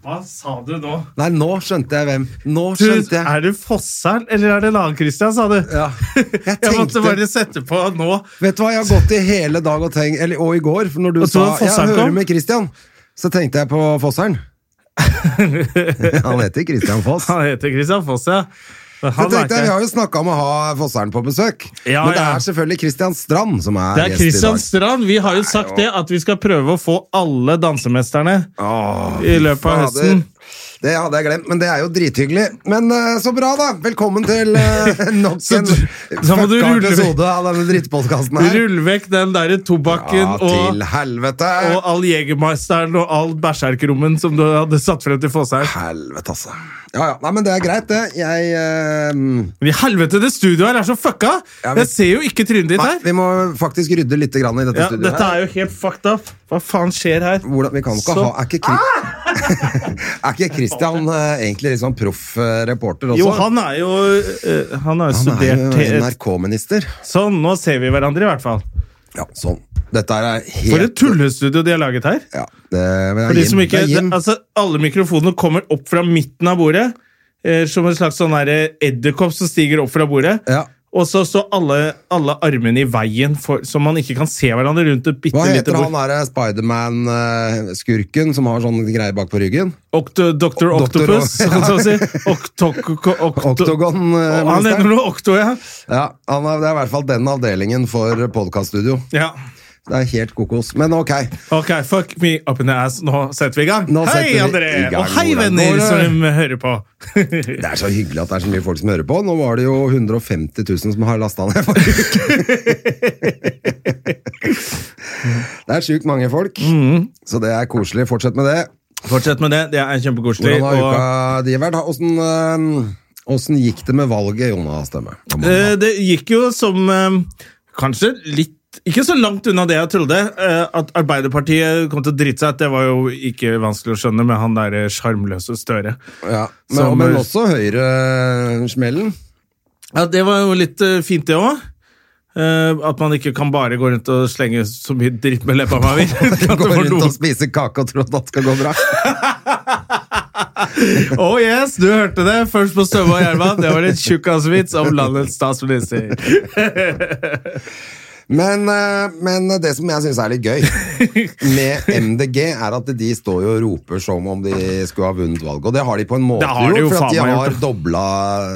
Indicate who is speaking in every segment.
Speaker 1: Hva sa du nå?
Speaker 2: Nei, nå skjønte jeg hvem. Nå
Speaker 1: Du,
Speaker 2: skjønte jeg.
Speaker 1: er du Fossern eller er det Lan-Christian, sa du?
Speaker 2: Ja. Jeg
Speaker 1: Jeg måtte
Speaker 2: tenkte
Speaker 1: bare sette på nå.
Speaker 2: Vet du hva, jeg har gått i hele dag og tenkt Eller og i går, for når du
Speaker 1: Og så
Speaker 2: sa
Speaker 1: var det
Speaker 2: Jeg
Speaker 1: Fossheim
Speaker 2: hører
Speaker 1: kom».
Speaker 2: med Christian, så tenkte jeg på Fosseren. Han heter Christian Foss.
Speaker 1: Han heter Christian Foss, ja.
Speaker 2: Så
Speaker 1: Han er
Speaker 2: tenkte jeg, Vi
Speaker 1: ikke-
Speaker 2: har jo snakka om å ha Fosseren på besøk,
Speaker 1: Ja,
Speaker 2: men det
Speaker 1: ja.
Speaker 2: er selvfølgelig Christian Strand som er,
Speaker 1: det er
Speaker 2: gjest i
Speaker 1: Christian
Speaker 2: dag.
Speaker 1: Strand. Vi har jo sagt det at vi skal prøve å få alle dansemesterne
Speaker 2: Åh,
Speaker 1: i løpet av
Speaker 2: fader.
Speaker 1: høsten.
Speaker 2: Det hadde jeg glemt, men det er jo drithyggelig. Men eh, så bra, da! Velkommen til eh, nok
Speaker 1: Så
Speaker 2: en
Speaker 1: du- så må du
Speaker 2: fucka
Speaker 1: rulle-
Speaker 2: episode av denne drittpodkasten her.
Speaker 1: Rull vekk den derre tobakken
Speaker 2: Ja, til
Speaker 1: og
Speaker 2: helvete!
Speaker 1: og all Jegermeisteren og all bæsjerkrummen som du hadde satt frem til Fossheim.
Speaker 2: Helvete, altså. Ja, ja. Nei, men det er greit, det. Jeg eh,
Speaker 1: Men i helvete, det studioet her er så fucka!
Speaker 2: Ja, men-
Speaker 1: Jeg ser jo ikke trynet ditt
Speaker 2: Nei,
Speaker 1: her.
Speaker 2: vi må faktisk rydde litt grann i dette
Speaker 1: Ja,
Speaker 2: studioet.
Speaker 1: dette
Speaker 2: her.
Speaker 1: er jo helt fucked up. Hva faen skjer her?
Speaker 2: Hvordan, vi kan ikke
Speaker 1: Så-
Speaker 2: ha Er ikke, Kri- er ikke Christian eh, egentlig litt sånn proff eh, reporter også?
Speaker 1: Jo, han er jo eh, Han har
Speaker 2: Han er
Speaker 1: jo studert
Speaker 2: jo
Speaker 1: til-
Speaker 2: NRK-minister.
Speaker 1: Sånn, nå ser vi hverandre, i hvert fall.
Speaker 2: Ja, sånn. Dette er helt
Speaker 1: For et tullestudio de har laget her.
Speaker 2: Ja, det, men det er
Speaker 1: For de som
Speaker 2: Jim-
Speaker 1: ikke,
Speaker 2: det er Jim.
Speaker 1: altså, alle mikrofonene kommer opp fra midten av bordet, eh, som en slags sånn derre edderkopp som stiger opp fra bordet.
Speaker 2: Ja.
Speaker 1: Og så står alle, alle armene i veien, for, så man ikke kan se hverandre rundt et bitte
Speaker 2: Hva
Speaker 1: lite
Speaker 2: heter han
Speaker 1: bord.
Speaker 2: derre Spiderman-skurken som har sånn greie bak på ryggen?
Speaker 1: Okto, Dr.
Speaker 2: Doktor-
Speaker 1: Octopus, sånn som å si. Oktok- okto- Han heter
Speaker 2: Oktogon-ministeren?
Speaker 1: noe Okto, ja.
Speaker 2: eh, Ja, han er, det er i hvert fall den avdelingen for podkaststudio.
Speaker 1: ja.
Speaker 2: Det er helt kokos. Men ok.
Speaker 1: Ok, fuck me up in the ass. Nå setter vi i gang.
Speaker 2: Nå setter
Speaker 1: hei,
Speaker 2: vi
Speaker 1: André!
Speaker 2: i gang,
Speaker 1: Og hei,
Speaker 2: Olav.
Speaker 1: venner
Speaker 2: Nå eh. er det-
Speaker 1: som hører på.
Speaker 2: Det er så hyggelig at det er så mye folk som hører på. Nå var det jo 150 000 som har lasta ned forrige uke. det er sjukt mange folk,
Speaker 1: Mm.
Speaker 2: så det er koselig. Fortsett med det.
Speaker 1: Fortsett med det. Det er kjempekoselig.
Speaker 2: Hvordan har
Speaker 1: og-
Speaker 2: uka di vært? Ha- Åssen øhm, åssen gikk det med valget, Jonas Stemme?
Speaker 1: Eh, Det gikk jo som eh, Kanskje litt ikke så langt unna det jeg trodde. eh, At Arbeiderpartiet kom til å drite seg ut, det var jo ikke vanskelig å skjønne med han der eh, sjarmløse Støre.
Speaker 2: Ja, men,
Speaker 1: som-
Speaker 2: men også eh, Høyre-smellen.
Speaker 1: Ja, Det var jo litt eh, fint, det òg. At man ikke kan bare gå rundt og slenge så mye dritt med leppa man vil.
Speaker 2: Gå
Speaker 1: At det var
Speaker 2: rundt
Speaker 1: noe-
Speaker 2: og spise kake og tro at alt skal gå bra.
Speaker 1: Oh yes, du hørte det først på Stømme og Gjerman. Det var en tjukkasvits om landets statsminister.
Speaker 2: Men, eh, men det som jeg syns er litt gøy med MDG, er at de står jo og roper som om de skulle ha vunnet valget. Og det har de på en måte
Speaker 1: Det har de jo
Speaker 2: gjort, for
Speaker 1: faen
Speaker 2: at de
Speaker 1: meg
Speaker 2: har
Speaker 1: gjort.
Speaker 2: dobla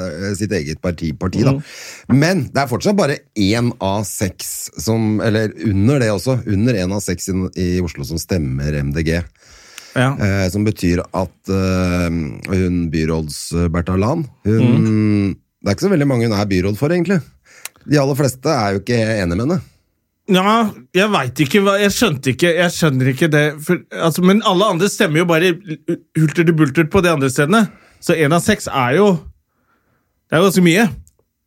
Speaker 2: eh, sitt eget parti. parti da.
Speaker 1: Mm.
Speaker 2: Men det er fortsatt bare én av seks som Eller under det også. Under én av seks i, i Oslo som stemmer MDG.
Speaker 1: Ja.
Speaker 2: Eh, som betyr at eh, hun byråds eh, Bertha Lahn hun,
Speaker 1: Mm.
Speaker 2: Det er ikke så veldig mange hun er byråd for, egentlig. De aller fleste er jo ikke enig med henne.
Speaker 1: Ja, jeg veit ikke hva Jeg skjønte ikke Jeg skjønner ikke det. For, altså, men alle andre stemmer jo bare hulter til bulter på de andre stedene. Så én av seks er jo Det er jo ganske mye.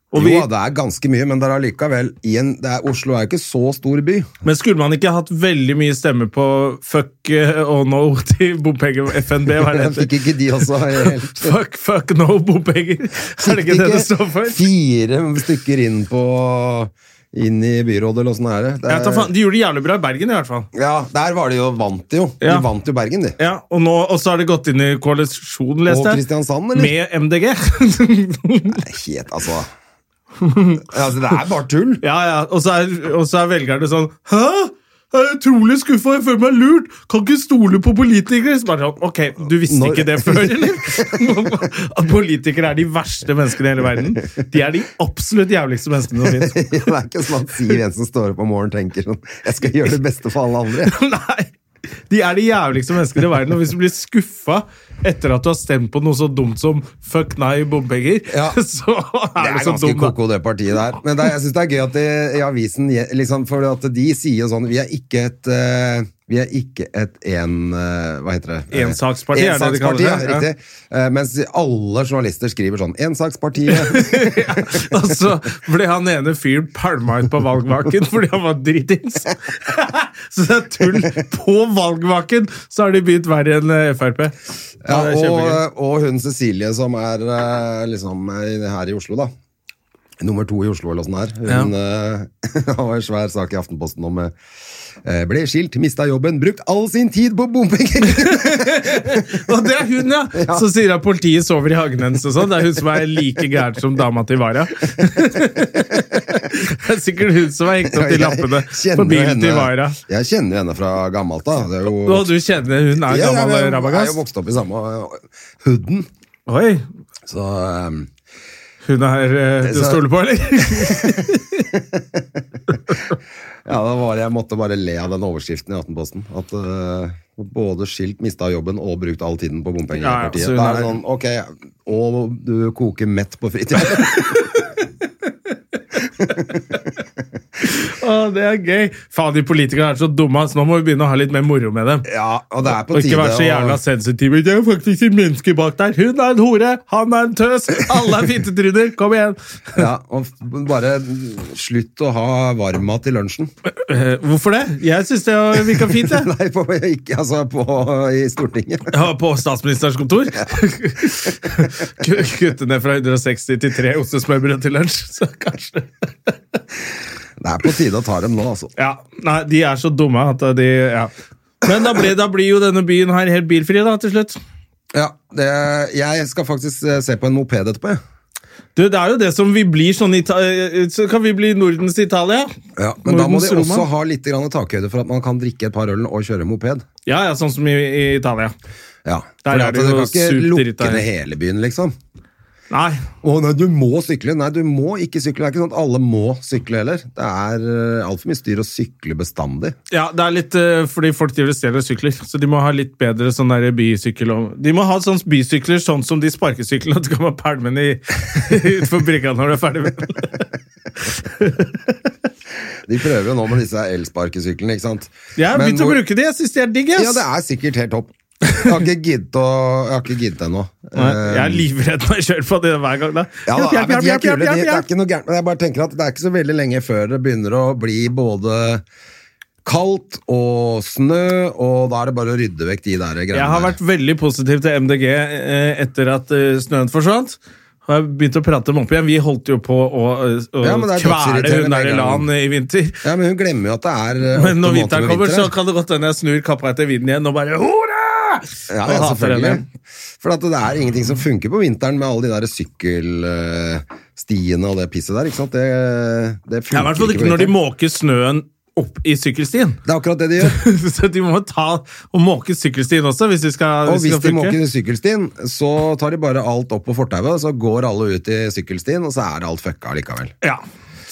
Speaker 1: Og vi,
Speaker 2: Jo, det er ganske mye, men det er allikevel i en, det er, Oslo er jo ikke så stor by.
Speaker 1: men skulle man ikke hatt veldig mye stemmer på fuck eh, og no til bompenger FNB? Hva er
Speaker 2: Jeg
Speaker 1: det heter?
Speaker 2: fikk ikke de også helt
Speaker 1: Fuck, fuck, no bompenger. Er det
Speaker 2: Fikk
Speaker 1: ikke det det
Speaker 2: ikke
Speaker 1: står for?
Speaker 2: Fire stykker inn på inn i byrådet, eller åssen er det? det
Speaker 1: Jeg tar faen, de gjorde det jævlig bra i Bergen, i hvert fall.
Speaker 2: ja, der var de jo vant, de jo. De
Speaker 1: Ja.
Speaker 2: vant jo Bergen, de.
Speaker 1: Ja, Og nå og så har det gått inn i koalisjon,
Speaker 2: Og
Speaker 1: leste jeg.
Speaker 2: Kristiansand, eller?
Speaker 1: Med MDG.
Speaker 2: Helt, altså. altså. Det er bare tull.
Speaker 1: ja, ja, og så, er, og så er velgerne sånn Hæ? Jeg er utrolig skuffa, jeg føler meg lurt! Kan ikke stole på politikere! Så bare sånn, ok, Du visste
Speaker 2: Når-
Speaker 1: ikke det før, eller? At politikere er de verste menneskene i hele verden. De er de absolutt jævligste menneskene som fins.
Speaker 2: Det er ikke sånn at Siv Jensen står opp om morgenen og tenker sånn Jeg skal gjøre det beste for alle andre.
Speaker 1: Nei! De er de jævligste menneskene i verden. Og hvis du blir skuffa etter at du har stemt på noe så dumt som fuck nei, bompenger,
Speaker 2: Ja.
Speaker 1: så
Speaker 2: Det
Speaker 1: er
Speaker 2: er
Speaker 1: det så
Speaker 2: ganske
Speaker 1: dumt, da.
Speaker 2: koko, det partiet der. Men det, er- jeg syns det er gøy at det, i avisen je- liksom, For at de sier jo sånn Vi er ikke et eh, Vi er ikke et en... eh, Hva heter det? Eh,
Speaker 1: Ensaksparti, er det de
Speaker 2: ensaksparti,
Speaker 1: kaller
Speaker 2: ja,
Speaker 1: det, ja.
Speaker 2: riktig. Eh, Mens alle journalister skriver sånn Ensakspartiet!
Speaker 1: Og så ble han ene fyren pælma ut på valgvaken fordi han var dritings. så det er tull. På valgvaken så har de begynt verre enn eh, Frp.
Speaker 2: Ja,
Speaker 1: Ja, det er kjempegøy.
Speaker 2: og, eh, og hun Cecilie som er eh, liksom eh, her i Oslo, da. Nummer to i Oslo, eller åssen det er. Hun eh, har en svær sak i Aftenposten om eh, eh, ble skilt, mista jobben, brukt all sin tid på bompenger!
Speaker 1: Og det er hun, ja! Så sier at politiet sover i hagen hennes og sånn. Det er hun som er like gæren som dama til Vara. det er sikkert hun som har hengt opp de lappene
Speaker 2: kjenner
Speaker 1: på bilen
Speaker 2: henne-
Speaker 1: til Vara.
Speaker 2: Jeg kjenner jo henne fra gammelt da. Det er jo,
Speaker 1: Og du kjenner hun er
Speaker 2: Ja, ja,
Speaker 1: gammel
Speaker 2: jeg- Jeg er jo
Speaker 1: rabagast?
Speaker 2: vokst opp i samme eh, hooden,
Speaker 1: Oi!
Speaker 2: så eh,
Speaker 1: Hun er eh, du
Speaker 2: Så-
Speaker 1: stoler på, eller?
Speaker 2: Ja, det var, jeg måtte bare le av den overskriften i Aftenposten. At eh, både skilt, mista jobben og brukt all tiden på bompengepartiet.
Speaker 1: Ja, ja, så hun
Speaker 2: da er det
Speaker 1: er-
Speaker 2: sånn, ok, og du koker mett på fritiden.
Speaker 1: Å, det er gøy! Faen, de politikerne er så dumme, ass. Nå må vi begynne å ha litt mer moro med dem.
Speaker 2: ja, og det er på
Speaker 1: Og ikke
Speaker 2: tide
Speaker 1: være så jævla
Speaker 2: å
Speaker 1: sensitiv. Det er faktisk et menneske bak der. Hun er en hore, han er en tøs, alle er fittetryner. Kom igjen!
Speaker 2: ja, og f- bare slutt å ha varmmat til lunsjen.
Speaker 1: Eh, Hvorfor det? Jeg syns det virka fint, jeg.
Speaker 2: Nei, på, ikke, altså på, i Stortinget.
Speaker 1: Ja, på statsministerens kontor. Ku- Kutte ned fra 160 til tre ostesmørbrød til lunsj, så kanskje
Speaker 2: Det er på tide å ta dem nå, altså.
Speaker 1: Ja, Nei, de er så dumme at de Ja. Men da, ble, da blir jo denne byen her helt bilfri, da, til slutt.
Speaker 2: Ja, det, jeg skal faktisk eh, se på en moped etterpå, jeg.
Speaker 1: Du, Det er jo det som vi blir sånn Ita eh, Så kan vi bli Nordens Italia.
Speaker 2: Ja, men da må
Speaker 1: Nordens
Speaker 2: de også
Speaker 1: Roma.
Speaker 2: ha litt grann takhøyde for at man kan drikke et par øl og kjøre moped.
Speaker 1: Ja, ja, sånn som i, i Italia.
Speaker 2: Ja,
Speaker 1: Der
Speaker 2: for
Speaker 1: er
Speaker 2: at
Speaker 1: det
Speaker 2: du
Speaker 1: jo
Speaker 2: kan ikke
Speaker 1: superdritt
Speaker 2: lukke
Speaker 1: der.
Speaker 2: ned hele byen, liksom.
Speaker 1: Nei,
Speaker 2: Å nei, du må sykle. Nei, du må ikke sykle. Det er ikke sånn at alle må sykle heller. Det er altfor mye styr å sykle bestandig.
Speaker 1: Ja, det er litt eh, fordi folk driver og stjeler sykler, så de må ha litt bedre sånn der bysykkel. og- De må ha sånne bysykler sånn som de sparkesyklene, at du kan ha pælmen i- utenfor brikka når du er ferdig med den.
Speaker 2: De prøver jo nå med disse elsparkesyklene, ikke sant.
Speaker 1: Jeg har
Speaker 2: Men
Speaker 1: begynt å
Speaker 2: hvor-
Speaker 1: bruke de, jeg syns de er digg. ass.
Speaker 2: Ja, det er sikkert helt topp. Jeg har ikke giddet å- jeg har ikke giddet ennå.
Speaker 1: Nei,
Speaker 2: Eh,
Speaker 1: Jeg er livredd når jeg kjører på det hver gang. Da.
Speaker 2: Ja, da,
Speaker 1: Hjelp,
Speaker 2: nei, men de er
Speaker 1: hjelp, hjelp,
Speaker 2: kule. De,
Speaker 1: hjelp, hjelp,
Speaker 2: det er
Speaker 1: hjelp.
Speaker 2: ikke noe gærent, men jeg bare tenker at det er ikke så veldig lenge før det begynner å bli både kaldt og snø, og da er det bare å rydde vekk de der greiene.
Speaker 1: Jeg har vært veldig positiv til MDG eh, etter at eh, snøen forsvant. Har jeg begynt å prate dem opp igjen. Vi holdt jo på å, å
Speaker 2: Ja, men det er
Speaker 1: kvele
Speaker 2: dødserriterende
Speaker 1: hun der
Speaker 2: med en gang.
Speaker 1: Elan i vinter.
Speaker 2: der. Ja, men hun glemmer jo at det er eh, åtte
Speaker 1: Men når
Speaker 2: måneder
Speaker 1: vinteren
Speaker 2: med
Speaker 1: kommer,
Speaker 2: vinter,
Speaker 1: så kan det godt hende jeg snur kappa etter vinden igjen og bare Hurra!
Speaker 2: ja, ja,
Speaker 1: Og hater
Speaker 2: selvfølgelig.
Speaker 1: henne.
Speaker 2: For at det er ingenting som funker på vinteren med alle de der sykkelstiene og det pisset der, ikke sant? Det, det
Speaker 1: Ja,
Speaker 2: funker
Speaker 1: I hvert fall
Speaker 2: på
Speaker 1: ikke når de
Speaker 2: vinteren.
Speaker 1: måker snøen opp i sykkelstien.
Speaker 2: Det er akkurat det de gjør.
Speaker 1: Så de må ta og måke sykkelstien også, hvis de skal,
Speaker 2: Og
Speaker 1: hvis de
Speaker 2: hvis de
Speaker 1: skal funke.
Speaker 2: måker sykkelstien, så tar de bare alt opp på fortauet, så går alle ut i sykkelstien, og så er det alt fucka likevel.
Speaker 1: Ja.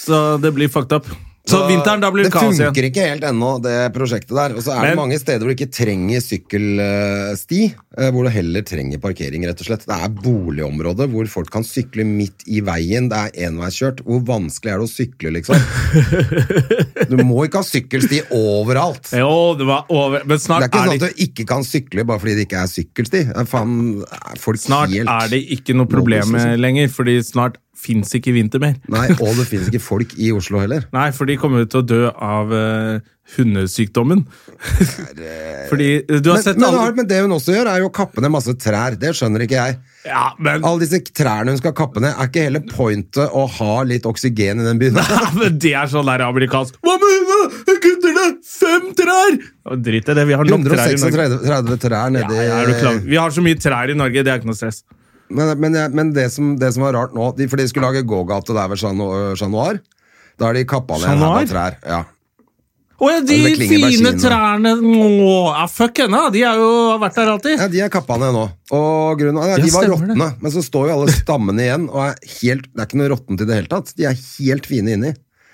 Speaker 1: Så det blir fucked up. Så vinteren, da blir
Speaker 2: det
Speaker 1: det kaos igjen.
Speaker 2: funker ikke helt ennå, det prosjektet der. Og så er
Speaker 1: Men-
Speaker 2: det mange steder hvor du ikke trenger sykkelsti, eh, hvor du heller trenger parkering, rett og slett. Det er boligområder hvor folk kan sykle midt i veien, det er enveiskjørt. Hvor vanskelig er det å sykle, liksom? Du må ikke ha sykkelsti overalt.
Speaker 1: Jo, det var over.
Speaker 2: Det
Speaker 1: Men
Speaker 2: er
Speaker 1: snart
Speaker 2: ikke
Speaker 1: er
Speaker 2: sånn at
Speaker 1: det,
Speaker 2: du ikke kan sykle bare fordi det ikke er sykkelsti. Det er Faen, er folk
Speaker 1: snart
Speaker 2: helt
Speaker 1: er det ikke noe
Speaker 2: Nådeløs,
Speaker 1: problem
Speaker 2: liksom.
Speaker 1: lenger, fordi snart fins ikke vinter mer.
Speaker 2: Nei, og det finnes ikke folk i Oslo heller.
Speaker 1: Nei, for de kommer jo til å dø av eh, hundesykdommen. fordi eh, Du har
Speaker 2: Men,
Speaker 1: sett
Speaker 2: men,
Speaker 1: alle-
Speaker 2: har- men det hun også gjør, er jo å kappe ned masse trær. Det skjønner ikke jeg.
Speaker 1: Ja, men
Speaker 2: Alle disse trærne hun skal kappe ned, er ikke hele pointet å ha litt oksygen i den byen?
Speaker 1: Ja, men det er sånn der amerikansk Hva med hundene? Jeg kutter ned fem trær! Ja, Drit i det, vi har nok trær i Norge.
Speaker 2: 136 30 trær
Speaker 1: Ja,
Speaker 2: nedi
Speaker 1: ja, er du klar? Vi har så mye trær i Norge, det er ikke noe stress.
Speaker 2: Men, men, jeg- men det, som, det som var rart nå de, For de skulle lage gågate der ved Chat Noir- Chat Noir. Da har de kappa ned en haug
Speaker 1: Chat Noir?
Speaker 2: av trær. Ja.
Speaker 1: Å ja, de
Speaker 2: Eller det klinger
Speaker 1: fine
Speaker 2: bare
Speaker 1: trærne Åh, ja, Fuck henne, de har jo vært der alltid.
Speaker 2: ja, de er kappa ned nå. Og grunnen, nei,
Speaker 1: Ja,
Speaker 2: de var
Speaker 1: stemmer det.
Speaker 2: råtne, men så står jo alle stammene igjen, og er helt, det er ikke noe råttent i det hele tatt. De er helt fine inni.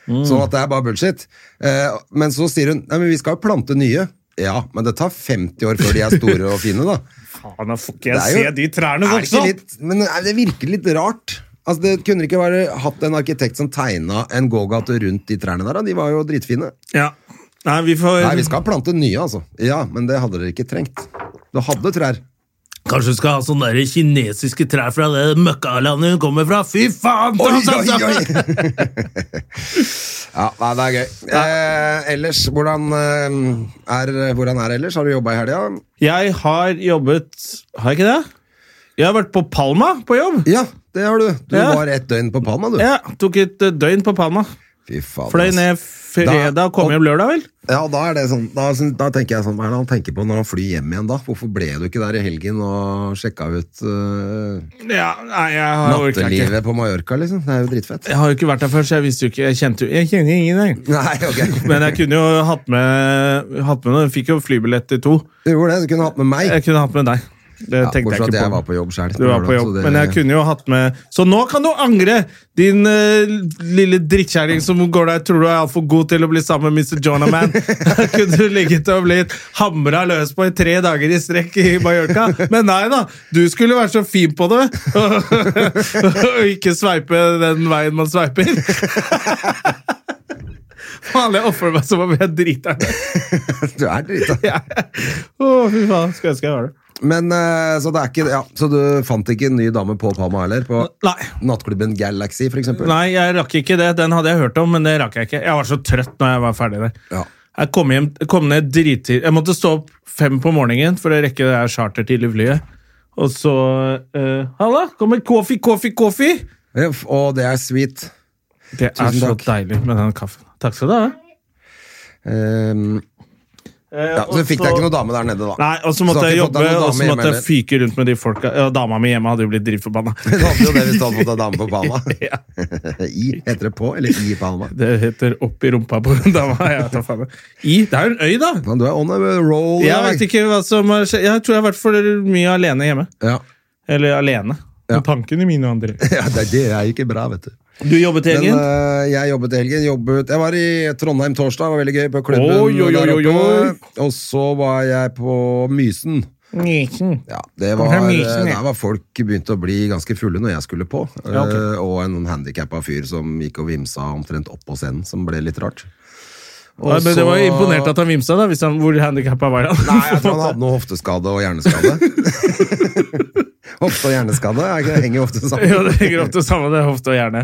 Speaker 1: Mm.
Speaker 2: Sånn at det er bare bullshit. Eh, men så sier hun nei, men vi skal jo plante nye. Ja, men det tar 50 år før de er store og fine, da.
Speaker 1: Faen, da får ikke
Speaker 2: Det
Speaker 1: jeg
Speaker 2: er jo-
Speaker 1: se de trærne
Speaker 2: Er det
Speaker 1: vokse
Speaker 2: ikke
Speaker 1: opp!
Speaker 2: litt, men er det virker litt rart. Altså, det kunne ikke vært hatt en arkitekt som tegna en gågate rundt de trærne der. Da. De var jo dritfine.
Speaker 1: Ja. Nei, vi får
Speaker 2: Nei, vi skal plante nye, altså. Ja, men det hadde dere ikke trengt. Du hadde trær.
Speaker 1: Kanskje du skal ha sånne der kinesiske trær fra det møkkalandet hun kommer fra? Fy faen!
Speaker 2: Oi,
Speaker 1: ta- ta- ta-
Speaker 2: oi, oi! ja, nei, det er gøy. Eh, ellers, hvordan eh, er, hvordan er ellers? Har du jobba i helga?
Speaker 1: Jeg har jobbet Har jeg ikke det? Jeg har vært på Palma på jobb.
Speaker 2: Ja, det har du. Du
Speaker 1: Ja.
Speaker 2: var ett døgn på Palma, du.
Speaker 1: Ja, Tok et eh, døgn på Palma.
Speaker 2: Fy faen.
Speaker 1: Fløy
Speaker 2: ass.
Speaker 1: ned fredag og kom hjem lørdag, vel?
Speaker 2: Ja, da er det sånn Da, syns- da tenker jeg sånn Hva er det han tenker på når han flyr hjem igjen, da? Hvorfor ble du ikke der i helgen og sjekka ut eh,
Speaker 1: Ja, nei, jeg har orket ikke.
Speaker 2: nattelivet på Mallorca, liksom? Det er jo dritfett.
Speaker 1: Jeg har jo ikke vært der før, så jeg visste jo ikke Jeg kjente jo jeg kjenner ingen, jeg.
Speaker 2: Nei, ok.
Speaker 1: Men jeg kunne jo hatt med, hatt med noe. Jeg Fikk jo flybillett til to.
Speaker 2: Du gjorde det. Du kunne hatt med meg.
Speaker 1: Jeg kunne hatt med deg. Det
Speaker 2: Ja,
Speaker 1: tenkte jeg
Speaker 2: bortsett at
Speaker 1: ikke på.
Speaker 2: jeg var på jobb selv.
Speaker 1: Du var på jobb,
Speaker 2: Så det-
Speaker 1: men jeg kunne jo hatt med Så nå kan du angre, din eh, lille drittkjerring som går der tror du er altfor god til å bli sammen med Mr. Jonaman. Da kunne du ligget og blitt hamra løs på i tre dager i strekk i Mallorca. Men nei da, du skulle være så fin på det og ikke sveipe den veien man sveiper. Faen, jeg ofrer meg som om jeg driter meg.
Speaker 2: Du er drita.
Speaker 1: Ja. Å, fy faen. Skulle ønske jeg var det.
Speaker 2: Men eh, så det er ikke Ja, så du fant ikke en ny dame på Palma heller? På
Speaker 1: Nei.
Speaker 2: nattklubben Galaxy, for eksempel?
Speaker 1: Nei, jeg rakk ikke det. Den hadde jeg hørt om, men det rakk jeg ikke. Jeg var så trøtt når jeg var ferdig der.
Speaker 2: Ja.
Speaker 1: Jeg kom, hjem, kom ned drittid. Jeg måtte stå opp fem på morgenen for å rekke det her chartertidlige flyet. Og så eh, Halla! Kommer koffe, koffe, koffe!
Speaker 2: Ja, f- Og det er sweet.
Speaker 1: Det er
Speaker 2: Tusen
Speaker 1: så
Speaker 2: takk.
Speaker 1: deilig med den kaffen. Takk skal du ha.
Speaker 2: Ehm,
Speaker 1: Eh,
Speaker 2: ja, så
Speaker 1: og
Speaker 2: fikk deg ikke noe dame der nede, da.
Speaker 1: Nei, og så
Speaker 2: Så
Speaker 1: måtte
Speaker 2: har
Speaker 1: jeg
Speaker 2: ikke fått
Speaker 1: jobbe,
Speaker 2: deg noen
Speaker 1: og
Speaker 2: dame
Speaker 1: så
Speaker 2: hjemme
Speaker 1: måtte jeg
Speaker 2: heller.
Speaker 1: fyke rundt med de folka. Ja, dama mi hjemme hadde jo blitt dritforbanna.
Speaker 2: Du hadde jo det hvis du hadde fått deg dame på Palma. I, heter det på, eller i Palma?
Speaker 1: Det heter opp i rumpa på en dama. Jeg tar faen. I, det er jo en øy, da!
Speaker 2: Men du er on a roll. i
Speaker 1: Jeg
Speaker 2: dag.
Speaker 1: vet ikke hva som har skjedd. Jeg tror jeg har vært for mye alene hjemme.
Speaker 2: Ja.
Speaker 1: Eller alene.
Speaker 2: Ja.
Speaker 1: Med tankene mine og andre.
Speaker 2: ja, det, det er ikke bra, vet du.
Speaker 1: Du jobbet i
Speaker 2: Men
Speaker 1: helgen?
Speaker 2: eh, jeg jobbet i helgen. Jobbet, jeg var i Trondheim torsdag, var veldig gøy på klubben.
Speaker 1: Oi, oi, oi,
Speaker 2: der
Speaker 1: oi,
Speaker 2: oppe. Og så var jeg på Mysen.
Speaker 1: eh, Mysen.
Speaker 2: Ja, det
Speaker 1: Kom
Speaker 2: var, eh,
Speaker 1: fra Mysen, ja.
Speaker 2: der var folk begynte å bli ganske fulle når jeg skulle på.
Speaker 1: Ja, ok.
Speaker 2: Eh, og en handikappa fyr som gikk og vimsa omtrent oppå scenen, som ble litt rart.
Speaker 1: Ja, men det var
Speaker 2: så-
Speaker 1: imponert at han vimsa, da, hvis han, hvor handikappa var han.
Speaker 2: Nei, jeg tror han hadde noe hofteskade og hjerneskade. Hofte og hjerneskade er ikke det henger jo ofte
Speaker 1: ja,
Speaker 2: sammen.
Speaker 1: det henger ofte sammen, det er hofte og hjerne.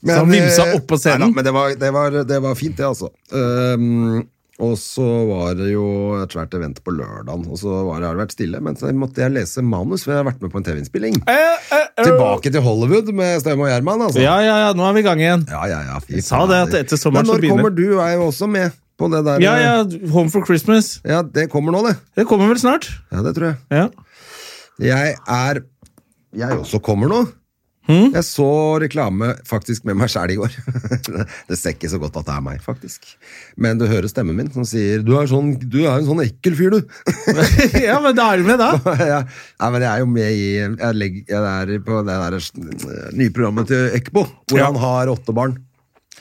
Speaker 2: Men,
Speaker 1: han vimsa
Speaker 2: eh,
Speaker 1: opp på
Speaker 2: nei
Speaker 1: scenen?
Speaker 2: da, men det var, det, var, det var fint, det, altså. Ehm, og så var det jo et svært event på lørdagen, og så var det, har det vært stille. Men så måtte jeg lese manus, for jeg har vært med på en TV-innspilling.
Speaker 1: Eh,
Speaker 2: Tilbake til Hollywood med Støm og Gjerman, altså.
Speaker 1: Ja, ja, ja, nå er vi i gang igjen.
Speaker 2: ja, ja. ja, fy
Speaker 1: Jeg sa det at
Speaker 2: fader.
Speaker 1: etter sommeren
Speaker 2: Men
Speaker 1: så
Speaker 2: når
Speaker 1: begynner-
Speaker 2: kommer du? Er jo også med på det der. eh,
Speaker 1: Ja, ja, Home for Christmas.
Speaker 2: Ja, det kommer nå, det.
Speaker 1: Det kommer vel snart?
Speaker 2: Ja, det tror jeg.
Speaker 1: Ja.
Speaker 2: Jeg er Jeg også kommer nå. Jeg så reklame faktisk med meg sjæl i går. det ser ikke så godt at det er meg, faktisk. Men du hører stemmen min som sier 'Du er, sånn, du er en sånn ekkel fyr, du'.
Speaker 1: ja, men da er du med, da.
Speaker 2: ja, nei, men jeg er jo med i Jeg, legger, jeg er på det der eh, nye programmet til Ekbo, hvor
Speaker 1: Ja.
Speaker 2: han har åtte barn.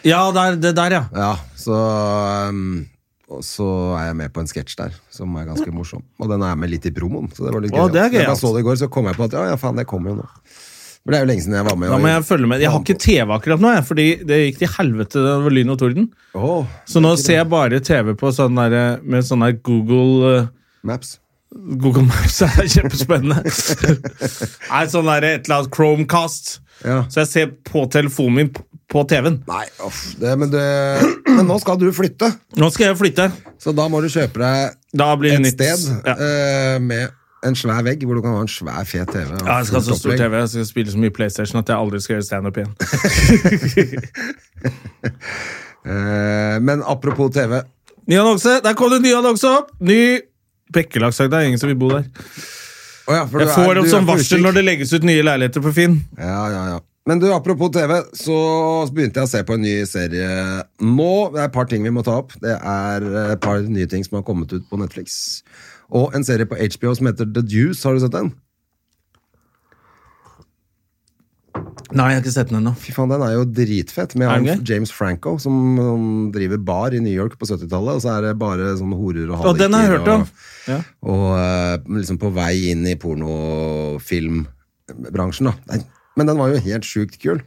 Speaker 1: Ja, der, det der, ja.
Speaker 2: Ja, så um, og så er jeg med på en sketsj der som er ganske morsom. Og den er med litt i promoen. Så det var litt
Speaker 1: Å, det
Speaker 2: gøyalt.
Speaker 1: er
Speaker 2: Når
Speaker 1: gøyalt.
Speaker 2: jeg så det i går, så kom jeg på at ja, ja faen, det kommer jo nå. Men det er jo lenge siden jeg var med.
Speaker 1: Da
Speaker 2: og-
Speaker 1: må jeg følge med. Jeg har ikke TV akkurat nå, jeg, fordi det gikk til helvete det var lyn og torden.
Speaker 2: Åh,
Speaker 1: Så nå ser jeg bare TV på sånn der, med sånn der Google eh,
Speaker 2: Maps.
Speaker 1: Google Maps er kjempespennende. Nei, sånn der et eller annet Chromecast.
Speaker 2: Ja.
Speaker 1: Så jeg ser på telefonen min p- på TV-en.
Speaker 2: Nei, uff, det, men, det, men nå skal du flytte,
Speaker 1: Nå skal jeg flytte.
Speaker 2: så da må du kjøpe deg
Speaker 1: Da blir det
Speaker 2: et
Speaker 1: nytt.
Speaker 2: sted
Speaker 1: Ja.
Speaker 2: eh, med en svær vegg hvor du kan ha en svær, fet TV. og
Speaker 1: Ja, jeg skal ha så
Speaker 2: fullt
Speaker 1: stor
Speaker 2: opplegg.
Speaker 1: TV, jeg skal spille så mye PlayStation at jeg aldri skal gjøre standup igjen.
Speaker 2: Eh, men apropos TV.
Speaker 1: Ny annonse! Der kom det en ny annonse opp! Ny Bekkelagsdag. Det er ingen som vil bo der.
Speaker 2: Å ja, for du
Speaker 1: Jeg
Speaker 2: er-
Speaker 1: får
Speaker 2: du
Speaker 1: opp
Speaker 2: er
Speaker 1: sånn
Speaker 2: på
Speaker 1: varsel
Speaker 2: utkikk.
Speaker 1: når det legges ut nye leiligheter på Finn.
Speaker 2: Ja, ja, ja. Men du, apropos TV, så begynte jeg å se på en ny serie nå. Det er et par ting vi må ta opp. Det er et par nye ting som har kommet ut på Netflix. Og en serie på HBO som heter The Deuce. Har du sett den?
Speaker 1: Nei, jeg har ikke sett den ennå.
Speaker 2: Fy faen, den er jo dritfett. Med
Speaker 1: Er den
Speaker 2: han
Speaker 1: gøy?
Speaker 2: James Franco, som um, driver bar i New York på 70-tallet. Og så er det bare sånne horer og
Speaker 1: Og den har jeg
Speaker 2: halliker
Speaker 1: hørt om.
Speaker 2: og- Og eh, liksom på vei inn i pornofilmbransjen, da. Nei, Men den var jo helt sjukt kul.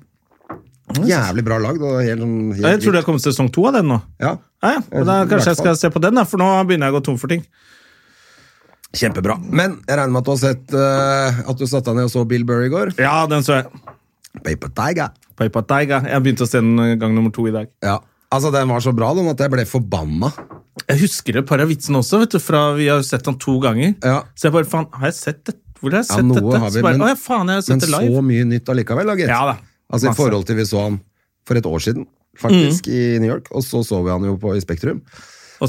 Speaker 2: Jævlig bra lag. Det var helt, sånn- helt,
Speaker 1: Jeg tror det har kommet sesong to av den nå.
Speaker 2: Ja,
Speaker 1: Ja, ja. Men da,
Speaker 2: I hvert
Speaker 1: kanskje jeg
Speaker 2: fall.
Speaker 1: skal se på den, da, for nå begynner jeg å gå tom for ting.
Speaker 2: Kjempebra. Men jeg regner med at du har sett eh, at du satte deg ned og så Bill Burr i går.
Speaker 1: Ja, den så jeg.
Speaker 2: Paper Tiger.
Speaker 1: Paper Tiger. Jeg begynte å se den eh, gang nummer to i dag.
Speaker 2: Ja. Altså, den var så bra den at jeg ble forbanna.
Speaker 1: Jeg husker et par av vitsene også, vet du, fra vi har sett den to ganger.
Speaker 2: Ja.
Speaker 1: Så jeg bare, faen, har jeg sett dette? Hvor har jeg
Speaker 2: Ja,
Speaker 1: sett
Speaker 2: noe
Speaker 1: dette?
Speaker 2: har vi,
Speaker 1: så bare,
Speaker 2: men-
Speaker 1: Å ja, faen, jeg har
Speaker 2: Men
Speaker 1: sett det live.
Speaker 2: så mye nytt allikevel, da, gitt.
Speaker 1: Ja da.
Speaker 2: Altså, I
Speaker 1: Masse. Mm.
Speaker 2: forhold til vi så han for et år siden, faktisk, i New York, og så så vi han jo på, i Spektrum.
Speaker 1: Og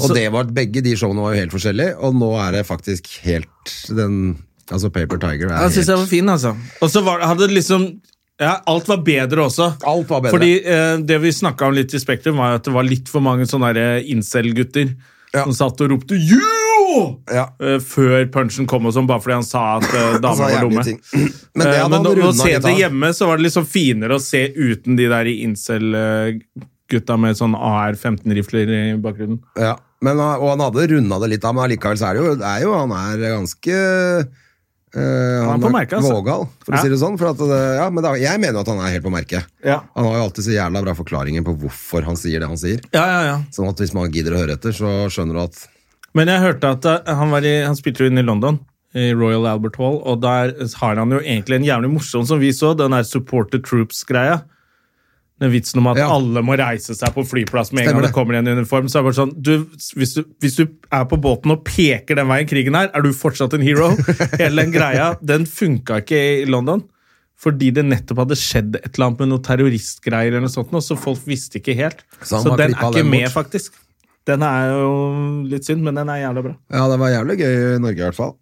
Speaker 2: Og
Speaker 1: så-
Speaker 2: det var, Begge de showene var jo helt forskjellige, og nå er det faktisk helt den Altså Paper Tiger er
Speaker 1: Jeg synes jeg
Speaker 2: helt
Speaker 1: var fin, altså. Og så var, hadde det liksom ja, Alt var bedre også.
Speaker 2: Alt var bedre.
Speaker 1: Fordi eh, Det vi snakka om litt i Spektrum, var jo at det var litt for mange sånne der incel-gutter
Speaker 2: Ja.
Speaker 1: som satt og ropte «Yo!»
Speaker 2: Ja.
Speaker 1: eh, før punchen kom, og sånn, bare fordi han sa at eh,
Speaker 2: Han sa
Speaker 1: damer var
Speaker 2: jævlige
Speaker 1: dumme.
Speaker 2: ting. Men det
Speaker 1: Eh,
Speaker 2: hadde
Speaker 1: men
Speaker 2: han
Speaker 1: å, å
Speaker 2: rundet
Speaker 1: se
Speaker 2: litt
Speaker 1: det
Speaker 2: av.
Speaker 1: hjemme, så var det liksom finere å se uten de der incel-gutta med sånn AR-15-rifler i bakgrunnen.
Speaker 2: Ja, men, han- og han hadde runda det litt av, men allikevel så er det jo, det er jo Han er ganske eh, han,
Speaker 1: på
Speaker 2: er
Speaker 1: merket, altså.
Speaker 2: vågal, for
Speaker 1: Ja.
Speaker 2: å si det sånn. For at, det- ja, men da, jeg mener jo at han er helt på merket.
Speaker 1: Ja.
Speaker 2: Han har jo alltid så jævla bra forklaringer på hvorfor han sier det han sier.
Speaker 1: Ja, ja, ja.
Speaker 2: Sånn at hvis man gidder å høre etter, så skjønner du at
Speaker 1: Men jeg hørte at eh, han, var i, han spilte jo inn i London, i Royal Albert Hall, og der har han jo egentlig en jævlig morsom som vi så, den der supporter troops-greia. Den vitsen om at
Speaker 2: Ja.
Speaker 1: alle må reise seg på flyplass med en
Speaker 2: Stemmer
Speaker 1: gang det
Speaker 2: det.
Speaker 1: kommer en uniform. Så er det bare sånn, du, hvis, du, hvis du er på båten og peker den veien krigen er, er du fortsatt en hero. Hele den greia, den funka ikke i London. Fordi det nettopp hadde skjedd et eller annet med noen terroristgreier, eller noe sånt, nå, så folk visste ikke helt.
Speaker 2: Så
Speaker 1: Så,
Speaker 2: han har
Speaker 1: den er
Speaker 2: klippet
Speaker 1: ikke
Speaker 2: den
Speaker 1: med,
Speaker 2: bort.
Speaker 1: faktisk. Den er jo litt synd, men den er jævla bra.
Speaker 2: Ja, det var jævlig gøy i Norge, i hvert fall.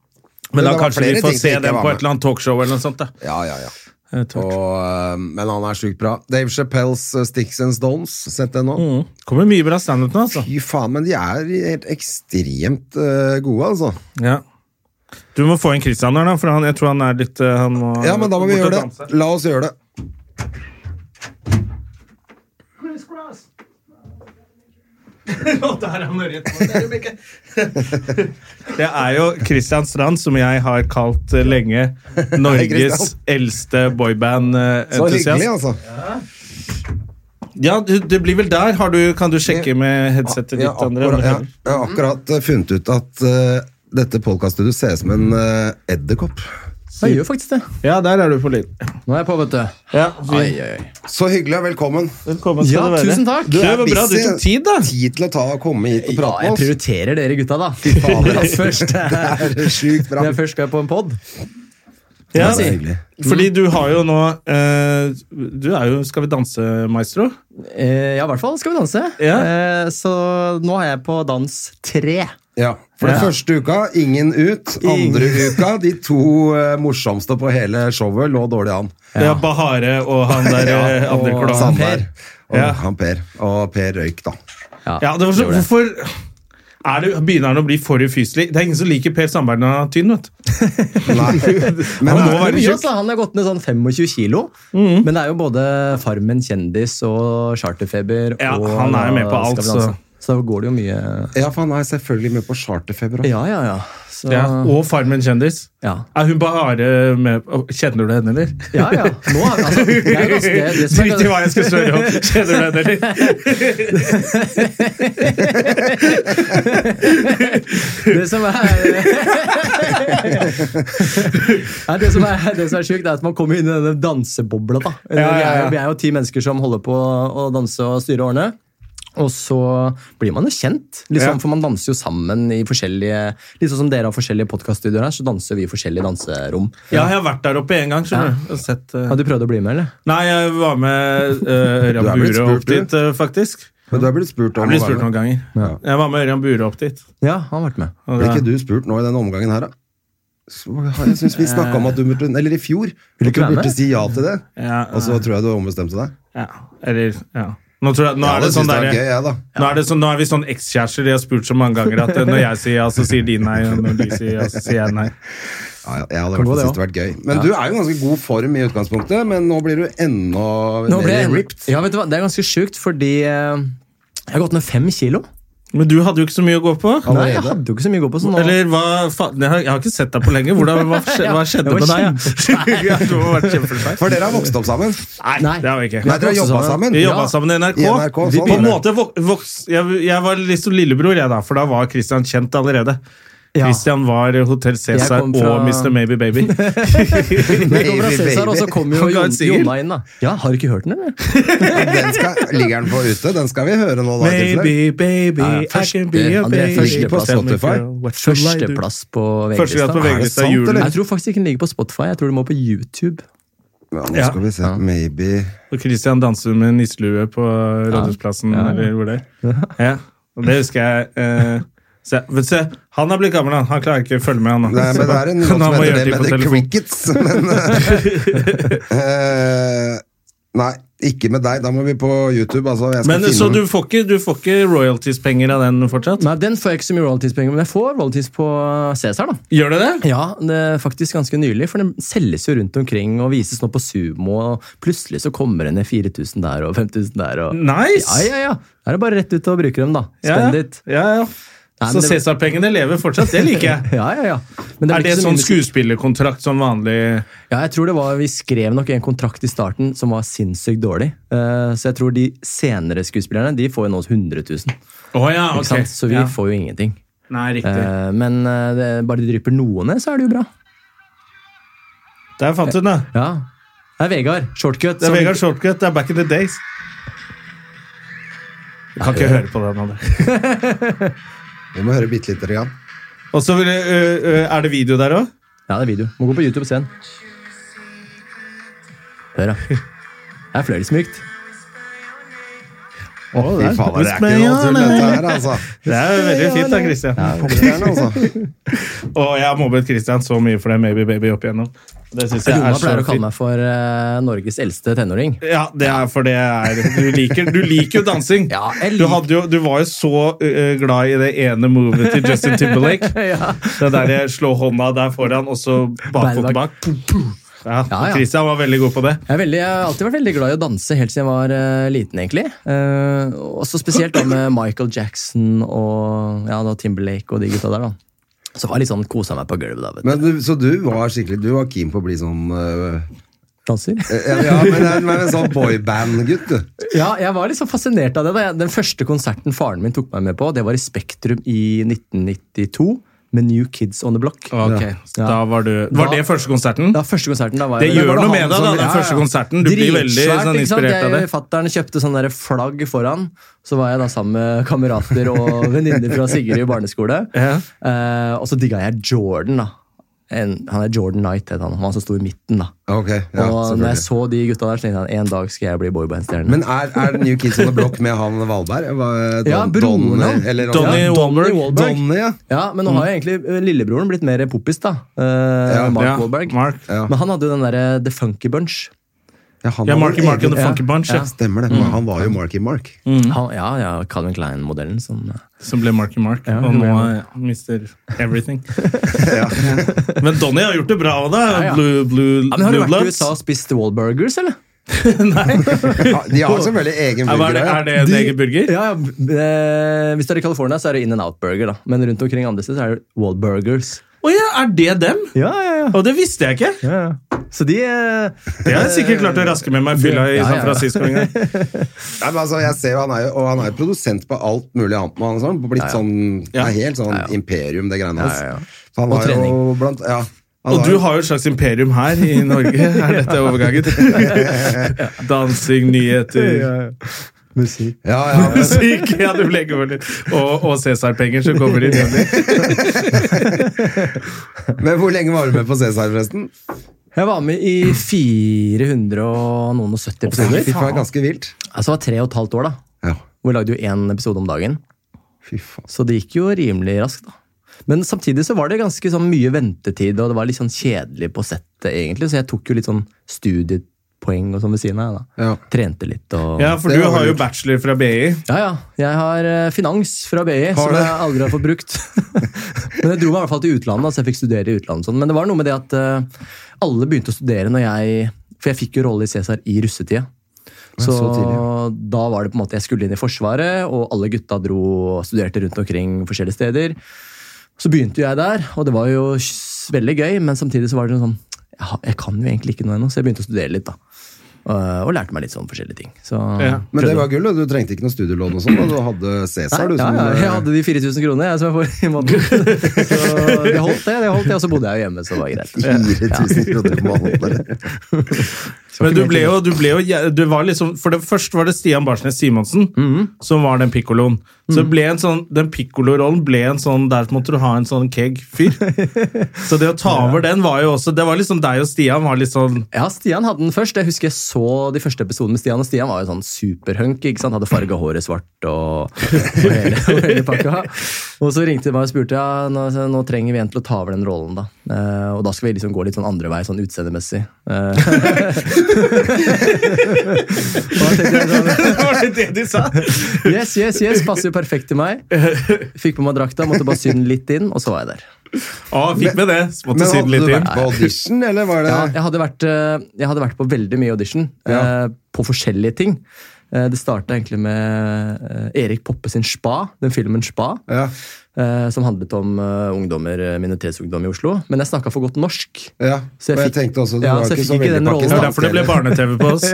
Speaker 1: Men da
Speaker 2: det var
Speaker 1: kanskje
Speaker 2: flere
Speaker 1: vi får
Speaker 2: ting som
Speaker 1: se
Speaker 2: ikke
Speaker 1: den
Speaker 2: var
Speaker 1: på
Speaker 2: med.
Speaker 1: et eller annet talkshow eller noe sånt. da.
Speaker 2: Ja, ja, ja.
Speaker 1: Jeg tror.
Speaker 2: Og, eh, men han er sjukt bra. Dave Chappelles eh, Sticks and Stones, sett den nå?
Speaker 1: Mm. Kommer mye bra standup nå, altså.
Speaker 2: Fy faen, men de er helt ekstremt eh, gode, altså.
Speaker 1: Ja. Du må få inn Christian der, da, for han, jeg tror han er litt eh, han må,
Speaker 2: Ja, men da må vi
Speaker 1: bort og
Speaker 2: gjøre
Speaker 1: danse.
Speaker 2: det. La oss gjøre det.
Speaker 1: Å, der er han rett på. Der er Bekke. Det er jo Christian Strand, som jeg har kalt eh, lenge Norges
Speaker 2: Christian.
Speaker 1: eldste eh,
Speaker 2: Så hyggelig,
Speaker 1: boyband-entusiast.
Speaker 2: altså.
Speaker 1: Ja, du- det blir vel der. Har du, kan du sjekke med headsetet ditt?
Speaker 2: Jeg har
Speaker 1: André, om
Speaker 2: akkurat,
Speaker 1: du
Speaker 2: ja,
Speaker 1: hører?
Speaker 2: jeg har akkurat eh, funnet ut at eh, dette podkaststudioet ser ut som en eh, edderkopp.
Speaker 3: Jeg gjør faktisk det.
Speaker 1: ja, der er du på lyd.
Speaker 3: Nå er jeg på, vet du.
Speaker 1: Ja,
Speaker 3: Oi,
Speaker 1: vi,
Speaker 3: oi, oi.
Speaker 2: Så hyggelig, og velkommen.
Speaker 1: velkommen skal
Speaker 3: Ja,
Speaker 1: du være.
Speaker 3: tusen takk.
Speaker 1: Det var bra du tok tid, da.
Speaker 2: Tid til å ta og komme hit og
Speaker 3: Ja,
Speaker 2: prate
Speaker 3: jeg
Speaker 2: med oss.
Speaker 3: prioriterer dere gutta, da. Fy fader, ass. Først,
Speaker 2: Det
Speaker 3: eh,
Speaker 2: er sjukt bra.
Speaker 3: når jeg først skal på en pod.
Speaker 1: Ja,
Speaker 2: det er hyggelig.
Speaker 1: Fordi du har jo nå eh, Du er jo Skal vi danse, maestro?
Speaker 3: Eh, ja, i hvert fall skal vi danse.
Speaker 1: Ja.
Speaker 3: Eh, så nå er jeg på dans tre.
Speaker 2: Ja, For den første uka, ingen ut. Andre uka, de to eh, morsomste på hele showet lå dårlig an.
Speaker 1: Ja, Bahare og han der eh,
Speaker 3: og
Speaker 1: andre kolonnen.
Speaker 2: Sandberg og
Speaker 1: Ja.
Speaker 2: han Per. Og Per røyk, da.
Speaker 1: Ja, det var så, hvorfor er det, begynner han å bli for ufyselig? Det er ingen som liker Per Sandberg når han er tynn. vet du.
Speaker 2: Nei. Men
Speaker 1: Han må
Speaker 3: Det er
Speaker 1: være
Speaker 3: mye,
Speaker 1: tjukk.
Speaker 3: altså. Han har gått ned sånn 25 kilo.
Speaker 1: Mm.
Speaker 3: Men det er jo både Farmen kjendis og Charterfeber.
Speaker 1: Ja,
Speaker 3: og
Speaker 1: han er jo med på alt,
Speaker 3: Skal vi danse.
Speaker 1: så-
Speaker 3: Så da går det jo mye
Speaker 2: ja, for han er selvfølgelig med på charterfeber òg.
Speaker 3: Ja, ja, ja. Så,
Speaker 1: Ja, og Farmen kjendis.
Speaker 3: ja.
Speaker 1: Er hun Bahare med Å, Kjenner du henne, eller?
Speaker 3: Ja, ja. Nå er altså, det er ganske, det som
Speaker 1: Drit i
Speaker 3: er,
Speaker 1: hva jeg skal spørre om. Kjenner du henne, eller?
Speaker 3: det som er, Nei, det som er, det som er sjukt, er at man kommer inn i denne dansebobla. Da.
Speaker 1: ja,
Speaker 3: Vi, er,
Speaker 1: ja.
Speaker 3: jo- vi er jo ti mennesker som holder på å danse og styre årene. Og så blir man jo kjent, liksom,
Speaker 1: Ja.
Speaker 3: for man danser jo sammen i forskjellige Liksom som dere har forskjellige podkaststudioer her, så danser vi i forskjellige danserom.
Speaker 1: Ja, jeg har vært der oppe en gang. skjønner du. Og sett, eh,
Speaker 3: Har du prøvd å bli med, eller?
Speaker 1: Nei, jeg var med uh,
Speaker 2: Du
Speaker 1: Ørjan
Speaker 2: er blitt
Speaker 1: Bure
Speaker 2: spurt,
Speaker 1: opp dit, eh, faktisk.
Speaker 2: Men du er blitt spurt om
Speaker 1: Jeg ble
Speaker 2: å være
Speaker 1: spurt noen
Speaker 2: med.
Speaker 1: ganger. Jeg var med Ørjan Bure opp dit.
Speaker 3: Ja, han har vært med.
Speaker 1: Og
Speaker 2: Ble
Speaker 1: da-
Speaker 2: ikke du spurt nå i denne omgangen her, da? Så, jeg synes vi snakket om at du burde Eller i fjor.
Speaker 3: Eh.
Speaker 2: At
Speaker 3: du
Speaker 2: du
Speaker 3: ikke være med? Eh.
Speaker 2: burde si ja til det.
Speaker 1: Ja,
Speaker 2: Og så tror jeg du ombestemte deg.
Speaker 1: ja, eller, ja. Nå, tror jeg, nå,
Speaker 2: Ja,
Speaker 1: er det
Speaker 2: det
Speaker 1: sånn
Speaker 2: synes jeg
Speaker 1: der,
Speaker 2: var gøy, jeg, da.
Speaker 1: nå, er det sånn, nå er vi sånn ekskjærester de har spurt så mange ganger at eh, når jeg sier ja, så sier de nei, og når de sier ja, så sier jeg nei.
Speaker 2: Ja, ja, jeg hadde i hvert fall
Speaker 3: Kan gå, det
Speaker 2: syntes det vært gøy. Men du er jo i ganske god form i utgangspunktet, men nå blir du enda
Speaker 3: Nå ble
Speaker 2: mer
Speaker 3: jeg
Speaker 2: ripped.
Speaker 3: Ja, vet du hva, Det er ganske sjukt, fordi eh, jeg har gått ned fem kilo.
Speaker 1: Men du hadde jo ikke så mye å gå på.
Speaker 3: Nei, jeg hadde jo ikke så mye å gå på. så nå-
Speaker 1: Eller hva faen Jeg har, jeg har ikke sett deg på lenge. Hvordan, hva, skje, hva skjedde
Speaker 3: det var
Speaker 1: med deg? ja? Du har vært kjempeflau.
Speaker 2: For dere har vokst opp sammen.
Speaker 1: Nei, det har vi ikke.
Speaker 2: Nei, dere har
Speaker 3: vokst
Speaker 2: jobba sammen.
Speaker 3: sammen.
Speaker 1: Vi jobba sammen i NRK.
Speaker 2: I NRK, sånn
Speaker 1: Vi-
Speaker 2: er
Speaker 1: på en
Speaker 2: det.
Speaker 1: måte vok voks, jeg, jeg var liksom lillebror, jeg, da, for da var Christian kjent allerede.
Speaker 3: Ja.
Speaker 1: Christian var Hotell Cæsar
Speaker 3: kom fra-
Speaker 1: og Mr. Maybe Baby.
Speaker 3: Jeg kom fra
Speaker 2: Baby,
Speaker 3: Cæsar, og så
Speaker 2: baby.
Speaker 3: kom jo
Speaker 1: Han ga
Speaker 3: Jon,
Speaker 1: ut singel.
Speaker 3: Jonna inn, da. Ja, har du ikke hørt den, eller?
Speaker 2: Den skal, ligger den på ute? Den skal vi høre nå, da. i tilfelle.
Speaker 1: Maybe, baby,
Speaker 3: Ja,
Speaker 1: I
Speaker 3: første-
Speaker 1: can be a
Speaker 3: André,
Speaker 1: baby.
Speaker 3: første på
Speaker 1: Tell me,
Speaker 2: Spotify.
Speaker 1: girl, what shall I do?
Speaker 3: Førsteplass på
Speaker 1: Førsteplass
Speaker 2: Er
Speaker 1: på
Speaker 3: VG-lista.
Speaker 2: det
Speaker 1: VG-lista
Speaker 2: sant,
Speaker 1: julen.
Speaker 2: eller?
Speaker 3: Jeg tror faktisk ikke den ligger på Spotify. Jeg tror den må på YouTube.
Speaker 2: Ja, nå skal vi se. Maybe
Speaker 1: Og Christian danser med nisselue på Rådhusplassen, eller hvor det er. Ja. Og det husker jeg. Eh, så, jeg- vet du, se, han har blitt gammel, han. Han klarer ikke å følge med, han.
Speaker 2: Nei, men det er en
Speaker 1: Så
Speaker 2: låt
Speaker 1: han
Speaker 2: som
Speaker 1: må
Speaker 2: heter
Speaker 1: gjøre
Speaker 2: det
Speaker 1: ting på
Speaker 2: med The
Speaker 1: telefon.
Speaker 2: Crickets, men eh, eh, Nei, ikke med deg. Da må vi på YouTube. Altså, jeg skal
Speaker 1: Men
Speaker 2: finne
Speaker 1: Så
Speaker 2: den.
Speaker 1: du får ikke, du får ikke royalties-penger av den fortsatt?
Speaker 3: Nei, Den får jeg ikke så mye royaltiespenger, men jeg får royalties på Cæsar, da.
Speaker 1: Gjør det det?
Speaker 3: Ja, det er faktisk ganske nylig, for den selges jo rundt omkring og vises nå på Sumo. og Plutselig så kommer det ned 4000 der og 5000 der. og...
Speaker 1: Nice!
Speaker 3: Ja, ja, ja. Da er det bare rett ut og bruke dem, da.
Speaker 1: Ja,
Speaker 3: Spend it.
Speaker 1: Ja, ja.
Speaker 3: Nei, men
Speaker 1: Så
Speaker 3: det-
Speaker 1: Cæsar-pengene lever fortsatt, det liker jeg.
Speaker 3: Ja, ja, ja. Men
Speaker 1: Er
Speaker 3: blir
Speaker 1: det
Speaker 3: ikke så
Speaker 1: sånn
Speaker 3: mye-
Speaker 1: skuespillerkontrakt som vanlig
Speaker 3: Ja, jeg tror det var, Vi skrev nok en kontrakt i starten som var sinnssykt dårlig. Eh, så jeg tror de senere skuespillerne de får jo nå 100 000. Ikke
Speaker 1: Å ja, Ah, ok.
Speaker 3: sant? Så vi
Speaker 1: ja.
Speaker 3: får jo ingenting.
Speaker 1: Nei, riktig.
Speaker 3: Eh, men eh, det, bare de drypper noe ned, så er det jo bra.
Speaker 1: Der fant du den, da.
Speaker 3: Ja. Det er Vegard. Shortcut.
Speaker 1: Det er
Speaker 3: som-
Speaker 1: Vegard Shortcut. Det er Back in the Days. Du kan ikke høre på den. André.
Speaker 2: Vi må høre bitte lite grann.
Speaker 1: Og så vil jeg- ø, ø, er det video der òg?
Speaker 3: Ja, det er video. Må gå på YouTube og se den. Hør, da. Det er fløyelsmykt.
Speaker 2: Å, fy faen, det er ikke noe tull, dette her, altså.
Speaker 1: Det er veldig fint, da, Christian.
Speaker 2: Popstjerne, altså.
Speaker 1: Og jeg har mobbet Christian så mye for det Maybe Baby opp igjennom. Det synes jeg er
Speaker 3: Rona
Speaker 1: så
Speaker 3: pleier å kalle
Speaker 1: fint.
Speaker 3: meg for eh, Norges eldste tenåring.
Speaker 1: Ja, det er for det er Du liker, du liker jo dansing.
Speaker 3: Ja, jeg
Speaker 1: Du,
Speaker 3: liker-
Speaker 1: hadde jo, du var jo så ø, glad i det ene movet til Justin Timberlake. Det der jeg slår hånda der foran, og så bakfot
Speaker 3: Beinbak.
Speaker 1: bak. Ja,
Speaker 3: Ja, ja.
Speaker 1: og Christian var veldig god på det.
Speaker 3: Jeg, er veldig, jeg har alltid vært veldig glad i å danse, helt siden jeg var eh, liten. egentlig. Eh, også spesielt da med Michael Jackson og ja, da Timberlake og de gutta der. da. Så var jeg litt sånn, kosa meg på gulvet. da, vet
Speaker 2: Men du, så du var skikkelig Du var keen på å bli sånn øh,
Speaker 3: du. Danser.
Speaker 2: ja, ja, men, men en sånn boyband-gutt, du.
Speaker 3: Ja, jeg var liksom fascinert av det. da. Jeg- Den første konserten faren min tok meg med på, det var i Spektrum i 1992 med New Kids On The Block.
Speaker 1: Ok,
Speaker 3: Ja.
Speaker 1: da Var du Var det første konserten?
Speaker 3: Ja, første konserten, da
Speaker 1: Mm.
Speaker 3: var
Speaker 1: Det
Speaker 3: jeg- da
Speaker 1: gjør
Speaker 3: var
Speaker 1: noe
Speaker 3: han
Speaker 1: med deg, da,
Speaker 3: som-
Speaker 1: den første konserten. Du blir veldig
Speaker 3: Dritsvært,
Speaker 1: sånn
Speaker 3: ikke sant?
Speaker 1: inspirert av
Speaker 3: Jeg-
Speaker 1: det.
Speaker 3: Fatteren kjøpte sånn der flagg foran. Så var jeg da sammen med kamerater og venninner fra Sigrid barneskole.
Speaker 1: Ja.
Speaker 3: Eh, og så digga jeg Jordan, da. En, han er Jordan Knight, het han. Han som sto i midten, da.
Speaker 2: Ok, ja,
Speaker 3: og når jeg
Speaker 2: selvfølgelig.
Speaker 3: så de gutta der, så tenkte jeg en dag skal jeg bli boybandstjerne.
Speaker 2: Men er, er New Kids on the Block med han Valberg? Hva- Don,
Speaker 3: Ja, broren,
Speaker 2: Donny,
Speaker 3: ja.
Speaker 2: eller-
Speaker 1: Donny
Speaker 2: ja,
Speaker 1: Wahlberg.
Speaker 2: Donny, ja.
Speaker 3: Ja, men nå har jo egentlig eh, lillebroren blitt mer poppis, da. Eh,
Speaker 2: Ja,
Speaker 3: Mark
Speaker 1: Mm. ja,
Speaker 3: Wahlberg.
Speaker 1: Mark.
Speaker 2: Ja.
Speaker 3: Men han hadde jo den derre The Funky Bunch.
Speaker 2: Ja, han
Speaker 1: Ja,
Speaker 2: var
Speaker 1: Marky
Speaker 2: vel
Speaker 1: Mark and
Speaker 2: egentlig-
Speaker 1: the Funky Bunch, ja. Mm.
Speaker 3: Ja.
Speaker 2: Stemmer det. men Han var jo Marky Mark.
Speaker 3: Han, ja, ja, Calvin Klein-modellen som eh,
Speaker 1: som ble Marky Mark.
Speaker 3: Ja,
Speaker 1: og nå
Speaker 3: hun ble
Speaker 1: er Mr. Everything. Men Donny har gjort det bra òg, da.
Speaker 3: ja.
Speaker 1: Blue, blue,
Speaker 3: Ja, men Har du
Speaker 1: blue
Speaker 3: vært i
Speaker 1: Bloods.
Speaker 3: USA og spist Wallburgers, eller?
Speaker 2: Ja, de har selvfølgelig egen
Speaker 1: Ja, hva er, det, er
Speaker 2: burger.
Speaker 1: det en egen burger?
Speaker 3: Ja, ja, b- eh, Hvis du er i California, så er det In and Out Burger, da. Men rundt omkring andre steder så er det Wallburgers.
Speaker 1: Å ja, er det dem?
Speaker 3: Ja, ja, ja.
Speaker 1: Og det visste jeg ikke!
Speaker 3: Så de eh,
Speaker 1: Det har jeg sikkert klart å raske med meg fylla i
Speaker 3: Ja, ja,
Speaker 1: San
Speaker 3: ja.
Speaker 1: Francisco en gang.
Speaker 2: Nei, men altså, jeg ser jo, han er jo, og han er jo produsent på alt mulig annet. nå, Han er sånn, blitt sånn, det er helt sånn imperium, det greiene hans.
Speaker 3: Ja, ja, ja.
Speaker 2: Så Han
Speaker 3: Og
Speaker 2: har jo
Speaker 3: trening.
Speaker 2: blant, ja, han
Speaker 1: Og
Speaker 2: har
Speaker 1: du
Speaker 2: jo-
Speaker 1: har jo et slags imperium her i Norge. Er dette overgangen? Dansing, nyheter,
Speaker 3: Musikk.
Speaker 2: ja, ja, men,
Speaker 1: musikk ja, du legger over litt. Og, og Cæsar-penger som kommer inn.
Speaker 2: men hvor lenge var du med på Cæsar, forresten?
Speaker 3: Jeg var med i 400 og noen og 70
Speaker 2: Fy
Speaker 3: episoder.
Speaker 2: faen, ganske vilt.
Speaker 3: Altså, det var tre og et halvt år, da.
Speaker 2: Ja,
Speaker 3: Hvor vi lagde jo én episode om dagen.
Speaker 2: fy faen.
Speaker 3: Så det gikk jo rimelig raskt, da. Men samtidig så var det ganske sånn mye ventetid, og det var litt sånn kjedelig på settet, egentlig. Så jeg tok jo litt sånn studiepoeng og sånn ved siden av, jeg, da.
Speaker 2: Ja.
Speaker 3: Trente litt og
Speaker 1: Ja, for
Speaker 2: Det
Speaker 1: du
Speaker 2: var
Speaker 1: har
Speaker 2: vel
Speaker 1: jo
Speaker 2: lurt.
Speaker 1: bachelor fra BI.
Speaker 3: Ja, ja. Jeg har eh, finans fra BI, som
Speaker 2: det?
Speaker 3: jeg aldri har fått brukt. men jeg dro meg i hvert fall til utlandet, da, så jeg fikk studere i utlandet. og Sånn. Men det var noe med det at eh, alle begynte å studere når jeg For jeg fikk jo rolle i Cæsar i russetida. Så,
Speaker 2: så tidlig,
Speaker 3: da var det på en måte Jeg skulle inn i Forsvaret, og alle gutta dro og studerte rundt omkring forskjellige steder. Så begynte jo jeg der, og det var jo s- veldig gøy, men samtidig så var det sånn Jeg, har- jeg kan jo egentlig ikke noe ennå, så jeg begynte å studere litt, da. Eh, Og lærte meg litt sånn forskjellige ting. Så,
Speaker 1: Ja.
Speaker 2: Men det var gull, da. du trengte ikke noe studielån og sånn, da. du hadde Cæsar, du.
Speaker 3: ja,
Speaker 2: Som,
Speaker 3: ja,
Speaker 2: eh,
Speaker 3: jeg hadde de 4000 kronene jeg, som jeg får i måneden. Så det holdt, det. det holdt det, Og så bodde jeg jo hjemme, så det var greit.
Speaker 2: 4000 kroner på måneden.
Speaker 1: Men du ble jo, du ble jo du var liksom, for det, Først var det Stian Barsnes Simonsen som var den pikkoloen. Så ble en sånn, den pikkolorollen ble en sånn Der måtte du ha en sånn keg-fyr. Så det å ta over den var jo også Det var liksom deg og Stian var litt sånn
Speaker 3: Ja, Stian hadde den først. Jeg husker jeg så de første episodene med Stian, og Stian var jo sånn superhunk. ikke sant? Hadde farga håret svart og, og, hele, og hele pakka. Og så ringte de meg og spurte ja, nå, nå trenger vi en til å ta over den rollen. da. Eh, og da skal vi liksom gå litt sånn andre vei, sånn utseendemessig. Eh, og da tenkte jeg sånn,
Speaker 1: Var det det de sa?
Speaker 3: yes, yes, yes, passer jo perfekt til meg. Fikk på meg drakta, måtte bare sy den litt inn, og så var jeg der.
Speaker 1: Å, fikk med det. Så måtte
Speaker 2: Men
Speaker 1: si det
Speaker 2: hadde
Speaker 1: litt
Speaker 2: du
Speaker 1: inn.
Speaker 2: vært på audition, eller var det
Speaker 3: Ja, jeg hadde vært, eh, jeg hadde vært på veldig mye audition. eh, På forskjellige ting. Eh, Det starta egentlig med eh, Erik Poppe sin Spa, den filmen Spa.
Speaker 2: Ja.
Speaker 3: eh, Som handlet om eh, ungdommer, eh, minoritetsungdom i Oslo. Men jeg snakka for godt norsk.
Speaker 2: Ja,
Speaker 3: Så jeg
Speaker 2: og jeg
Speaker 3: fikk-
Speaker 2: tenkte også du
Speaker 3: Ja,
Speaker 2: var
Speaker 3: så jeg
Speaker 2: ikke
Speaker 3: fikk
Speaker 2: så
Speaker 3: ikke
Speaker 2: veldig
Speaker 3: den rollen.
Speaker 1: Det var
Speaker 2: pakistansk.
Speaker 1: derfor det ble barne-TV på oss.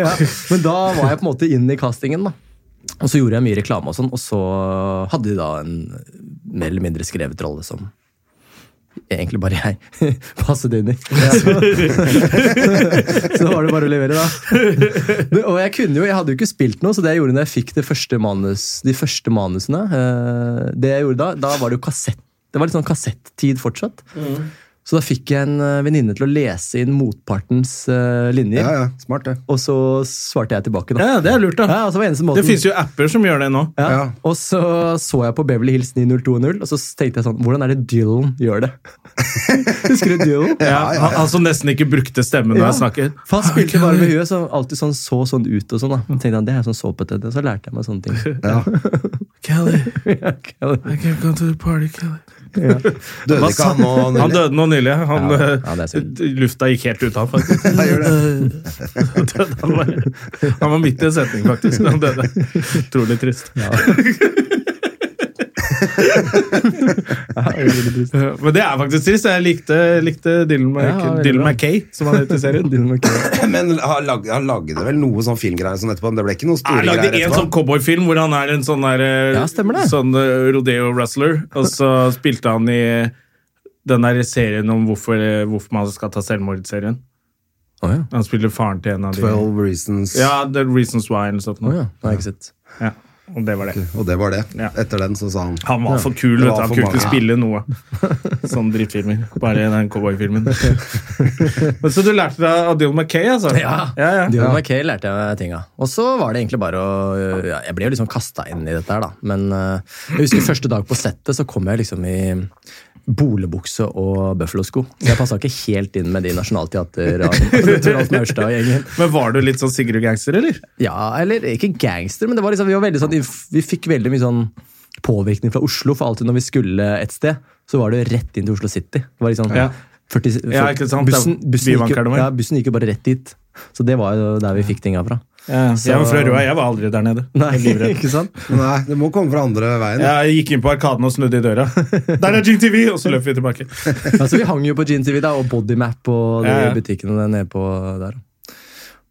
Speaker 3: Men da var jeg på en måte inn i castingen. da. Og så gjorde jeg mye reklame, og sånn, og så hadde de da en mer eller mindre skrevet rolle som egentlig bare jeg passet inn i. Så, så da var det bare å levere, da. Men- Og jeg kunne jo, jeg hadde jo ikke spilt noe, så det jeg gjorde når jeg fikk det første manus, de første manusene eh, Det jeg gjorde da, da var det jo kassett. Det var litt sånn kassettid fortsatt. Så da fikk jeg en eh, venninne til å lese inn motpartens eh, linjer,
Speaker 2: Ja, ja, smart det.
Speaker 3: og så svarte jeg tilbake, da.
Speaker 1: Ja, det er lurt, da.
Speaker 3: Ja, og så var eneste måten-
Speaker 1: Det fins jo apper som gjør det nå.
Speaker 3: ja.
Speaker 2: Ja.
Speaker 3: Og så så jeg på Beverly Hills 90210, og så tenkte jeg sånn Hvordan er det Dylan gjør det? Husker du Dylan?
Speaker 1: Ja, Han, han som nesten ikke brukte stemmen når
Speaker 3: Ja.
Speaker 1: jeg snakket.
Speaker 3: For han spilte bare med huet, så alltid sånn, så sånn ut og sånn. da. Tenkte han, det er sånn såpete. Så lærte jeg meg sånne ting.
Speaker 1: Kelly,
Speaker 3: Ja, ok.
Speaker 1: I can't go to the party, Kelly.
Speaker 2: Døde ikke han nå?
Speaker 1: Han
Speaker 2: Nelly?
Speaker 1: døde nå nylig. Han,
Speaker 3: Ja,
Speaker 1: eh,
Speaker 3: ja, det er synd.
Speaker 1: lufta gikk helt ut av ham, faktisk.
Speaker 2: Ja, gjør det.
Speaker 1: Døde han, bare. han var midt i en setning, faktisk. da Han døde. Utrolig trist. Eh, Men det er faktisk trist. Jeg likte, likte Dylan, Mc,
Speaker 3: Ja, veldig
Speaker 1: Dylan
Speaker 3: bra.
Speaker 1: McKay, som han heter i serien.
Speaker 3: Dylan McKay.
Speaker 2: Men han lagde, han lagde vel noe sånn filmgreier sånn etterpå? men Det ble ikke noe store
Speaker 1: Jeg lagde
Speaker 2: greier
Speaker 1: en sånn
Speaker 2: etterpå?
Speaker 1: cowboyfilm hvor han er en sånn der, eh,
Speaker 3: Ja, stemmer det.
Speaker 1: sånn eh, rodeo-wrestler. Og så spilte han i den der serien om hvorfor, eh, hvorfor man skal ta selvmord-serien.
Speaker 3: Å ja.
Speaker 1: Han spiller faren til en av de
Speaker 2: 12 Reasons.
Speaker 1: Ja, The Reasons Why eller sånt.
Speaker 3: Å
Speaker 1: noe.
Speaker 3: ja. Det har jeg ikke sett.
Speaker 1: Ja, og det var det.
Speaker 2: Og det var det.
Speaker 1: Ja.
Speaker 2: Etter den så sa han
Speaker 1: Han var for kul,
Speaker 2: Det
Speaker 1: vet du.
Speaker 2: var
Speaker 1: Han
Speaker 2: for
Speaker 1: kunne ikke
Speaker 2: mange.
Speaker 1: spille noe. Sånn drittfilmer. Bare i den cowboyfilmen. Men Så du lærte deg av Dylan McKay, altså?
Speaker 3: Ja.
Speaker 1: ja, ja.
Speaker 3: Dylan McKay lærte jeg meg ting av. Og så var det egentlig bare å ja, Jeg ble jo liksom kasta inn i dette her, da. Men eh, jeg husker første dag på settet, så kom jeg liksom i Bolebukse og bøffelosko. Så jeg passa ikke helt inn med de nasjonalteater Toralf Maurstad og gjengen.
Speaker 1: Men var du litt sånn Sigurd Gangster, eller?
Speaker 3: Ja, eller ikke gangster, men det var liksom, vi, var veldig sånn, vi fikk veldig mye sånn påvirkning fra Oslo. For alltid når vi skulle et sted, så var det jo rett inn til Oslo City. Det var liksom
Speaker 1: Ja.
Speaker 3: 40,
Speaker 1: Ja, ikke sant, det er
Speaker 3: Bussen, bussen, gikk,
Speaker 1: bybankerne
Speaker 3: jo-
Speaker 1: vår.
Speaker 3: ja, bussen gikk jo bare rett dit. Så det var jo der vi fikk tinga fra. Så-
Speaker 1: Jeg var fra Røa, jeg var aldri der nede.
Speaker 3: Nei,
Speaker 1: Jeg er livredd.
Speaker 3: ikke sant?
Speaker 2: Nei, det må komme fra andre veien.
Speaker 1: Jeg gikk inn på Arkaden og snudde i døra. Der er Jing TV! Og så løp vi tilbake.
Speaker 3: Altså, vi hang jo på Gene TV da, og Bodymap og de
Speaker 1: Ja, ja.
Speaker 3: butikkene der nede på der.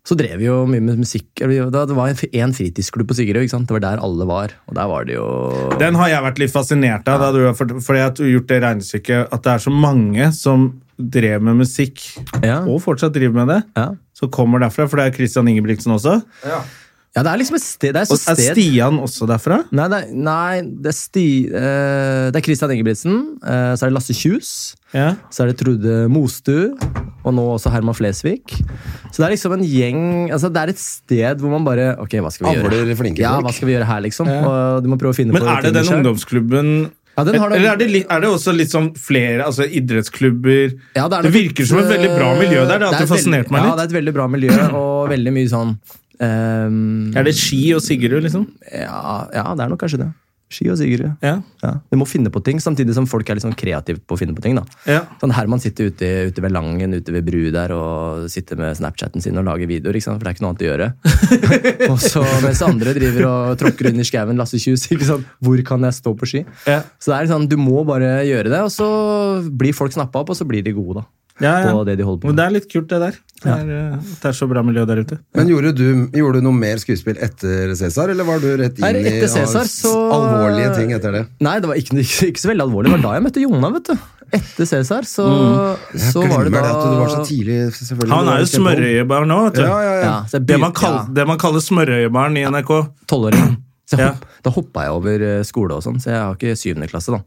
Speaker 3: Så drev vi jo mye med musikk. eller vi- da- Det var en f- en fritidsklubb på Sigrid, ikke sant? Det var der alle var. Og der var det jo
Speaker 1: Den har jeg vært litt fascinert av, da du har fort- fordi at du har gjort det regnestykket at det er så mange som drev med musikk,
Speaker 3: Ja.
Speaker 1: og fortsatt driver med det,
Speaker 3: Ja.
Speaker 1: som kommer derfra. For det er Christian Ingebrigtsen også.
Speaker 3: ja, det er liksom et sted. Det er
Speaker 1: Og
Speaker 3: et
Speaker 1: er
Speaker 3: sted.
Speaker 1: Stian også derfra?
Speaker 3: Nei, det er, nei, det er, sti, eh, det er Christian Ingebrigtsen. eh, så er det Lasse Kjus.
Speaker 1: Ja.
Speaker 3: Så er det Trude Mostu. Og nå også Herman Flesvig. Så det er liksom en gjeng altså Det er et sted hvor man bare Ok, hva skal vi
Speaker 2: Avler
Speaker 3: gjøre?
Speaker 2: flinke
Speaker 3: Ja, hva
Speaker 2: folk.
Speaker 3: skal vi gjøre her, liksom? Og du må prøve å finne
Speaker 1: Men
Speaker 3: på
Speaker 1: er det
Speaker 3: ting
Speaker 1: den
Speaker 3: selv.
Speaker 1: ungdomsklubben
Speaker 3: Ja, den har det-
Speaker 1: Eller er det, li- er det også litt sånn flere altså idrettsklubber
Speaker 3: Ja,
Speaker 1: det,
Speaker 3: er nok
Speaker 1: virker som et veldig bra miljø der. Det,
Speaker 3: er
Speaker 1: det,
Speaker 3: et
Speaker 1: det fascinerte
Speaker 3: veldig-
Speaker 1: meg
Speaker 3: Ja, det
Speaker 1: litt.
Speaker 3: er et veldig bra miljø, og veldig mye sånn eh,
Speaker 1: Er det Ski og Sigurd, liksom?
Speaker 3: ja, ja, det er nok kanskje det. Ski og Sigurd.
Speaker 1: Ja.
Speaker 3: Ja. Du må finne på ting, samtidig som folk er litt sånn kreative på å finne på ting. da.
Speaker 1: Ja.
Speaker 3: Sånn Herman sitter ute, ute ved Langen, ute ved bru der, og sitter med Snapchatten sin og lager videoer, ikke sant? for det er ikke noe annet å gjøre. og så Mens andre driver og tråkker under skauen Lasse Kjus. ikke sant? Hvor kan jeg stå på ski?
Speaker 1: Ja.
Speaker 3: Så det er sånn, du må bare gjøre det, og så blir folk snappa opp, og så blir de gode, da.
Speaker 1: Ja, ja.
Speaker 3: På det de holder på
Speaker 1: Men
Speaker 3: med.
Speaker 1: det er litt kult, det der. Det er, eh, at det er så bra miljø der ute.
Speaker 2: Men gjorde du, gjorde du noe mer skuespill etter Cæsar, eller var du rett inn
Speaker 3: Nei, etter
Speaker 2: i
Speaker 3: Cæsar, så-
Speaker 2: alvorlige ting etter det?
Speaker 3: Nei, det var ikke, ikke, ikke så veldig alvorlig. Det var da jeg møtte Jonna, vet du. Etter Cæsar, så,
Speaker 1: Mm.
Speaker 2: Jeg
Speaker 3: så var det
Speaker 2: glemmer
Speaker 3: da
Speaker 2: at du var så tidlig, selvfølgelig.
Speaker 1: Han
Speaker 2: Du var
Speaker 1: er jo
Speaker 2: kjempe-
Speaker 1: smørøyebarn nå, vet du.
Speaker 2: Ja, ja, ja.
Speaker 3: Ja, så jeg
Speaker 1: Det man,
Speaker 3: begynte-
Speaker 1: kall,
Speaker 3: ja.
Speaker 1: det man kaller smørøyebarn i NRK.
Speaker 3: tolvåring. Så jeg
Speaker 1: Ja.
Speaker 3: hopp, Da hoppa jeg over eh, skole og sånn, så jeg har ikke syvende klasse, da.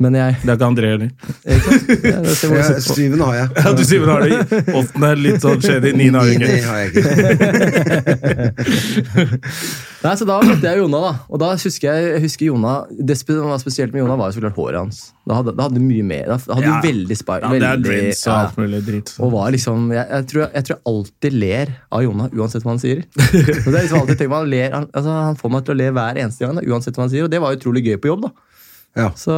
Speaker 3: Men jeg
Speaker 1: Det er ikke André heller.
Speaker 3: ja, det ser hvor
Speaker 2: Ja,
Speaker 3: jeg sitter på.
Speaker 2: Syven har jeg.
Speaker 1: Ja, du sier vel har det i åttende, litt sånn shady, niende har du
Speaker 2: Niende
Speaker 1: ikke.
Speaker 2: har jeg ikke.
Speaker 3: Nei, så Da møtte jeg Jonna, da. Og da husker jeg, jeg husker Jonna, Det spe- som var spesielt med Jonna, var jo så klart håret hans. Da hadde, da hadde du mye mer. Da hadde du
Speaker 1: Ja.
Speaker 3: veldig spar...
Speaker 1: Ja, det er
Speaker 3: veldig,
Speaker 1: dreads og
Speaker 3: ja.
Speaker 1: alt mulig dritt.
Speaker 3: Og var liksom, jeg, jeg, tror jeg, jeg tror jeg alltid ler av Jonna, uansett hva han sier. Og det er liksom alltid, tenker man, han, ler, han, altså, han får meg til å le hver eneste gang, da, uansett hva han sier. Og det var utrolig gøy på jobb, da.
Speaker 2: Ja.
Speaker 3: Så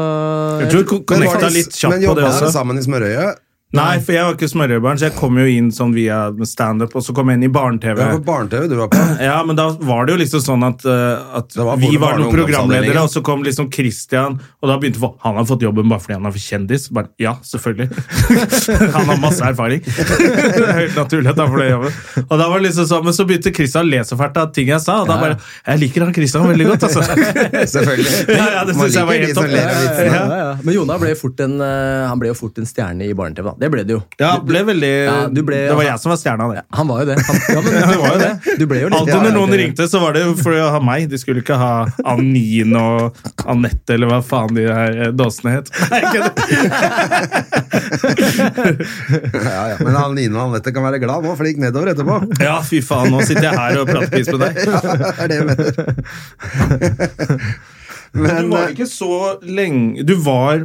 Speaker 1: Jeg tror du
Speaker 2: Men
Speaker 1: connecta
Speaker 2: faktisk-
Speaker 1: litt kjapt
Speaker 2: men
Speaker 1: på det
Speaker 2: jobba dere
Speaker 1: også.
Speaker 2: sammen i Smørøyet?
Speaker 1: Nei, for jeg var ikke smørøyebarn, så jeg kom jo inn sånn via standup, og så kom jeg inn i barne-TV.
Speaker 2: Det var på barne-TV du var på.
Speaker 1: Ja, men da var det jo liksom sånn at, eh, at
Speaker 2: Det var
Speaker 1: vi
Speaker 2: både
Speaker 1: var
Speaker 2: barne-
Speaker 1: noen
Speaker 2: og ungdomsavdelingen.
Speaker 1: programledere, og så kom liksom Christian, og da begynte folk Han har fått jobben bare fordi han er for kjendis. Bare, ja, selvfølgelig. han har masse erfaring. det er helt naturlig at han får den jobben. Og da var det liksom sånn, Men så begynte Christian å le så fælt av ting jeg sa, og da bare Jeg liker han Christian veldig godt, altså.
Speaker 2: Selvfølgelig.
Speaker 1: Ja, ja, det
Speaker 2: Man
Speaker 1: synes jeg var
Speaker 2: liker de
Speaker 1: helt
Speaker 2: som
Speaker 1: topp.
Speaker 2: ler av
Speaker 3: Ja,
Speaker 2: vitsene.
Speaker 3: ja, ja. Men Jonna ble jo fort en, eh, han ble jo fort en stjerne i barne-TV. da. Det ble det jo.
Speaker 1: ja, ble veldig
Speaker 3: Ja, du ble-
Speaker 1: Det var jeg som var stjerna, det.
Speaker 3: Han var jo det. Han, ja, men,
Speaker 1: det var jo det.
Speaker 3: Du ble jo litt
Speaker 1: Alltid når
Speaker 3: Ja,
Speaker 1: noen
Speaker 3: det-
Speaker 1: ringte, så var det jo for å ha meg. De skulle ikke ha Anine og Anette, eller hva faen de her eh, dåsene het. Nei, ikke det.
Speaker 2: Ja, ja. Men han Line og Anette kan være glad nå, for det gikk nedover etterpå.
Speaker 1: Ja, fy faen, nå sitter jeg her og prater piss med deg.
Speaker 2: Ja, det er det jeg mener. eh,
Speaker 1: Men du var ikke så lenge Du var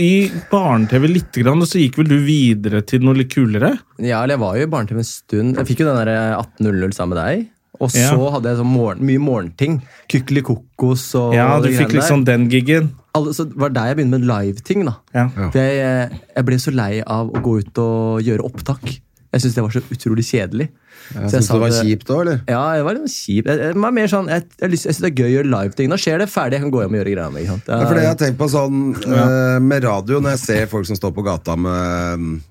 Speaker 1: i barne-TV lite grann, og så gikk vel du videre til noe litt kulere?
Speaker 3: Ja, eller jeg var jo i barne-TV en stund. Jeg fikk jo den der eh, 18.00 sammen med deg. Og så
Speaker 1: Ja.
Speaker 3: hadde jeg sånn morgen, mye morgenting. Kykeli kokos og
Speaker 1: Ja, du
Speaker 3: de
Speaker 1: fikk
Speaker 3: greiene
Speaker 1: liksom
Speaker 3: der.
Speaker 1: den giggen.
Speaker 3: Alle, så det var der jeg begynte med live-ting, da.
Speaker 1: Ja.
Speaker 3: For Jeg, eh, jeg ble så lei av å gå ut og gjøre opptak. Jeg syntes det var så utrolig kjedelig. Så
Speaker 2: Syns du det var
Speaker 3: det-
Speaker 2: kjipt òg, eller?
Speaker 3: Ja, det var litt kjipt. Jeg, jeg, var mer sånn, jeg, jeg, lyst- jeg syns det er gøy å gjøre live-ting. Da skjer det ferdig. Jeg kan gå hjem og gjøre greia mi. ikke sant?
Speaker 2: Ja, for det jeg
Speaker 3: Jeg-
Speaker 2: har tenkt på sånn eh, med radio, når jeg ser folk som står på gata med mm,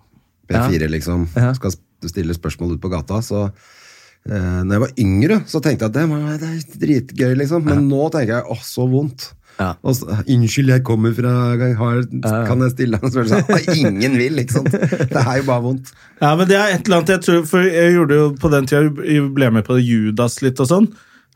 Speaker 2: P4, liksom,
Speaker 3: Ja.
Speaker 2: skal sp- stille spørsmål ute på gata, så eh, når jeg var yngre, så tenkte jeg at det, må- det er dritgøy, liksom. Men nå tenker jeg åh, så vondt.
Speaker 3: Ja.
Speaker 2: Og så, unnskyld, jeg kommer fra har, Kan jeg stille deg en spørsmål? Nei, Ingen vil, ikke sant? Det er jo bare vondt.
Speaker 1: Ja, men det er et eller annet jeg tror For jeg gjorde jo på den tida jeg ble med på Judas litt og sånn.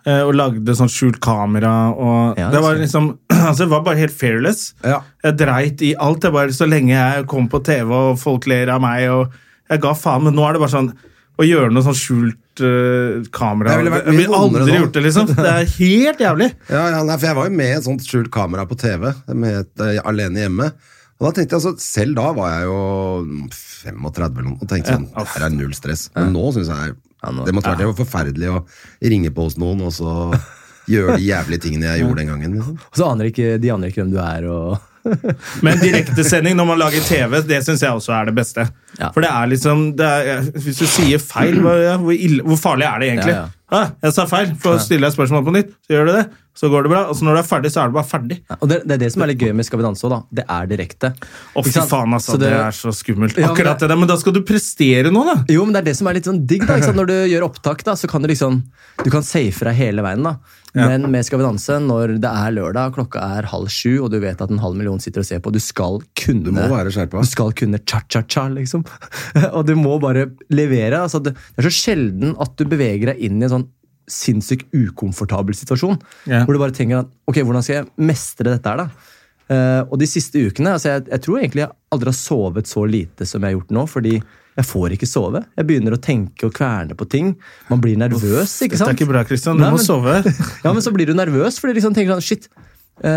Speaker 1: eh, Og lagde sånn skjult kamera og
Speaker 3: Ja,
Speaker 1: Det
Speaker 3: det
Speaker 1: var
Speaker 3: ser jeg.
Speaker 1: liksom Altså, jeg var bare helt fearless.
Speaker 2: Ja.
Speaker 1: Jeg dreit i alt. Jeg bare, så lenge jeg kom på TV og folk ler av meg og Jeg ga faen, men nå er det bare sånn å gjøre noe sånn skjult eh, kamera
Speaker 2: Det ville vært
Speaker 1: Jeg
Speaker 2: mye
Speaker 1: ville aldri
Speaker 2: vondere nå.
Speaker 1: gjort det, liksom. Det er helt jævlig.
Speaker 2: Ja, ja nei, for jeg var jo med i et sånt skjult kamera på TV, med et eh, Alene hjemme. Og da tenkte jeg, altså, Selv da var jeg jo 35 eller noe, og tenkte sånn, det her er null stress. Men nå syns jeg det måtte vært det var forferdelig å ringe på hos noen, og så gjøre de jævlige tingene jeg gjorde den gangen. liksom.
Speaker 3: Og så aner ikke, de aner ikke hvem du er. og...
Speaker 1: Men direktesending når man lager TV, det syns jeg også er det beste.
Speaker 3: Ja.
Speaker 1: For det er liksom det er, Hvis du sier feil, hva- ja, hvor, ille, hvor farlig er det egentlig?
Speaker 3: Ja, ja.
Speaker 1: Ah, jeg sa feil, for å stille deg spørsmål på nytt, så gjør du det. Så går det bra. Og så når du er ferdig, så er du bare ferdig.
Speaker 3: Og det, det er det som er litt gøy med Skal vi danse òg, da. Det er direkte.
Speaker 1: Å, fy
Speaker 3: Ikke sant?
Speaker 1: faen, altså.
Speaker 3: Så
Speaker 1: Det, er så skummelt.
Speaker 3: Ja, men
Speaker 1: Akkurat det
Speaker 3: det-
Speaker 1: der. Men da skal du prestere nå, da.
Speaker 3: Jo, men det er det som er litt sånn digg. da, ikke sant? Når du gjør opptak, da, så kan du liksom Du kan safe deg hele veien. da. Men med Skal vi danse, når det er lørdag, klokka er halv sju, og du vet at en halv million sitter og ser på, du skal kunne
Speaker 2: Du må være skjerpa.
Speaker 3: Du skal kunne cha-cha-cha, liksom. og du må bare levere. altså Det det er så sjelden at du beveger deg inn i en sånn sinnssykt ukomfortabel situasjon.
Speaker 1: Ja.
Speaker 3: Hvor du bare tenker at ok, hvordan skal jeg mestre dette her, da? Eh, og de siste ukene altså jeg, jeg tror egentlig jeg aldri har sovet så lite som jeg har gjort nå. fordi jeg får ikke sove. Jeg begynner å tenke og kverne på ting. Man blir nervøs. ikke
Speaker 1: Dette
Speaker 3: sant?
Speaker 1: er ikke bra, Christian. Du
Speaker 3: Nei,
Speaker 1: må
Speaker 3: men-
Speaker 1: sove.
Speaker 3: ja, men så blir du nervøs, fordi du liksom tenker sånn Shit,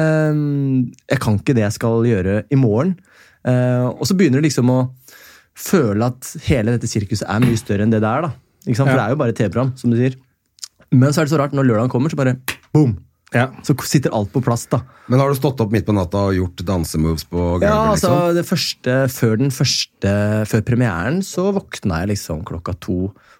Speaker 3: ehm, jeg kan ikke det jeg skal gjøre i morgen. Eh, og så begynner du liksom å føle at hele dette sirkuset er mye større enn det det er. da. Ikke sant? For det er jo bare et TV-program, som du sier. Men så er det så rart, når lørdagen kommer, så bare boom!
Speaker 1: Ja.
Speaker 3: Så sitter alt på plass, da.
Speaker 2: Men har du stått opp midt på natta og gjort dansemoves på gulvet?
Speaker 3: Ja, altså,
Speaker 2: liksom?
Speaker 3: det første, før den første Før premieren så våkna jeg liksom klokka to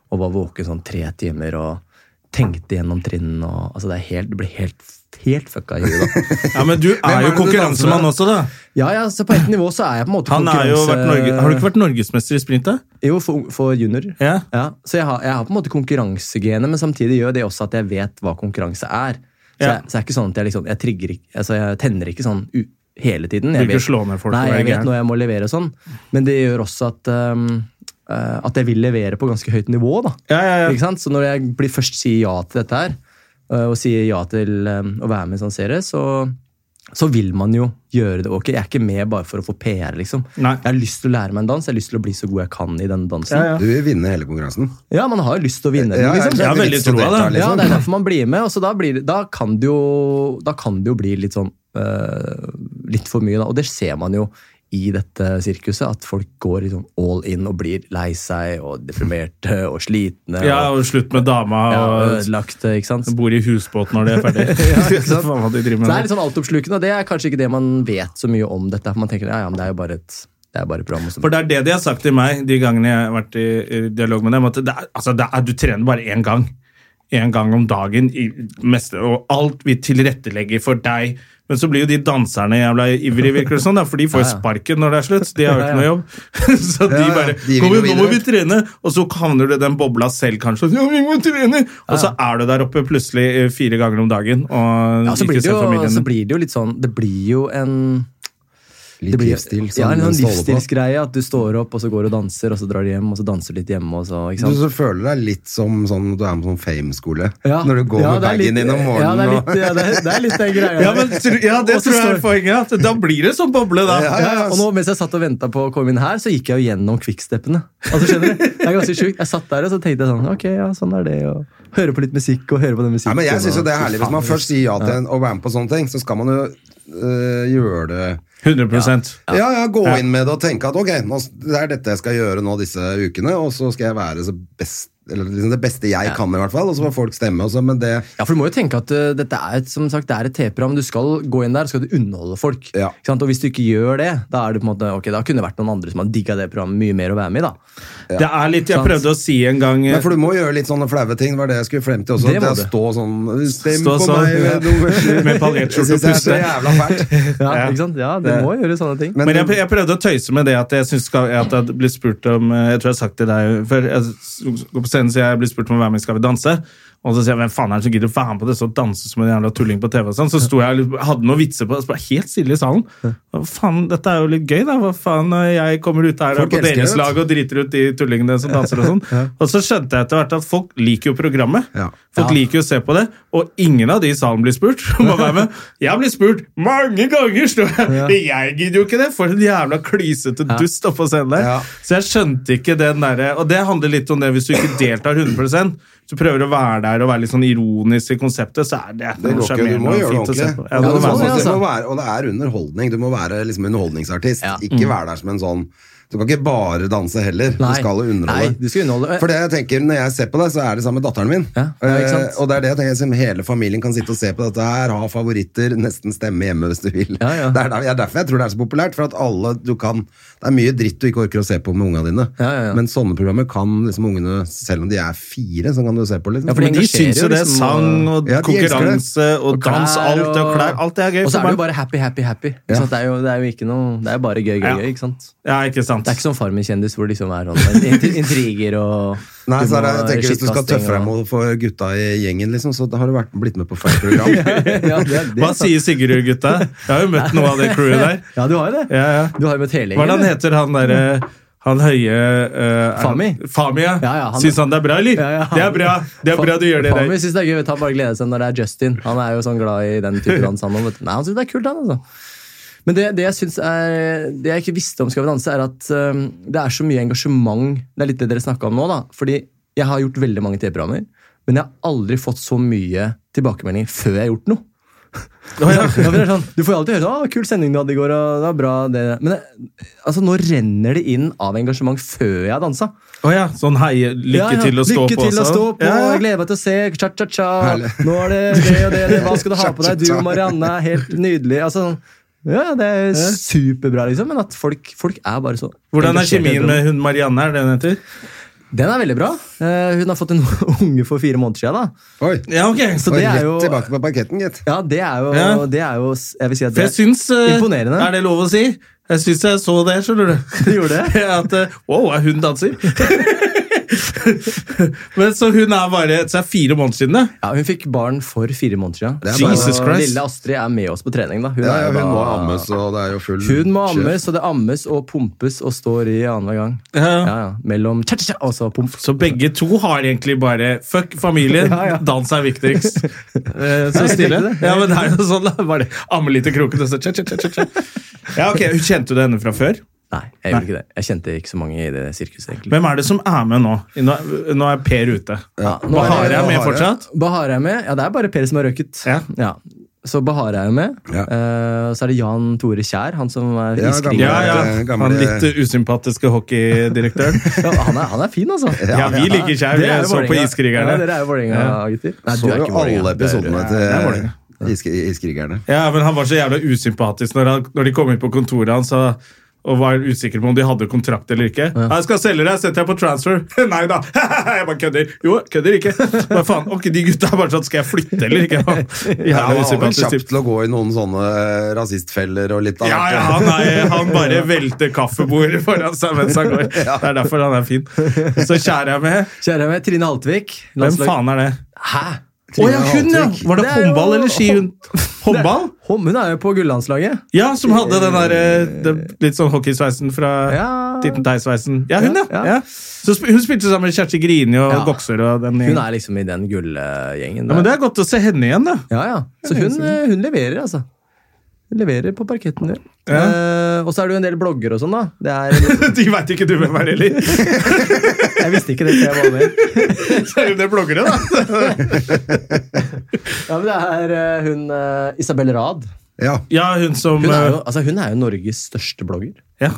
Speaker 3: og var våken sånn tre timer og tenkte gjennom trinn og Altså, det, er helt, det blir helt, helt fucka i huet, da.
Speaker 1: ja, men du
Speaker 2: er det
Speaker 1: er jo
Speaker 2: du danser
Speaker 1: konkurransemann
Speaker 2: med?
Speaker 1: også, da.
Speaker 3: Ja, ja, så på et nivå så er jeg på en måte
Speaker 1: Han er jo vært Norge, har du ikke vært norgesmester i sprint, da?
Speaker 3: Jo, for, for juniorer.
Speaker 1: Ja.
Speaker 3: så jeg har, jeg har på en måte konkurransegenet, men samtidig gjør det også at jeg vet hva konkurranse er. Så,
Speaker 1: Ja.
Speaker 3: jeg, så det er ikke sånn at jeg liksom Jeg, trigger, ikke- altså jeg tenner ikke sånn u hele tiden.
Speaker 1: Vil ikke slå ned folk
Speaker 3: Nei,
Speaker 1: og være
Speaker 3: jeg vet
Speaker 1: gæren.
Speaker 3: når jeg må levere og sånn. Men det gjør også at ehm, eh, At jeg vil levere på ganske høyt nivå. da
Speaker 1: Ja, ja, ja.
Speaker 3: ikke sant? Så når jeg blir først sier ja til dette her, øh, og sier ja til øh, å være med i en sånn serie, så, så vil man jo gjøre det ok. Jeg er ikke med bare for å få PR, liksom.
Speaker 1: Nei.
Speaker 3: Jeg har lyst til å lære meg en dans, jeg har lyst til å bli så god jeg kan i denne dansen.
Speaker 1: Ja,
Speaker 3: Ja,
Speaker 1: ja.
Speaker 2: Du vil vinne hele konkurransen.
Speaker 3: man har jo lyst til å vinne den,
Speaker 2: Ja,
Speaker 3: liksom.
Speaker 2: jeg
Speaker 1: Jeg har
Speaker 2: er
Speaker 1: veldig
Speaker 2: litt så
Speaker 1: troa, da.
Speaker 2: deltar,
Speaker 3: Ja,
Speaker 2: liksom.
Speaker 3: det er derfor man blir med, og så da, blir, det- da, kan, det jo, da kan det jo bli litt sånn øh, litt for mye, da. Og det ser man jo i dette sirkuset, at folk går liksom all in og blir lei seg og deprimerte og slitne.
Speaker 1: Ja,
Speaker 3: og,
Speaker 1: og slutt med dama
Speaker 3: ja,
Speaker 1: og
Speaker 3: ødelagt, eh, ikke sant?
Speaker 1: bor i husbåt når de er ferdig. ja,
Speaker 3: ikke sant?
Speaker 1: Faen hva de driver
Speaker 3: Så
Speaker 1: med.
Speaker 3: det er litt sånn altoppslukende, og det er kanskje ikke det man vet så mye om dette. For man tenker ja, ja, men det er jo bare et, det er bare et program. og sånt.
Speaker 1: For det er det de har sagt til meg de gangene jeg har vært i, i dialog med dem. At det er, altså det er, du trener bare én gang. Én gang om dagen. I mest, og alt vi tilrettelegger for deg. Men så blir jo de danserne jævla ivrige, virker det sånn, da, for de får jo
Speaker 3: Ja, ja. sparken
Speaker 1: sparken når det er slutt. De har jo ikke noe jobb. Så de
Speaker 2: Ja, ja,
Speaker 1: bare
Speaker 2: de vil
Speaker 1: kom,
Speaker 2: jo
Speaker 1: igjen, 'Nå må
Speaker 2: videre.»
Speaker 1: vi trene!' Og så havner du i den bobla selv, kanskje. Ja, vi må trene! Og så er du der oppe plutselig eh, fire ganger om dagen og
Speaker 3: ja, så,
Speaker 1: ikke
Speaker 3: blir det
Speaker 1: ser
Speaker 3: jo,
Speaker 1: familien
Speaker 3: så
Speaker 1: din.
Speaker 3: blir det jo litt sånn Det blir jo en det
Speaker 2: Litt
Speaker 3: blir,
Speaker 2: livsstil.
Speaker 3: ja,
Speaker 2: som
Speaker 3: en
Speaker 2: den
Speaker 3: sånn
Speaker 2: står på.
Speaker 3: livsstilsgreie. At du står opp, og så går du og danser, og så drar du hjem, og så danser du litt hjemme. og så,
Speaker 2: Du
Speaker 3: ikke sant?
Speaker 2: så føler deg litt som sånn, du er med sånn fame-skole.
Speaker 3: Ja.
Speaker 2: Når du går
Speaker 3: Ja,
Speaker 2: med
Speaker 3: det er
Speaker 2: bagen
Speaker 3: litt-
Speaker 2: din om
Speaker 3: Ja, det
Speaker 2: morgenen.
Speaker 3: er
Speaker 2: og-
Speaker 3: litt, ja, det er, det er litt den greia.
Speaker 1: Ja, men, tr- ja, det
Speaker 3: Og så
Speaker 1: tror jeg er
Speaker 3: står-
Speaker 1: poenget. at Da blir det sånn boble, da.
Speaker 3: Ja, ja, Og nå, mens jeg satt og venta på å komme inn her, så gikk jeg jo gjennom kvikksteppene. Altså, skjønner du? Det er ganske sjukt. Jeg satt der og så tenkte jeg sånn Ok, ja, sånn er det. Og høre på litt musikk og høre på den musikken.
Speaker 2: Nei, men jeg synes jo det er
Speaker 3: og-
Speaker 2: herlig Hvis man først sier ja til en, å være med på sånne ting, så skal man jo øh, gjøre det
Speaker 1: 100
Speaker 2: ja, ja, gå inn med det og tenke at ok, nå, s- det er dette jeg skal gjøre nå disse ukene, og så skal jeg være så best, eller liksom det beste jeg kan i hvert fall, og så får folk stemme og så, men det
Speaker 3: Ja, for du må jo tenke at ø, dette er et, som sagt, det er et TV-program. Du skal gå inn der og skal du underholde folk.
Speaker 2: Ja.
Speaker 3: Ikke sant? Og hvis du ikke gjør det, da er det på en måte, ok, da kunne det vært noen andre som har digga det programmet mye mer å være med i. da.
Speaker 1: Det er litt, Jeg
Speaker 3: Sant.
Speaker 1: prøvde å si en gang eh,
Speaker 2: men for du må gjøre litt sånne flaue ting, det var det jeg skulle frem til også.
Speaker 3: Det
Speaker 2: Det
Speaker 3: må
Speaker 2: at jeg
Speaker 3: du.
Speaker 2: står sånn Stem
Speaker 1: Stå
Speaker 2: på
Speaker 1: sånn,
Speaker 2: meg!
Speaker 1: ja.
Speaker 2: du-
Speaker 1: Med paljettskjorte
Speaker 2: Jeg synes det er
Speaker 1: og puste.
Speaker 2: så jævla fælt.
Speaker 3: Ja, ikke sant? ja det
Speaker 1: Det-
Speaker 3: må gjøre sånne ting.
Speaker 1: Men jeg, jeg prøvde å tøyse med det at jeg synes skal, at jeg blir spurt om eh, Jeg tror jeg har sagt til deg før jeg s- går på scenen, så jeg blir spurt om å være med i Skal vi danse. Og så sier jeg hvem faen er det som gidder å være med på det? Så danse som en jævla tulling på TV og sånn. Så sto jeg og litt- hadde noen vitser på det, så var det helt stille i salen. Hva faen, dette er jo litt gøy, da. Hva faen, eh, jeg kommer ut her
Speaker 2: Folk
Speaker 1: og på
Speaker 2: elsker det,
Speaker 1: deres
Speaker 2: vet du.
Speaker 1: lag og driter ut de tullingene som danser og sånn. Og så skjønte jeg etter hvert at folk liker jo programmet.
Speaker 2: Ja.
Speaker 1: Folk liker jo å se på det, og ingen av de i salen blir spurt. om å være med. Jeg blir spurt mange ganger! Står jeg. jeg gidder jo ikke det! For en jævla klysete dust oppå scenen der.
Speaker 2: Ja.
Speaker 1: Så jeg skjønte ikke den derre Og det handler litt om det hvis du ikke deltar 100 så prøver du å være der og være litt sånn ironisk i konseptet, så er det
Speaker 2: Det går ikke, du må gjøre det ordentlig.
Speaker 1: Ja,
Speaker 2: Og
Speaker 1: det
Speaker 2: det
Speaker 1: må
Speaker 2: må
Speaker 1: være
Speaker 3: det,
Speaker 1: sånn.
Speaker 3: altså.
Speaker 2: være- Og det er underholdning. Du må være liksom underholdningsartist.
Speaker 3: Ja.
Speaker 2: Ikke være der som en sånn Du kan ikke bare danse heller.
Speaker 3: Nei.
Speaker 2: Du skal jo
Speaker 3: Nei,
Speaker 2: underholde.
Speaker 3: du skal underholde.
Speaker 2: For det jeg tenker Når jeg ser på det, så er det sammen med datteren min.
Speaker 3: Ja, ja, ikke sant?
Speaker 2: Eh, og det er det jeg tenker liksom, Hele familien kan sitte og se på dette her, ha favoritter, nesten stemme hjemme hvis du vil.
Speaker 3: Ja, ja.
Speaker 2: Det er der, jeg- derfor jeg tror det er så populært. For at alle du kan Det er mye dritt du ikke orker å se på med ungene dine.
Speaker 3: Ja, ja, ja.
Speaker 2: Men sånne programmer kan liksom ungene, selv om de er fire, så kan du se på. Liksom.
Speaker 3: Ja, for
Speaker 1: Men de
Speaker 3: engasjerer
Speaker 1: syns jo
Speaker 3: jo
Speaker 1: det.
Speaker 3: liksom,
Speaker 1: Sang
Speaker 3: og-
Speaker 1: og
Speaker 2: Ja, de elsker det.
Speaker 1: konkurranse og dans, alt det og klær. Alt det er gøy.
Speaker 3: Og så
Speaker 1: for
Speaker 3: er det
Speaker 1: barn.
Speaker 3: jo bare happy, happy, happy. Ikke sant? Det, er jo, det er jo ikke noe, det er jo bare gøy, gøy,
Speaker 1: Ja.
Speaker 3: gøy. ikke sant?
Speaker 1: Ja, ikke sant.
Speaker 3: Det er ikke som Farmen-kjendis hvor det liksom er sånn int- intriger og
Speaker 2: Nei,
Speaker 3: du
Speaker 2: så er
Speaker 3: må
Speaker 2: det, jeg tenker Hvis du skal
Speaker 3: skittkasting
Speaker 2: tøffe deg
Speaker 3: og-
Speaker 2: mot for gutta i gjengen, liksom, så da har du vært, blitt med på feil program.
Speaker 3: ja, det, er- det,
Speaker 1: Hva
Speaker 3: er sant.
Speaker 1: sier Sigrud, gutta? Jeg har jo møtt noe av det crewet der.
Speaker 3: Ja, du har jo det.
Speaker 1: Ja, ja.
Speaker 3: Du har jo møtt hele
Speaker 1: Hva er det han
Speaker 3: gjengen,
Speaker 1: heter han derre han høye eh, er-
Speaker 3: Fami?
Speaker 1: Fami, ja.
Speaker 3: Ja, ja, han-
Speaker 1: Syns han det er bra, eller?
Speaker 3: Ja, ja, han-
Speaker 1: Det er bra det er bra du gjør det der.
Speaker 3: Faen, vi synes det er gøy. vet du, Han bare gleder seg når det er Justin. Han er jo sånn glad i den type dans. Han, vet du. Nei, han synes det er kult, han, altså. Men det, det jeg synes er, det jeg ikke visste om Skal vi danse, er at øhm, det er så mye engasjement. Det er litt det dere snakka om nå. da. Fordi jeg har gjort veldig mange TV-programmer, men jeg har aldri fått så mye tilbakemelding før jeg har gjort noe. Da blir det sånn, du får jo alltid høre sånn, «Å, 'kul sending du hadde i går', og det var bra det. Men det, altså, nå renner det inn av engasjement før jeg har dansa.
Speaker 1: Å ja, sånn heie, lykke
Speaker 3: Ja, ja,
Speaker 1: til å stå
Speaker 3: lykke
Speaker 1: på.
Speaker 3: til å
Speaker 1: også.
Speaker 3: stå på,
Speaker 1: Ja, ja.
Speaker 3: jeg gleder meg til å se, cha-cha-cha. Nå er det det og det, det, hva skal du ha på deg? Du og Marianne er helt nydelig. Altså, ja, det er superbra, liksom, men at folk, folk er bare så
Speaker 1: Hvordan er
Speaker 3: engasjert i
Speaker 1: kjemien
Speaker 3: det.
Speaker 1: med hun Marianne? er det hun heter?
Speaker 3: Den er veldig bra. Eh, Hun har fått en unge for fire måneder siden. Da.
Speaker 2: Oi,
Speaker 1: Ja, ok.
Speaker 3: Så
Speaker 2: og
Speaker 3: det er
Speaker 2: rett
Speaker 3: jo,
Speaker 2: tilbake på parketten, gitt.
Speaker 3: ja, det er jo,
Speaker 1: Ja.
Speaker 3: det er jo Jeg vil si at
Speaker 1: For jeg
Speaker 3: det
Speaker 1: syns eh,
Speaker 3: Imponerende.
Speaker 1: Er det lov å si? Jeg syns jeg så det, skjønner du.
Speaker 3: Du gjorde det?
Speaker 1: At eh, Wow, er hun danser? Men Så hun er bare Så er fire måneder siden, det?
Speaker 3: ja, Hun fikk barn for fire måneder siden.
Speaker 2: Det er
Speaker 3: Og
Speaker 2: bare-
Speaker 1: Jesus Christ.
Speaker 3: Lille Astrid er med oss på trening. da Hun,
Speaker 2: Ja,
Speaker 3: er
Speaker 2: ja,
Speaker 3: jo
Speaker 2: hun
Speaker 3: da-
Speaker 2: må ammes, og det er jo full
Speaker 3: Hun må
Speaker 2: kjør.
Speaker 3: ammes, og det ammes og pumpes og står i annenhver gang.
Speaker 1: Ja.
Speaker 3: Ja, ja. Mellom cha-cha-cha og så pump.
Speaker 1: Så begge to har egentlig bare Fuck familien,
Speaker 3: Ja, ja.
Speaker 1: dans er viktigst. Eh,
Speaker 3: Ja,
Speaker 1: Så
Speaker 3: jeg
Speaker 1: stille.
Speaker 3: tenkte det.
Speaker 1: Ja, men det er jo sånn, da. Bare amme litt i kroken, og så tja, tja, tja, tja, tja. Ja, ok, Kjente du henne fra før?
Speaker 3: Nei, jeg gjorde ikke det. Jeg kjente ikke så mange i det sirkuset. egentlig.
Speaker 1: Hvem er det som er med nå? Nå er- nå er Per ute.
Speaker 3: Ja, nå er
Speaker 1: Bahar
Speaker 3: det-
Speaker 1: er med
Speaker 2: Bahare.
Speaker 1: fortsatt?
Speaker 3: Bahar er med. Ja, det er bare Per som har røyket.
Speaker 1: Ja.
Speaker 3: Så Bahar er jo med.
Speaker 2: Ja.
Speaker 3: Eh, så er det Jan Tore Kjær, han som er
Speaker 2: Ja, gamle-
Speaker 3: iskrig.
Speaker 1: Ja, ja.
Speaker 2: Gamle-
Speaker 1: Han litt eh, usympatiske hockeydirektøren.
Speaker 3: Ja, han, er, han er fin, altså.
Speaker 1: Ja, vi liker Kjær. Vi
Speaker 3: Dere er jo
Speaker 1: så på
Speaker 3: Vålerenga.
Speaker 1: Iskrigerne.
Speaker 3: Ja, dere er jo Vålerenga-gutter. Nei,
Speaker 2: Så jo alle episodene
Speaker 3: Vålerenga.
Speaker 1: det er Vålerenga.
Speaker 2: til Isk- Iskrigerne.
Speaker 1: Ja, men han var så jævla usympatisk når, han, når de kom inn på kontoret hans og, og var usikker på om de hadde kontrakt eller ikke. Jeg skal selge deg, setter jeg på transfer. Nei da! jeg bare kødder. Jo, kødder ikke. Hva faen? Ok, de gutta er bare sånn, skal jeg flytte eller ikke?
Speaker 2: Ja,
Speaker 1: Jævla
Speaker 2: han var vel
Speaker 1: usympatisk
Speaker 2: kjapp
Speaker 1: typ.
Speaker 2: til å gå i noen sånne eh, rasistfeller og litt av
Speaker 1: Ja,
Speaker 2: hvert.
Speaker 1: ja, han, er, han bare velter kaffebordet foran seg mens han går. Det er derfor han er fin. Så kjære jeg med.
Speaker 3: Kjære med Trine Haltvik.
Speaker 1: Hvem
Speaker 3: landslag-
Speaker 1: faen er det?
Speaker 3: Hæ?
Speaker 1: Å ja, hun, ja! Var det
Speaker 3: Det er jo-
Speaker 1: håndball eller ski? hun- Håndball?
Speaker 3: Hom- Hun er jo på gullandslaget.
Speaker 1: Ja, som hadde den der eh, den litt sånn hockeysveisen fra
Speaker 3: Ja.
Speaker 1: Titten Tei-sveisen. Ja, hun, ja.
Speaker 3: Ah. Ja,
Speaker 1: ja.
Speaker 3: ja.
Speaker 1: Så sp hun spilte sammen med Kjersti Grini og
Speaker 3: Ja.
Speaker 1: Goksør og den
Speaker 3: Hun
Speaker 1: gjengen.
Speaker 3: er liksom i den gullgjengen.
Speaker 1: Ja, men det er godt å se henne igjen, da.
Speaker 3: Ja, ja. Så hun, eh, hun leverer, altså. Hun leverer på parketten. Ja. Eh, og så er det jo en del blogger og sånn, da. Det er,
Speaker 1: De veit ikke du hvem er heller.
Speaker 3: jeg visste ikke det før jeg var med.
Speaker 1: Så er hun det bloggere, da.
Speaker 3: Ja, men det er eh, hun eh, Isabel Rad.
Speaker 2: Ja.
Speaker 1: Ja, hun som
Speaker 3: Hun er, jo,
Speaker 1: eh,
Speaker 3: altså, hun er jo Norges største blogger.
Speaker 1: ja.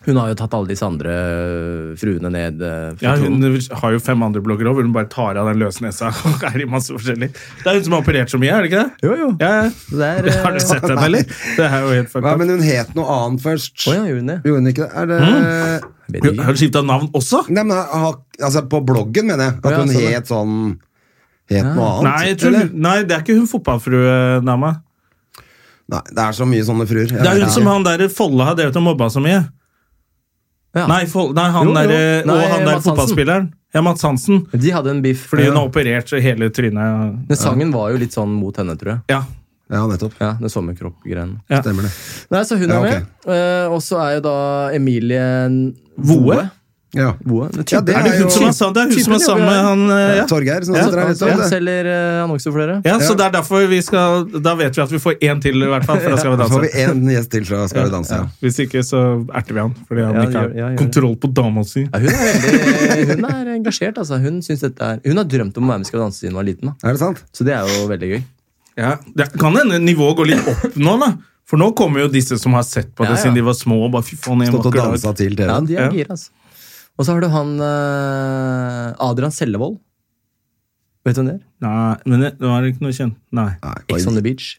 Speaker 3: Hun har jo tatt alle disse andre eh, fruene ned. eh, fra
Speaker 1: ja, hun
Speaker 3: tronen.
Speaker 1: har jo fem andre bloggere òg, hvor hun bare tar av den løse nesa. og er i masse forskjellig. Det er hun som har operert så mye, er det ikke det?
Speaker 3: Jo, jo.
Speaker 1: Ja, ja.
Speaker 3: Det er, eh,
Speaker 1: Har du sett henne, eller? Det er jo helt
Speaker 2: Nei,
Speaker 1: fucked up.
Speaker 2: men hun het noe annet først.
Speaker 3: Å ja, gjorde hun Mm. det?
Speaker 2: Gjorde hun ikke det? Er det
Speaker 3: Jeg vet
Speaker 1: Hun-
Speaker 3: ikke.
Speaker 1: Har hun skifta navn også?
Speaker 2: Nei, men ha- altså, på bloggen, mener jeg. At
Speaker 3: Å ja,
Speaker 2: hun
Speaker 3: sånn, ja.
Speaker 2: het sånn Het noe annet.
Speaker 1: Nei, jeg tror,
Speaker 2: eller?
Speaker 1: nei, det er ikke hun eh, fotballfrue-dama.
Speaker 2: Nei, det er så mye sånne fruer. Jeg
Speaker 1: Det er
Speaker 2: vet
Speaker 1: hun som
Speaker 2: ikke.
Speaker 1: han der Folle har drevet og mobba så mye.
Speaker 3: Ja.
Speaker 1: Nei, Folle, nei han
Speaker 3: Jo, jo.
Speaker 1: der, eh,
Speaker 3: Nei,
Speaker 1: og han der
Speaker 3: Mads Hansen.
Speaker 1: fotballspilleren. Ja, Mats Hansen.
Speaker 3: De hadde en beef.
Speaker 1: Fordi hun
Speaker 3: Ja.
Speaker 1: har operert hele trynet.
Speaker 3: Men sangen var jo litt sånn mot henne, tror jeg.
Speaker 1: Ja.
Speaker 2: Ja, nettopp.
Speaker 3: Ja, Den sommerkroppgreien.
Speaker 1: Ja.
Speaker 2: Stemmer det.
Speaker 3: Nei, så hun
Speaker 2: Ja,
Speaker 3: er
Speaker 2: ok.
Speaker 3: med. Eh, og så er jo da Emilie
Speaker 1: Voe?
Speaker 2: Ja.
Speaker 3: Voe? Det
Speaker 2: Ja, det
Speaker 1: Er det
Speaker 2: er
Speaker 1: hun som
Speaker 2: jo
Speaker 1: er sammen, det er hun som
Speaker 3: Typen
Speaker 1: er sammen med
Speaker 3: jobber
Speaker 1: han eh, ja.
Speaker 2: Torgeir som
Speaker 1: Ja,
Speaker 2: sitter her.
Speaker 3: Ja,
Speaker 2: vet du. Det-
Speaker 3: Altså, selger eh, annonser for dere.
Speaker 1: ja, så det er derfor vi skal Da vet vi at vi får én til, i hvert fall. For da skal vi
Speaker 2: Da får vi
Speaker 1: danse.
Speaker 2: én gjest til fra Skal vi danse. Ja.
Speaker 1: Hvis ikke, så erter vi han. Fordi han
Speaker 3: Ja,
Speaker 1: ikke
Speaker 3: gjør- ja, gjør
Speaker 1: har
Speaker 3: det.
Speaker 1: kontroll på dama si.
Speaker 3: Ja, hun, er veldig, hun er engasjert. Altså. Hun, synes dette er, hun har drømt om å være med i Skal vi danse siden hun var liten.
Speaker 2: Er
Speaker 3: Da.
Speaker 2: det sant?
Speaker 3: Så det er jo veldig gøy.
Speaker 1: Ja, det kan hende nivået går litt opp nå, da. For nå kommer jo disse som har sett på det
Speaker 3: Ja, ja.
Speaker 1: siden de var små. og bare fy faen, jeg
Speaker 2: Stått og
Speaker 1: vakker dag.
Speaker 2: dansa til
Speaker 3: Ja,
Speaker 2: TV-en.
Speaker 3: de er
Speaker 1: Ja.
Speaker 3: gira, altså. Og så har du han eh, Adrian Sellevold. Vet du hvem det er?
Speaker 1: Nei, men det det var ikke noe kjent. Nei.
Speaker 2: Nei, det
Speaker 3: Ex
Speaker 2: var-
Speaker 3: on the beach.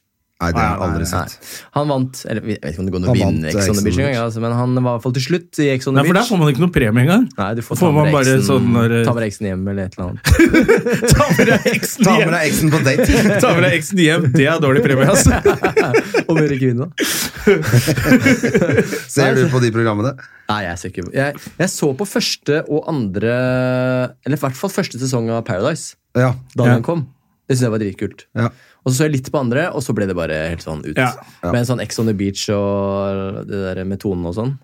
Speaker 2: nei, det har jeg
Speaker 1: Nei,
Speaker 2: aldri
Speaker 3: sånn Nei.
Speaker 2: sett.
Speaker 3: Han vant Eller jeg vet ikke om det går an å
Speaker 2: Han vant
Speaker 3: vinne Ex on the Beach engang, altså, men han var i hvert fall til slutt i Ex on the
Speaker 1: Nei, for der
Speaker 3: Beach.
Speaker 1: får man ikke noe premie engang.
Speaker 3: Nei, du
Speaker 1: Får
Speaker 3: får, ta med
Speaker 1: man
Speaker 3: deg
Speaker 1: bare
Speaker 3: eksen-
Speaker 1: sånn når-
Speaker 3: ta med deg eksen hjem eller et eller annet.
Speaker 1: Ta med deg eksen
Speaker 2: Ta med
Speaker 1: hjem!
Speaker 2: deg eksen på date!
Speaker 1: Ta med deg eksen hjem, det er dårlig premie, altså.
Speaker 3: Og mer kvinne.
Speaker 2: Ser du på de programmene?
Speaker 3: Nei, jeg ser ikke jeg, jeg så på første og andre Eller i hvert fall første sesong av Paradise.
Speaker 2: Ja.
Speaker 3: Da
Speaker 1: Ja.
Speaker 3: den kom. Det synes jeg var dritkult.
Speaker 2: ja.
Speaker 3: Og så så jeg litt på andre, og så ble det bare helt sånn ut.
Speaker 1: Ja.
Speaker 3: Med en sånn Ex on the Beach og det der med tonen og sånn.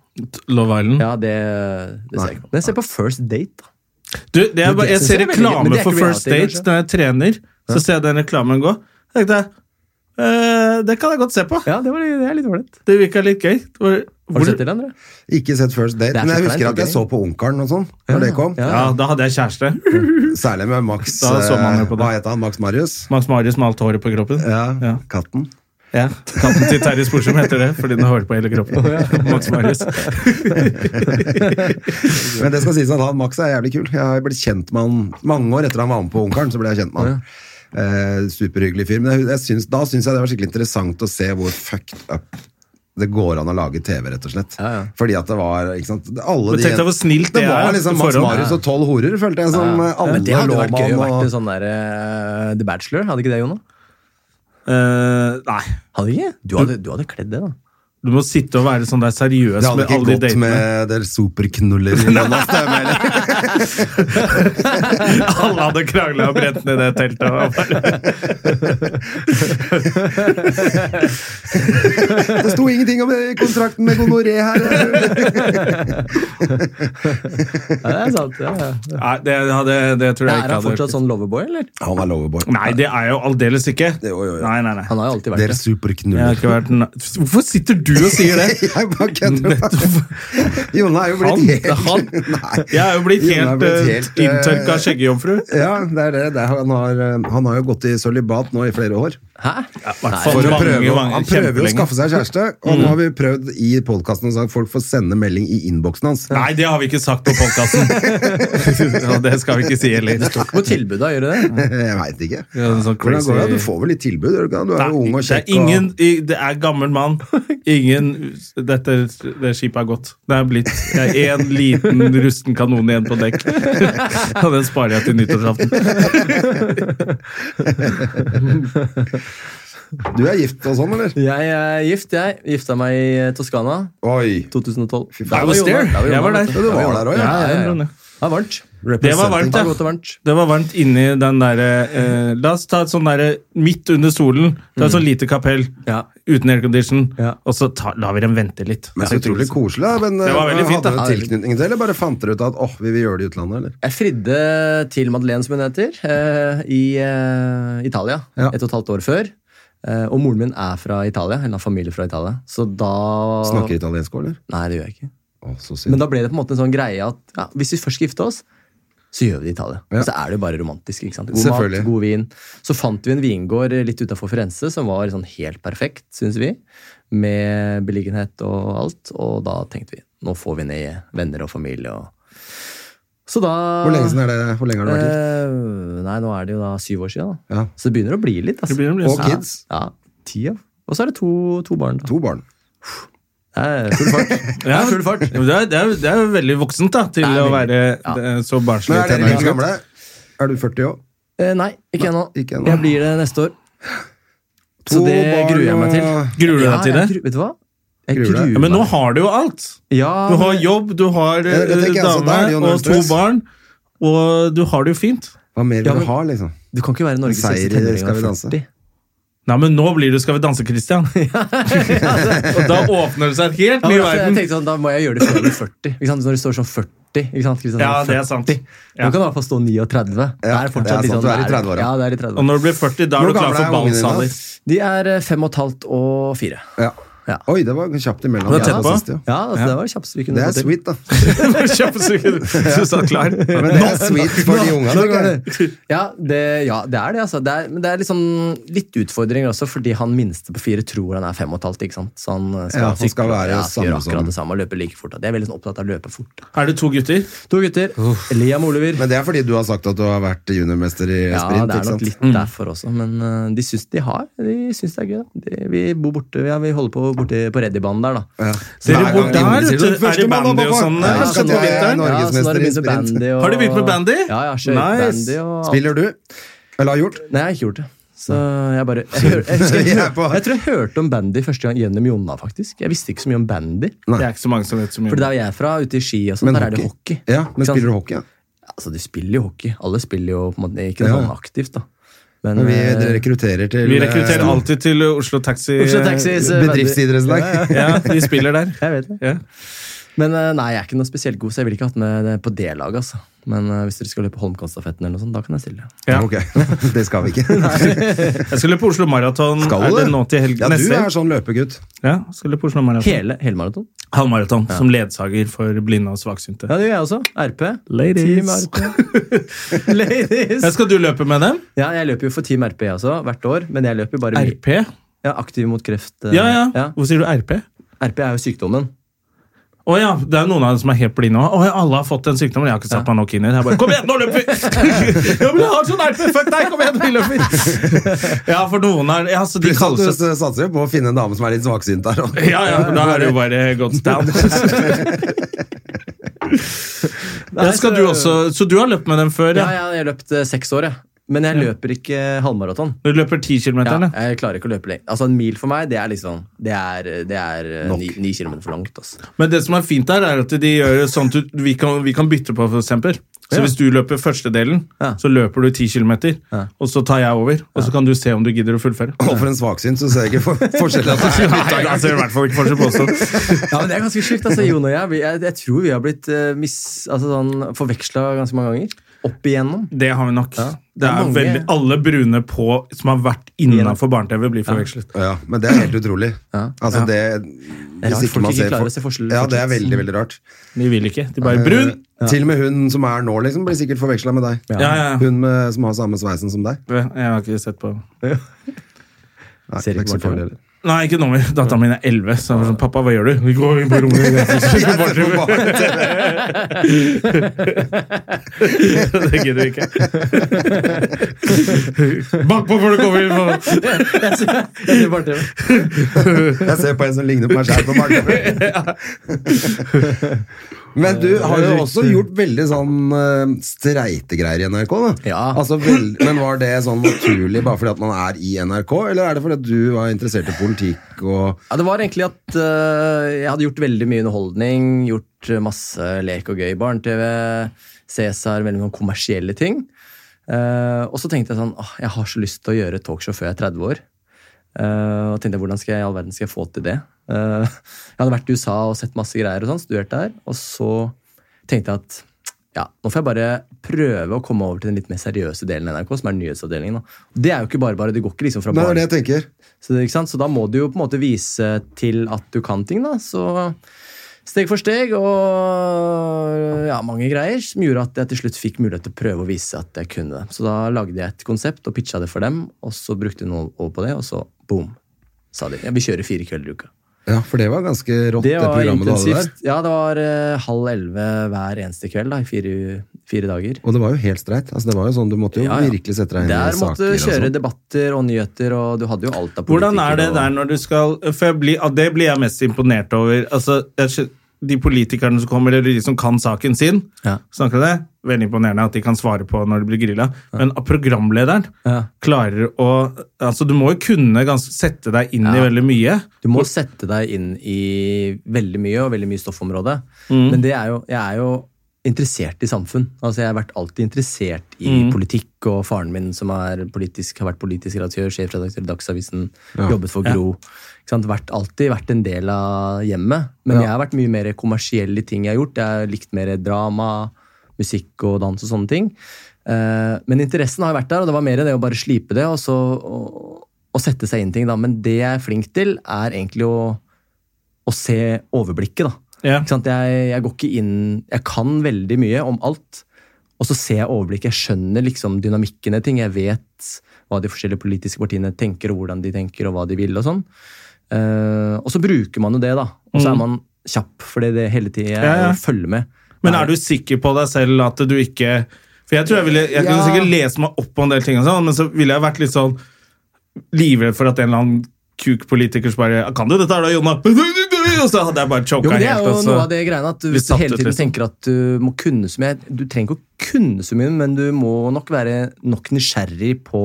Speaker 1: Love Island.
Speaker 3: Ja, det, det ser jeg ikke på. Men jeg ser på First Date, da.
Speaker 1: Du, det er, bare- jeg ser
Speaker 3: Det er veldig gøy, men
Speaker 1: reklame
Speaker 3: det er
Speaker 1: for
Speaker 3: ikke
Speaker 1: First Date
Speaker 3: reality, kanskje?
Speaker 1: når jeg trener. Så ser jeg den reklamen gå. Så tenkte jeg eh, det kan jeg godt se på.
Speaker 3: Ja, det, var, det er litt ålreit.
Speaker 1: Det virka litt gøy. Det var-
Speaker 3: Har
Speaker 1: hvor-
Speaker 3: du sett det, André?
Speaker 2: Ikke sett First Date,
Speaker 3: Det er
Speaker 2: men jeg
Speaker 3: så
Speaker 2: husker
Speaker 3: kleint,
Speaker 2: at jeg
Speaker 3: ok.
Speaker 2: så på Ungkaren og sånn når det kom.
Speaker 3: Ja.
Speaker 1: Ja, da hadde jeg kjæreste.
Speaker 2: Særlig med Max
Speaker 1: Da så man jo på
Speaker 2: eh,
Speaker 1: det.
Speaker 2: Hva het han? Max Marius?
Speaker 1: Max Marius med alt håret på kroppen.
Speaker 2: Ja,
Speaker 1: Ja.
Speaker 2: Katten.
Speaker 1: Ja, Katten til Terje Sporsem heter det, fordi den har hår på hele kroppen. Max Marius.
Speaker 2: Men det skal sies at han Max er jævlig kul. Jeg har blitt kjent med han mange år etter han var med på Ungkaren. Så ble jeg kjent med han. Eh, superhyggelig fyr. Men jeg, jeg syns, da syns jeg det var skikkelig interessant å se hvor fucked up det går an å lage TV, rett og slett.
Speaker 3: Ja, ja.
Speaker 2: Fordi at det var ikke sant? Alle
Speaker 1: Men tenk deg hvor snilt
Speaker 2: det
Speaker 1: det
Speaker 2: var
Speaker 1: er,
Speaker 2: liksom Max
Speaker 1: forhold.
Speaker 2: Marius og tolv horer, følte jeg, som eh, alle
Speaker 3: Men det hadde
Speaker 2: lå
Speaker 3: jo vært
Speaker 2: med
Speaker 3: gøy å vært en
Speaker 2: han. Og,
Speaker 3: sånn der eh, The Bachelor, hadde ikke det, Jonah?
Speaker 1: Eh, nei.
Speaker 3: Hadde ikke? Du hadde, du hadde kledd det, da.
Speaker 1: Du må sitte og være sånn der seriøs
Speaker 2: det hadde
Speaker 1: med
Speaker 2: ikke
Speaker 1: alle de
Speaker 2: gått
Speaker 1: datene.
Speaker 2: med der superknuller i denne stemmen, eller?
Speaker 1: Alle hadde krangla og brent ned det teltet. Og bare,
Speaker 2: Det sto ingenting om det i kontrakten med gonoré her.
Speaker 3: Ja, det er sant. Ja, ja.
Speaker 1: nei, det, hadde, det tror jeg
Speaker 3: Er
Speaker 1: ikke
Speaker 3: han fortsatt
Speaker 1: hadde
Speaker 3: sånn loverboy, eller?
Speaker 2: Han var loverboy.
Speaker 1: Nei, det er jeg jo aldeles ikke.
Speaker 2: Jo, jo, jo.
Speaker 1: Nei, nei, nei.
Speaker 3: Han har jo alltid vært
Speaker 2: Dere
Speaker 3: det.
Speaker 1: Jeg har
Speaker 2: superknuller.
Speaker 1: ikke vært na- Hvorfor sitter du og sier det?
Speaker 2: Jeg bare kødder. Jonna er jo blitt
Speaker 1: Han,
Speaker 2: helt
Speaker 1: han.
Speaker 2: Nei.
Speaker 1: Jeg er jo blitt
Speaker 2: Jonna er
Speaker 1: helt,
Speaker 2: blitt
Speaker 1: eh,
Speaker 2: helt, eh,
Speaker 1: inntørka skjeggejobbfru.
Speaker 2: Ja, det er det. det er, han, har, eh, han har jo gått i sølibat nå i flere år.
Speaker 3: Hæ? Nei,
Speaker 1: For
Speaker 2: For å
Speaker 1: mange,
Speaker 2: prøve, å-
Speaker 1: mange-
Speaker 2: han prøver jo å
Speaker 1: kjempelenge. Mm.
Speaker 2: skaffe seg kjæreste, og nå har vi prøvd i podkasten at folk får sende melding i innboksen hans.
Speaker 1: Nei, det har vi ikke sagt på podkasten. Og det skal vi ikke si heller.
Speaker 3: det står ikke på tilbudet, gjør det det?
Speaker 2: Jeg veit ikke.
Speaker 1: Ja, det er sånn
Speaker 2: Hvordan går det?
Speaker 1: crazy-
Speaker 2: Du får vel litt tilbud? gjør Du ikke? Du er jo
Speaker 1: Nei,
Speaker 2: ung og
Speaker 1: det er
Speaker 2: kjekk.
Speaker 1: ingen i- Det er gammel mann. Ingen Dette det skipet er gått. Det er blitt det er en liten rusten kanon igjen på dekk. Og den sparer jeg til nyttårsaften.
Speaker 2: Og, du er gift og sånn, eller?
Speaker 3: Jeg er gift, jeg. Gifta meg i eh, Toskana
Speaker 2: Oi.
Speaker 3: 2012.
Speaker 2: Fy faen. I
Speaker 3: Der var
Speaker 2: was
Speaker 3: Jonah,
Speaker 1: there.
Speaker 3: der var
Speaker 1: Jeg
Speaker 3: Jonah,
Speaker 1: var der.
Speaker 3: vet
Speaker 2: Ja, du var der også, ja.
Speaker 3: Ja, ja, ja.
Speaker 1: Det
Speaker 3: Det var
Speaker 1: var varmt,
Speaker 3: varmt. Det
Speaker 1: ja.
Speaker 3: var godt og varmt.
Speaker 1: Det var varmt inni den derre eh, La oss ta et sånn derre midt under solen. Det er så lite kapell
Speaker 3: Mm. Ja.
Speaker 1: uten aircondition.
Speaker 3: Ja.
Speaker 1: Og så ta, lar vi dem vente litt.
Speaker 2: Men så utrolig koselig, da. Men
Speaker 1: Det var
Speaker 2: eh,
Speaker 1: veldig fint,
Speaker 2: hadde
Speaker 1: da.
Speaker 2: du tilknytning til det, eller bare fant dere ut at åh, vi vil gjøre det i utlandet, eller?
Speaker 3: Jeg fridde til Madeleine, som hun heter, eh, i eh, Italia
Speaker 2: Ja.
Speaker 3: et og et halvt år før. Eh, Og moren min er fra Italia, eller har familie fra Italia. Så da
Speaker 2: Snakker italiensk òg, eller?
Speaker 3: Nei, det gjør jeg ikke.
Speaker 2: Å, så
Speaker 3: Men
Speaker 2: synd.
Speaker 3: da ble det på en måte en sånn greie at ja, hvis vi først skal gifte oss, så gjør vi det i Italia.
Speaker 2: Ja.
Speaker 3: Og så er det jo bare romantisk. ikke sant? God mat,
Speaker 2: Selvfølgelig.
Speaker 3: god vin. Så fant vi en vingård eh, litt utafor Firenze som var sånn helt perfekt, syns vi. Med beliggenhet og alt. Og da tenkte vi nå får vi ned venner og familie. og... Så da
Speaker 2: Hvor lenge, siden er det, hvor lenge har du vært gift?
Speaker 3: Eh, nei, nå er det jo da syv år siden. Da.
Speaker 2: Ja.
Speaker 3: Så det begynner å bli litt. Altså.
Speaker 1: Det begynner å bli sånn.
Speaker 2: Og
Speaker 3: ja,
Speaker 2: kids?
Speaker 3: Ja, ti, ja. Og så er det to, to barn. Da.
Speaker 2: To barn.
Speaker 3: Det er full fart.
Speaker 1: Ja,
Speaker 3: full fart.
Speaker 1: men det, er, det, er, det er jo veldig voksent da, til
Speaker 3: Det er
Speaker 1: å
Speaker 3: veldig-
Speaker 1: være eh, så barnslig.
Speaker 2: Men er dere
Speaker 1: tenåring.
Speaker 2: like gamle? Er du 40 òg?
Speaker 3: Eh, nei, ikke ennå.
Speaker 2: ikke ennå.
Speaker 3: Jeg blir det neste år. Så det gruer jeg meg til.
Speaker 1: Gruer du deg til
Speaker 3: Ja, jeg
Speaker 1: det?
Speaker 3: gru- Vet du hva? Jeg
Speaker 2: Gruer
Speaker 3: gruer
Speaker 2: deg?
Speaker 3: meg.
Speaker 1: Ja, men nå har du jo alt.
Speaker 3: ja,
Speaker 1: Du har jobb, du har
Speaker 2: Ja, det tenker
Speaker 1: eh,
Speaker 2: jeg også. Da
Speaker 1: dame
Speaker 2: er det jo null
Speaker 1: og to
Speaker 2: stress.
Speaker 1: barn. Og du har det jo fint.
Speaker 2: Hva mer vil
Speaker 3: Ja, men-
Speaker 2: du ha, liksom?
Speaker 3: Du kan ikke være Norges
Speaker 2: Seier i
Speaker 3: beste tenåring
Speaker 2: Skal vi
Speaker 3: av
Speaker 2: danse.
Speaker 3: 40.
Speaker 1: Nei, men nå blir du Skal vi danse, Christian. altså. og da åpner det seg en helt
Speaker 3: Ja,
Speaker 1: ny
Speaker 3: men altså, jeg
Speaker 1: verden.
Speaker 3: tenkte sånn, Da må jeg gjøre det før jeg blir 40. Ikke sant? Når det står sånn 40 ikke sant? Kristian,
Speaker 1: Ja,
Speaker 3: sånn
Speaker 1: det er sant.
Speaker 3: 40.
Speaker 1: Ja.
Speaker 3: Nå kan du i hvert fall stå 39. Det
Speaker 2: Ja,
Speaker 3: er
Speaker 2: det er
Speaker 3: fortsatt
Speaker 2: sant,
Speaker 3: litt sånn
Speaker 2: du er i 30-åra.
Speaker 3: Ja, det er i
Speaker 1: Og
Speaker 3: 30
Speaker 1: når du blir 40, da er
Speaker 2: Hvor
Speaker 1: du klar
Speaker 2: gamle er
Speaker 1: for
Speaker 2: ungene dine, da?
Speaker 1: ballsaler.
Speaker 3: De er eh, fem og et halvt og fire.
Speaker 2: Ja.
Speaker 3: Ja.
Speaker 2: Oi, det var kjapt imellom.
Speaker 1: Det er tett
Speaker 2: Ja,
Speaker 1: på.
Speaker 2: siste, ja.
Speaker 3: Ja, altså, Det var det kjappeste vi kunne
Speaker 2: Det er
Speaker 3: få til.
Speaker 2: sweet, da.
Speaker 1: Kjempesukker. Du satt klar.
Speaker 2: Men det er sweet for de unga.
Speaker 3: Nå
Speaker 2: tenker jeg.
Speaker 3: går det. Ja, det, ja, det er det, altså. Det er, men det er liksom litt utfordringer også, fordi han minste på fire tror han er fem og et halvt. ikke sant? Så han eh, skal,
Speaker 2: Ja, han skal
Speaker 3: sykle,
Speaker 2: være
Speaker 3: ja,
Speaker 2: samme
Speaker 3: gjøre
Speaker 2: som-
Speaker 3: akkurat det samme og løpe like fort. da. Jeg er veldig sånn opptatt av å løpe fort.
Speaker 1: Er det to gutter?
Speaker 3: To gutter. Liam Oliver.
Speaker 2: Men det er fordi du har sagt at du har vært juniormester i
Speaker 3: Ja,
Speaker 2: sprint,
Speaker 3: det er
Speaker 2: ikke
Speaker 3: nok
Speaker 2: sant?
Speaker 3: litt derfor også, men eh, de syns de har. De syns det er gøy. da. De, vi bor borte, ja, vi holder på borte på Reddybanen der, da.
Speaker 2: Ja.
Speaker 1: Dere
Speaker 2: Hver
Speaker 1: bor
Speaker 2: gang
Speaker 1: der,
Speaker 2: ingen sier
Speaker 1: vet du.
Speaker 2: det, første
Speaker 1: Er det
Speaker 2: mann
Speaker 1: bandy
Speaker 2: opp,
Speaker 1: og sånn,
Speaker 2: Ja,
Speaker 1: eller?
Speaker 2: så
Speaker 1: Sånn
Speaker 2: jeg er
Speaker 1: på vinteren?
Speaker 3: Ja, så nå har
Speaker 2: Norgesmester
Speaker 3: de
Speaker 2: i
Speaker 3: begynt med
Speaker 2: sprint.
Speaker 3: bandy og-
Speaker 1: Har de begynt med bandy?
Speaker 3: Ja, ja,
Speaker 1: Nice.
Speaker 3: skøytebandy og alt.
Speaker 2: Spiller du? Eller har gjort?
Speaker 3: Nei, jeg har ikke gjort det. Så jeg bare jeg, hører- jeg, husker, jeg,
Speaker 2: Jeg er på-
Speaker 3: jeg tror jeg hørte om bandy første gang gjennom Jonna, faktisk. Jeg visste ikke så mye om bandy.
Speaker 1: Det er ikke så mange som vet så mye.
Speaker 3: For der jeg er fra, ute i Ski og sånn,
Speaker 2: Men
Speaker 3: der er det hockey.
Speaker 2: Ja, men
Speaker 3: Ikke sant?
Speaker 2: spiller du hockey? Ja?
Speaker 3: Altså, de spiller jo hockey. Alle spiller jo på en måte ikke
Speaker 2: Ja.
Speaker 3: sånn aktivt, da. Men,
Speaker 2: Men vi
Speaker 3: eh,
Speaker 2: dere rekrutterer til
Speaker 1: Vi rekrutterer
Speaker 2: eh,
Speaker 1: alltid til Oslo Taxi.
Speaker 3: Oslo Taxis, eh,
Speaker 2: bedriftsidrettslag.
Speaker 3: bandy. Ja, ja.
Speaker 1: Ja, de spiller der.
Speaker 3: Jeg vet det.
Speaker 1: Ja.
Speaker 3: Men eh, nei, jeg er ikke noe spesielt god, så jeg ville ikke hatt med det på det laget, altså. Men eh, hvis dere skal løpe Holmkollstafetten, eller noe sånt, da kan jeg stille.
Speaker 1: Ja.
Speaker 2: Ok, det skal vi ikke. Nei.
Speaker 1: Jeg skal løpe Oslo Maraton
Speaker 2: Skal
Speaker 1: er
Speaker 2: du
Speaker 1: det
Speaker 2: det?
Speaker 1: nå til helgen.
Speaker 2: Ja, du
Speaker 1: Neste
Speaker 2: er
Speaker 1: helg.
Speaker 2: sånn løpegutt.
Speaker 1: Ja, skal løpe Oslo Maraton.
Speaker 3: Hele, hele maraton?
Speaker 1: Halvmaraton, som ledsager for blinde og svaksynte.
Speaker 3: Ja, det gjør jeg også. RP.
Speaker 1: Ladies.
Speaker 3: Team RP. Ladies.
Speaker 1: Ja, skal du løpe med dem?
Speaker 3: Ja, jeg løper jo for Team RP jeg også, hvert år. Men jeg løper jo bare mye.
Speaker 1: RP?
Speaker 3: Ja, aktiv mot kreft. eh,
Speaker 1: Ja, ja. Hvorfor sier du RP?
Speaker 3: RP er jo sykdommen.
Speaker 1: Å ja, det er noen av dem som er helt blinde òg. Ja, alle har fått den sykdommen. Jeg har ikke satt meg nok inn i det. Jeg bare, Kom igjen, nå løper vi! ja, men jeg har sånn RP! Fuck deg, kom igjen, vi løper! ja, for noen er ja, så de
Speaker 2: Pluss at du
Speaker 1: kaller seg
Speaker 2: s- satser jo på å finne en dame som er litt svaksynt der. og-
Speaker 1: Ja, ja, da er det jo bare gått down. ja, skal du også, så du har løpt med dem før?
Speaker 3: Ja,
Speaker 1: Ja.
Speaker 3: ja, jeg har løpt eh, seks år, jeg. Men jeg løper ikke eh, halvmaraton.
Speaker 1: Du løper 10 km,
Speaker 3: Ja,
Speaker 1: eller?
Speaker 3: jeg klarer ikke å løpe lenger. Altså, en mil for meg, det er liksom Det er, det er eh,
Speaker 2: Nok.
Speaker 3: ni, ni kilometer for langt. Altså.
Speaker 1: Men det som er fint der, er at de gjør jo sånn at du- vi kan, vi kan bytte på, for eksempel. Så
Speaker 3: Ja.
Speaker 1: hvis du løper første delen,
Speaker 3: Ja.
Speaker 1: så løper du 10 km,
Speaker 3: Ja.
Speaker 1: og så tar jeg over. Og så kan du se om du gidder å fullføre.
Speaker 2: Og for en svaksynt, så ser jeg ikke for forskjell. At det er
Speaker 1: Nei,
Speaker 2: litt av
Speaker 1: altså, i hvert fall ikke forskjell på oss.
Speaker 3: Ja, men Det er ganske sjukt. Altså, Jon og jeg, vi, jeg, jeg tror vi har blitt uh, mis, altså, sånn, forveksla ganske mange ganger. Opp igjennom.
Speaker 1: Det har vi nok. Det
Speaker 3: Det er
Speaker 1: er
Speaker 3: mange.
Speaker 1: veldig, alle brune på som har vært innenfor barne-TV, blir forvekslet.
Speaker 2: Ja, men det er helt utrolig.
Speaker 3: Ja.
Speaker 2: Altså, det,
Speaker 3: Det er rart
Speaker 2: hvis
Speaker 3: folk
Speaker 2: man
Speaker 3: ikke
Speaker 2: ser
Speaker 3: klarer
Speaker 2: for-
Speaker 3: å se forskjell-
Speaker 2: Ja, det er veldig, veldig rart.
Speaker 1: De vil ikke. De bare Brun!
Speaker 2: Eh, Til og med hun som er nå, liksom, blir sikkert forveksla med deg.
Speaker 1: Ja, ja, ja.
Speaker 2: Hun med, som har samme sveisen som deg.
Speaker 1: Jeg har ikke sett på
Speaker 2: Nei,
Speaker 3: Ser
Speaker 2: det er ikke
Speaker 3: ikke
Speaker 2: så
Speaker 3: barne-tv.
Speaker 2: farlig.
Speaker 1: Nei, ikke nå mer. Datteren min er 11. Så jeg var sånn, pappa, hva gjør du? Vi altså. går inn på rommet. og ser på
Speaker 2: Jeg ser
Speaker 1: barne-TV.»
Speaker 2: på barne-tv.
Speaker 1: det gidder vi ikke. Bank på før du kommer inn!
Speaker 3: Jeg tror bare det.
Speaker 2: Jeg ser på en som ligner på meg selv på barne-tv. Men du har
Speaker 3: Eh,
Speaker 2: jo også gjort veldig sånn eh, streite greier i NRK. da
Speaker 3: Ja.
Speaker 2: altså, vel, Men var det sånn naturlig bare fordi at man er i NRK, eller er det fordi at du var interessert i politikk og
Speaker 3: Ja, det var egentlig at øh, jeg hadde gjort veldig mye underholdning. Gjort øh, masse lek og gøy. Barne-TV, Cæsar, veldig mye kommersielle ting. Eh, og så tenkte jeg sånn åh, jeg har så lyst til å gjøre talkshow før jeg er 30 år. Eh, og tenkte jeg, hvordan skal jeg i all verden skal jeg få til det? Eh, jeg hadde vært i USA og sett masse greier og sånn, studert der. Og så tenkte jeg at ja, nå får jeg bare prøve å komme over til den litt mer seriøse delen av NRK, som er nyhetsavdelingen. Da. Og Det er jo ikke bare bare, det går ikke liksom fra
Speaker 2: Nei, det
Speaker 3: barne-
Speaker 2: er det jeg tenker.
Speaker 3: så, det- ikke sant? så da må du jo på en måte vise til at du kan ting, da. Så steg for steg og ja, mange greier som gjorde at jeg til slutt fikk mulighet til å prøve å vise at jeg kunne det. Så da lagde jeg et konsept og pitcha det for dem, og så brukte de noe over på det, og så boom, sa de. Ja, vi kjører fire kvelder i uka.
Speaker 2: Ja, for det var ganske rått, det,
Speaker 3: Det var
Speaker 2: programmet du hadde der.
Speaker 3: intensivt. Ja, det var eh, halv elleve hver eneste kveld da, i fire, fire dager.
Speaker 2: Og det var jo helt streit. Altså, det var jo sånn, Du måtte jo
Speaker 3: Ja, ja.
Speaker 2: virkelig sette deg inn
Speaker 3: Der
Speaker 2: i
Speaker 3: måtte
Speaker 2: saker.
Speaker 3: du kjøre
Speaker 2: og sånn.
Speaker 3: debatter og nyheter, og du hadde jo alt av
Speaker 1: Hvordan er det
Speaker 3: og-
Speaker 1: der når du skal For jeg blir, ja, det blir jeg mest imponert over. Altså, jeg, skjø- de politikerne som kommer, eller de som kan saken sin,
Speaker 3: Ja.
Speaker 1: snakker det. Veldig imponerende at de kan svare på når de blir grilla. Men at programlederen
Speaker 3: Ja.
Speaker 1: klarer å Altså, du må jo kunne ganske sette deg inn i
Speaker 3: Ja.
Speaker 1: veldig mye.
Speaker 3: Du må sette deg inn i veldig mye og veldig mye stoffområde. Men det er jo, jeg er jo interessert i samfunn. Altså Jeg har vært alltid interessert i politikk, og faren min som er politisk, har vært politisk redaktør, sjefredaktør i Dagsavisen, jobbet for Gro. Ikke sant? Vært, alltid vært en del av hjemmet. Men jeg har vært mye mer kommersiell i ting jeg har gjort. Jeg har likt mer drama, musikk og dans og sånne ting. Eh, Men interessen har jo vært der, og det var mer det å bare slipe det og så og, og sette seg inn i ting. Da. Men det jeg er flink til, er egentlig å, å se overblikket. Da.
Speaker 1: Ja.
Speaker 3: Ikke sant? Jeg, jeg går ikke inn Jeg kan veldig mye om alt, og så ser jeg overblikket. Jeg skjønner liksom dynamikken i ting. Jeg vet hva de forskjellige politiske partiene tenker, og hvordan de tenker, og hva de vil. og sånn. Eh, og så bruker man jo det, da. Og så er man kjapp, fordi det hele tida
Speaker 1: Mm. Ja, ja.
Speaker 3: følger med.
Speaker 1: Men er du sikker på deg selv at du ikke For jeg tror jeg ville Jeg kunne
Speaker 3: Ja.
Speaker 1: sikkert lese meg opp på en del ting, og sånn, men så ville jeg vært litt sånn livredd for at en eller annen kuk-politiker som bare Kan du dette her da, Jonna? Og så hadde jeg bare
Speaker 3: Jo,
Speaker 1: choka
Speaker 3: men Det er
Speaker 1: helt. altså.
Speaker 3: jo
Speaker 1: og så-
Speaker 3: noe av det greiene at
Speaker 1: blir
Speaker 3: hvis du
Speaker 1: satt
Speaker 3: hele
Speaker 1: ut,
Speaker 3: tiden
Speaker 1: liksom.
Speaker 3: tenker at du må kunne så mye Du trenger ikke å kunne så mye, men du må nok være nok nysgjerrig på,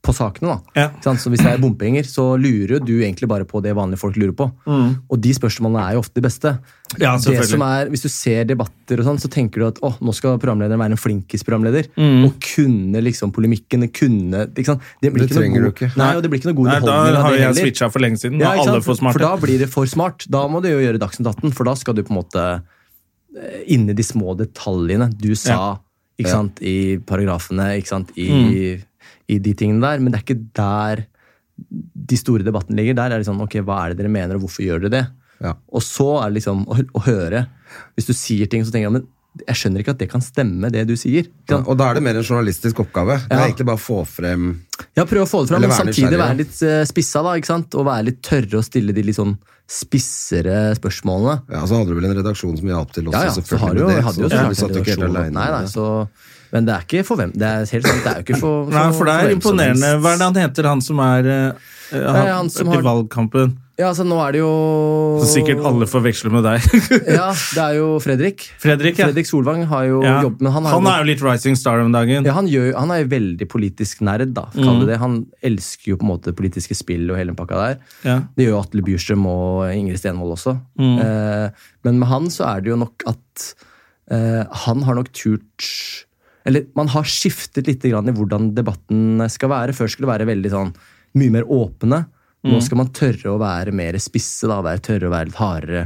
Speaker 3: på sakene. da.
Speaker 1: Ja.
Speaker 3: Ikke sant? Så Hvis det er bompenger, så lurer jo du egentlig bare på det vanlige folk lurer på. Og de spørsmålene er jo ofte de beste.
Speaker 1: Mm. Ja,
Speaker 3: det som
Speaker 1: selvfølgelig.
Speaker 3: er, Hvis du ser debatter, og sånn, så tenker du at å, nå skal programlederen være en flinkis programleder.
Speaker 1: Mm.
Speaker 3: Og kunne liksom polemikken, kunne ikke sant? Det, blir
Speaker 2: Det
Speaker 3: ikke noe
Speaker 2: trenger du
Speaker 3: god-
Speaker 2: ikke.
Speaker 3: Nei, og det blir ikke noe god
Speaker 1: Nei,
Speaker 3: underholdning
Speaker 1: da
Speaker 3: av
Speaker 1: har
Speaker 3: det
Speaker 1: jeg
Speaker 3: heller.
Speaker 1: switcha for lenge siden.
Speaker 3: Ja,
Speaker 1: Da er
Speaker 3: ikke
Speaker 1: alle
Speaker 3: sant?
Speaker 1: for smarte.
Speaker 3: For da blir det for smart. Da må du jo gjøre Dagsnytt 18, for da skal du på en måte eh, inni de små detaljene du sa ikke
Speaker 2: Ja. Mm.
Speaker 3: sant, i paragrafene, ikke sant, i, i de tingene der. Men det er ikke der de store debattene ligger. Der er det sånn, ok, hva er det dere mener, og hvorfor gjør dere det?
Speaker 2: Ja.
Speaker 3: Og så er det liksom å, hø- å høre. Hvis du sier ting, så tenker jeg, men jeg skjønner ikke at det kan stemme, det du sier. Ikke sant?
Speaker 2: Og da er det mer en journalistisk oppgave. Det er
Speaker 3: Ja.
Speaker 2: egentlig bare å få frem
Speaker 3: Ja, prøve å få det fram,
Speaker 2: Eller
Speaker 3: men
Speaker 2: være
Speaker 3: samtidig
Speaker 2: nysgjerrig,
Speaker 3: være litt eh, spissa. da, ikke sant? Og være litt tørre å stille de litt sånn spissere spørsmålene.
Speaker 2: Ja, så hadde du vel en redaksjon som hjalp til også,
Speaker 3: Ja, ja, så
Speaker 2: selvfølgelig.
Speaker 3: har du jo,
Speaker 2: med det,
Speaker 3: jeg hadde jo
Speaker 2: så du
Speaker 3: selvfølgelig
Speaker 2: satt jo ikke helt
Speaker 3: redaksjon.
Speaker 2: alene
Speaker 3: Nei,
Speaker 2: med
Speaker 3: nei,
Speaker 2: det.
Speaker 3: så, men det er ikke for hvem. Det er helt sant, det er jo ikke for, for
Speaker 1: Nei, for det er
Speaker 3: hvem som
Speaker 1: imponerende.
Speaker 3: helst.
Speaker 1: Hva er det han heter, han som er eh, han,
Speaker 3: han som
Speaker 1: i
Speaker 3: har-
Speaker 1: valgkampen?
Speaker 3: Ja, altså nå er det jo
Speaker 1: Så sikkert alle forveksler med deg.
Speaker 3: Ja, det er jo Fredrik.
Speaker 1: Fredrik, ja.
Speaker 3: Fredrik Solvang har jo
Speaker 1: ja.
Speaker 3: jobb, men han, har
Speaker 1: han
Speaker 3: jo-
Speaker 1: er jo litt rising star om dagen.
Speaker 3: ja, han, gjør, han er jo veldig politisk nerd, da. kall det det. Han elsker jo på en måte politiske spill og hele den pakka der.
Speaker 1: Ja.
Speaker 3: Det gjør jo Atle Bjurstrøm og Ingrid Stenvold også. Eh, men med han så er det jo nok at eh, han har nok turt Eller man har skiftet litt grann i hvordan debatten skal være. Før skulle det være veldig sånn mye mer åpne. Nå skal man tørre å være mer spisse, da, være tørre å være litt hardere.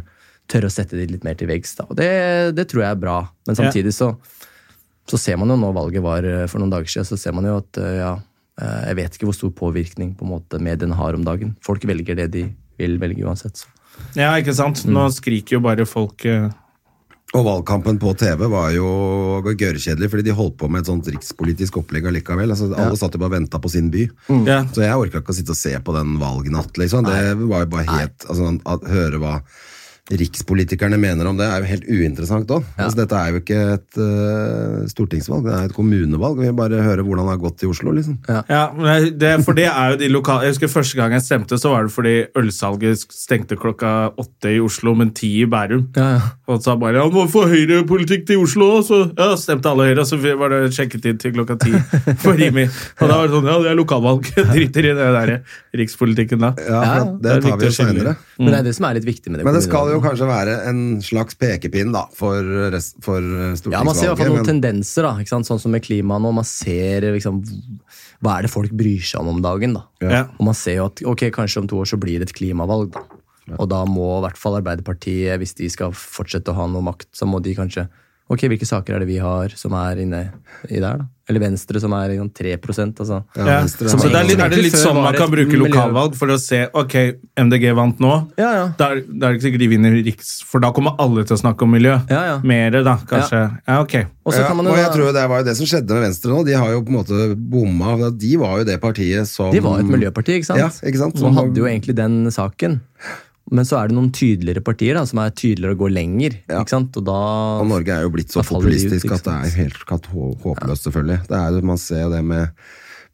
Speaker 3: Tørre å sette de litt mer til veggs. da. Og det, det tror jeg er bra. Men samtidig så, så ser man jo nå valget var eh, for noen dager siden, så ser man jo at eh, ja, eh, jeg vet ikke hvor stor påvirkning på en måte mediene har om dagen. Folk velger det de vil velge uansett. Så.
Speaker 1: Ja, ikke sant?
Speaker 3: Mm.
Speaker 1: Nå skriker jo bare folk eh,
Speaker 2: Og valgkampen på TV var jo gørrkjedelig, fordi de holdt på med et sånt rikspolitisk opplegg allikevel. Altså, alle satt jo bare og venta på sin by.
Speaker 1: Mm. ja.
Speaker 2: Så jeg orka ikke å sitte og se på den valgnatt, liksom. Det var jo bare helt altså, Å høre hva rikspolitikerne mener om det, er jo helt uinteressant òg. Altså, dette er jo ikke et eh, stortingsvalg, det er et kommunevalg. Vi vil bare høre hvordan det har gått i Oslo, liksom.
Speaker 1: Ja, men det, for det er jo de lokale Jeg husker første gang jeg stemte, så var det fordi ølsalget stengte klokka åtte i Oslo, men ti i Bærum. Og så bare ja, må få høyrepolitikk til Oslo òg, så ja, stemte alle Høyre. Og så var det skjenketid til klokka ti for Rimi. Og da var det sånn ja, det er lokalvalg. Driter i det der rikspolitikken da.
Speaker 2: Ja, for at det
Speaker 1: det er
Speaker 2: tar vi jo
Speaker 1: viktig å skille.
Speaker 2: seinere.
Speaker 3: Men det er det som er litt viktig med det.
Speaker 2: Mm. Men det skal jo
Speaker 3: kommunevalget.
Speaker 2: kanskje være en slags pekepinn da, for, rest, for eh, stortingsvalget.
Speaker 3: ja, Man ser i hvert fall noen
Speaker 2: men-
Speaker 3: tendenser, da, ikke sant? sånn som med klima nå. Man ser liksom, hva er det folk bryr seg om om dagen. da.
Speaker 1: Ja.
Speaker 3: Og man ser jo at ok, kanskje om to år så blir det et klimavalg. da. Og da må i hvert fall Arbeiderpartiet, hvis de skal fortsette å ha noe makt, så må de kanskje Ok, hvilke saker er det vi har som er inne i der, da? Eller Venstre, som er i sånn 3 altså.
Speaker 1: Ja.
Speaker 2: Venstre
Speaker 1: Så
Speaker 2: har-
Speaker 1: det er, litt, er det litt
Speaker 3: Før
Speaker 1: sånn
Speaker 3: var
Speaker 1: man
Speaker 3: det
Speaker 1: kan
Speaker 3: et
Speaker 1: bruke
Speaker 3: miljø-
Speaker 1: lokalvalg for å se ok, MDG vant nå.
Speaker 3: Ja, ja.
Speaker 1: Da er da er det ikke sikkert de vinner riks, for da kommer alle til å snakke om miljø.
Speaker 3: Ja, ja.
Speaker 1: Mere, da, kanskje. Ja, ok.
Speaker 3: Og så kan
Speaker 2: ja,
Speaker 3: man jo
Speaker 2: og jeg
Speaker 3: da-
Speaker 2: tror jo det var jo det som skjedde med Venstre nå. De har jo på en måte bomma. De var jo det partiet som
Speaker 3: De var jo et miljøparti, ikke sant?
Speaker 2: Ja, ikke sant?
Speaker 3: Som hadde jo egentlig den saken. Men så er det noen tydeligere partier da, som er tydeligere og går lenger.
Speaker 2: Ja.
Speaker 3: ikke sant? Og da...
Speaker 2: Og Norge er jo blitt så
Speaker 3: Da faller de ut,
Speaker 2: populistisk
Speaker 3: ikke
Speaker 2: at det er helt kat- hå- håpløst, selvfølgelig. Det er, jo- man ser jo det med,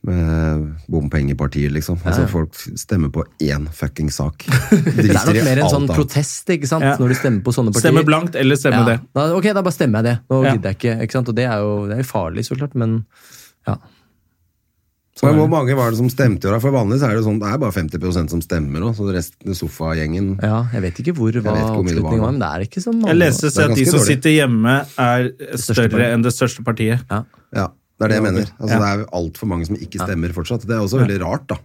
Speaker 2: med bompengepartier, liksom. Altså, Folk stemmer på én fucking sak.
Speaker 3: det er
Speaker 2: Driter
Speaker 3: nok
Speaker 2: i
Speaker 3: mer en
Speaker 2: alt
Speaker 3: sånn
Speaker 2: annet.
Speaker 3: protest ikke sant?
Speaker 1: Ja.
Speaker 3: når du stemmer på sånne partier.
Speaker 1: Stemme blankt eller stemme
Speaker 3: ja.
Speaker 1: det.
Speaker 3: Da, ok, da bare stemmer jeg det. Nå
Speaker 1: Ja.
Speaker 3: gidder jeg ikke. ikke sant? Og det er jo det er jo farlig, så klart, men ja.
Speaker 2: Men hvor mange var det som stemte i år? da? For vanlig så er det jo sånn, det er bare 50 som stemmer, og så resten av sofagjengen
Speaker 3: ja. Jeg vet ikke hvor hva
Speaker 2: vet ikke hvor mye det var,
Speaker 3: oppslutningen var,
Speaker 2: men-
Speaker 3: men det er ikke så mange.
Speaker 1: Jeg leste
Speaker 2: er
Speaker 1: at de
Speaker 2: ganske
Speaker 1: som
Speaker 2: dårlig.
Speaker 1: sitter hjemme, er større
Speaker 3: partiet.
Speaker 1: enn det største partiet.
Speaker 3: Ja.
Speaker 2: Ja, det er det jeg mener. Altså,
Speaker 1: Ja.
Speaker 2: Det er altfor mange som ikke stemmer fortsatt. Det er også veldig rart, da.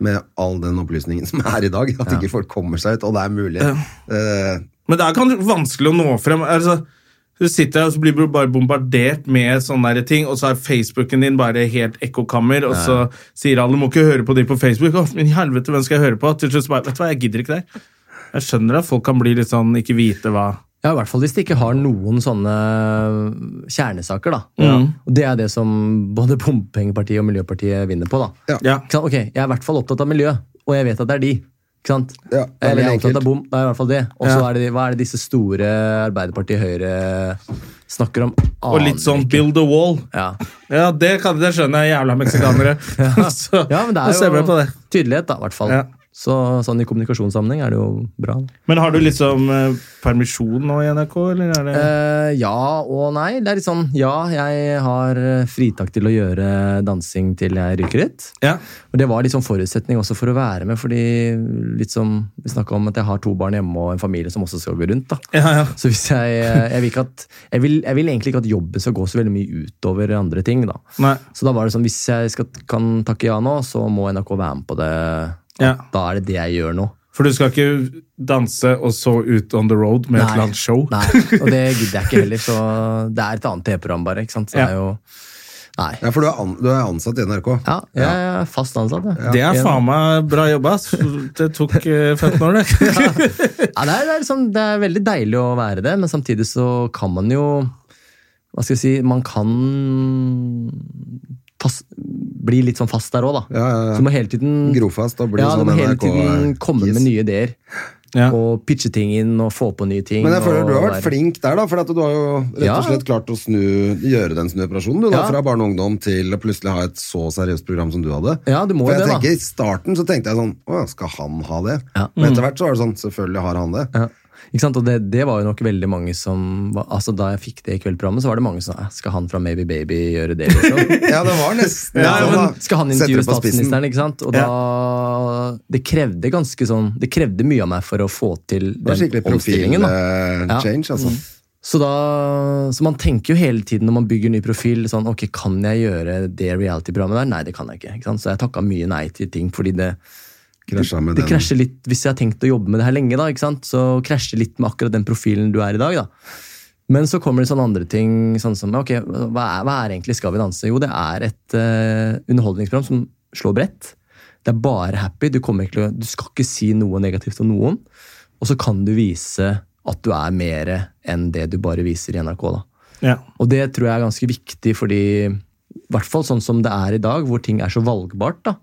Speaker 2: Med all den opplysningen som er i dag. At ikke folk kommer seg ut. Og det er mulig. Eh,
Speaker 1: Men det er kan- vanskelig å nå frem. Altså, du sitter her og så blir du bare bombardert med sånne der ting, og så er Facebooken din bare helt ekkokammer, og så sier alle må ikke høre på de på Facebook. Å, men i helvete, hvem skal jeg høre på? Til slutt så bare, vet du hva, jeg gidder ikke det her. Jeg skjønner at folk kan bli litt sånn, ikke vite hva
Speaker 3: Ja, i hvert fall hvis de ikke har noen sånne kjernesaker, da. Og det er det som både bompengepartiet og Miljøpartiet vinner på, da.
Speaker 1: Ja.
Speaker 3: Ikke sant? Ok, jeg er i hvert fall opptatt av miljø, og jeg vet at det er de. Ikke sant?
Speaker 2: Ja, det er
Speaker 3: Eller jeg er
Speaker 2: veldig
Speaker 3: opptatt
Speaker 2: enkelt.
Speaker 3: av bom, da er jeg i hvert fall det. Og så
Speaker 1: Ja.
Speaker 3: er det, hva er det disse store Arbeiderpartiet Høyre snakker om?
Speaker 1: Og litt sånn build a wall.
Speaker 3: Ja.
Speaker 1: Ja, det, kan, det skjønner jeg, jævla meksikanere. Så,
Speaker 3: ja, men det
Speaker 1: da stemmer
Speaker 3: er
Speaker 1: jeg på
Speaker 3: jo
Speaker 1: det.
Speaker 3: tydelighet, da, i hvert fall.
Speaker 1: Ja.
Speaker 3: Så sånn i kommunikasjonssammenheng er det jo bra. da.
Speaker 1: Men har du liksom eh, permisjon nå i NRK, eller er det
Speaker 3: Eh, ja og nei. Det er litt sånn ja, jeg har eh, fritak til å gjøre dansing til jeg ryker ut.
Speaker 1: Ja.
Speaker 3: Og det var litt sånn forutsetning også for å være med, fordi litt som vi snakka om at jeg har to barn hjemme og en familie som også skal gå rundt. da.
Speaker 1: Ja, ja.
Speaker 3: Så hvis jeg, eh, jeg, vil ikke at, jeg, vil, jeg vil egentlig ikke at jobben skal gå så veldig mye utover andre ting. da.
Speaker 1: Nei.
Speaker 3: Så da var det sånn, hvis jeg skal, kan takke ja nå, så må NRK være med på det.
Speaker 1: Ja.
Speaker 3: Da er det det jeg gjør nå.
Speaker 1: For du skal ikke danse og så ut on the road med et eller annet show.
Speaker 3: Nei, og det gidder jeg ikke heller, så det er et annet TV-program bare, ikke sant? Så
Speaker 1: Ja.
Speaker 3: det er jo... Nei.
Speaker 2: Ja, for du er, an, du er ansatt i NRK.
Speaker 3: Ja, jeg er fast ansatt, jeg.
Speaker 1: Det er faen meg bra jobba. ass. Det tok eh, 15 år, det.
Speaker 3: Ja, det, er, det, er liksom, det er veldig deilig å være det, men samtidig så kan man jo Hva skal jeg si Man kan fast, bli litt sånn fast der òg, da.
Speaker 2: Ja, ja, ja.
Speaker 3: Så du må hele tiden
Speaker 2: Grofast og blir
Speaker 3: ja,
Speaker 2: sånn
Speaker 3: du må hele tiden
Speaker 2: NRK
Speaker 3: komme med
Speaker 2: kiss.
Speaker 3: nye ideer.
Speaker 1: Ja.
Speaker 3: Og pitche ting inn og få på nye ting.
Speaker 2: Men jeg føler
Speaker 3: og
Speaker 2: du har
Speaker 3: være-
Speaker 2: vært flink der, da. For at du har jo rett
Speaker 3: Ja.
Speaker 2: og slett klart å snu, gjøre den snuoperasjonen. Du, da,
Speaker 3: Ja.
Speaker 2: Fra barn og ungdom til å plutselig ha et så seriøst program som du hadde.
Speaker 3: Ja, du må
Speaker 2: for jeg
Speaker 3: jo det, da.
Speaker 2: tenker I starten så tenkte jeg sånn Å ja, skal han ha det?
Speaker 3: Ja. Mm.
Speaker 2: Og etter hvert så var det sånn Selvfølgelig har han det.
Speaker 3: Ja. Ikke sant? Og det, det var jo nok veldig mange som var, altså Da jeg fikk det i kveldprogrammet, så var det mange som sa Skal han fra Maybe Baby gjøre det? Liksom?
Speaker 2: Ja, det var nesten
Speaker 1: Ja,
Speaker 2: sånn,
Speaker 1: men
Speaker 2: da.
Speaker 3: Skal han
Speaker 2: Setter
Speaker 3: intervjue
Speaker 2: det på spissen.
Speaker 3: statsministeren, ikke sant? Og da, det krevde ganske sånn Det krevde mye av meg for å få til
Speaker 2: Det var skikkelig eh.
Speaker 3: den omstillingen. Da. Ja.
Speaker 2: profil-change, altså.
Speaker 3: Så, da, så man tenker jo hele tiden når man bygger ny profil sånn, Ok, kan jeg gjøre det reality-programmet der? Nei, det kan jeg ikke. ikke sant? Så jeg takka mye nei til ting, fordi det,
Speaker 2: Krasja med
Speaker 3: det
Speaker 2: den.
Speaker 3: krasjer litt Hvis jeg har tenkt å jobbe med det her lenge, da, ikke sant? så krasjer litt med akkurat den profilen du er i dag. da. Men så kommer det sånne andre ting, sånn som ok, hva er, hva er egentlig Skal vi danse? Jo, det er et eh, underholdningsprogram som slår bredt. Det er bare happy. Du, kommer ikke, til å- du skal ikke si noe negativt om noen. Og så kan du vise at du er mer enn det du bare viser i NRK. da.
Speaker 1: Ja.
Speaker 3: Og det tror jeg er ganske viktig, fordi i hvert fall sånn som det er i dag, hvor ting er så valgbart. da.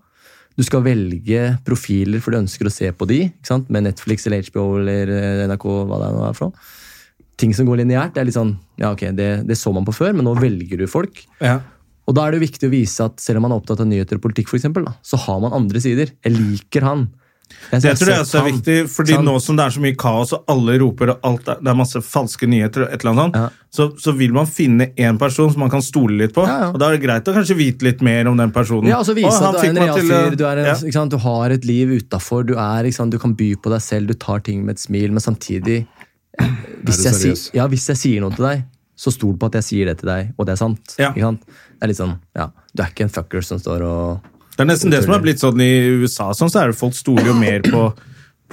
Speaker 3: Du skal velge profiler, for du ønsker å se på de, ikke sant? med Netflix eller HBO eller eh, NRK. hva det nå er for noe. Ting som går lineært, det er litt sånn, ja ok, det, det så man på før, men nå velger du folk.
Speaker 1: Ja.
Speaker 3: Og da er det jo viktig å vise at selv om man er opptatt av nyheter og politikk, for eksempel, da, så har man andre sider. Jeg liker han. Jeg,
Speaker 1: Det tror jeg
Speaker 3: har
Speaker 1: også
Speaker 3: sett
Speaker 1: er
Speaker 3: han.
Speaker 1: viktig, fordi
Speaker 3: Sant.
Speaker 1: nå som det er så mye kaos, og alle roper, og alt er, det er masse falske nyheter, og et eller annet sånt,
Speaker 3: Ja.
Speaker 1: så, så vil man finne én person som man kan stole litt på.
Speaker 3: Ja, ja.
Speaker 1: Og da er det greit å kanskje vite litt mer om den personen.
Speaker 3: Ja, og så vise
Speaker 1: Å, han
Speaker 3: at du er en
Speaker 1: fikk meg
Speaker 3: real
Speaker 1: til å-
Speaker 3: fyr. Du, er en,
Speaker 1: ja.
Speaker 3: ikke sant, du har et liv utafor. Du, er, ikke sant, du kan by på deg selv, du tar ting med et smil, men samtidig eh, hvis
Speaker 2: du
Speaker 3: jeg, sier-
Speaker 2: seriøs?
Speaker 3: ja, hvis jeg sier noe til deg, så stol på at jeg sier det til deg, og det er sant.
Speaker 1: Ja.
Speaker 3: Ikke sant? Det er litt sånn, ja, Du er ikke en fucker som står og
Speaker 1: Det er nesten det som har blitt sånn i USA, sånn, så er det folk stoler jo mer på,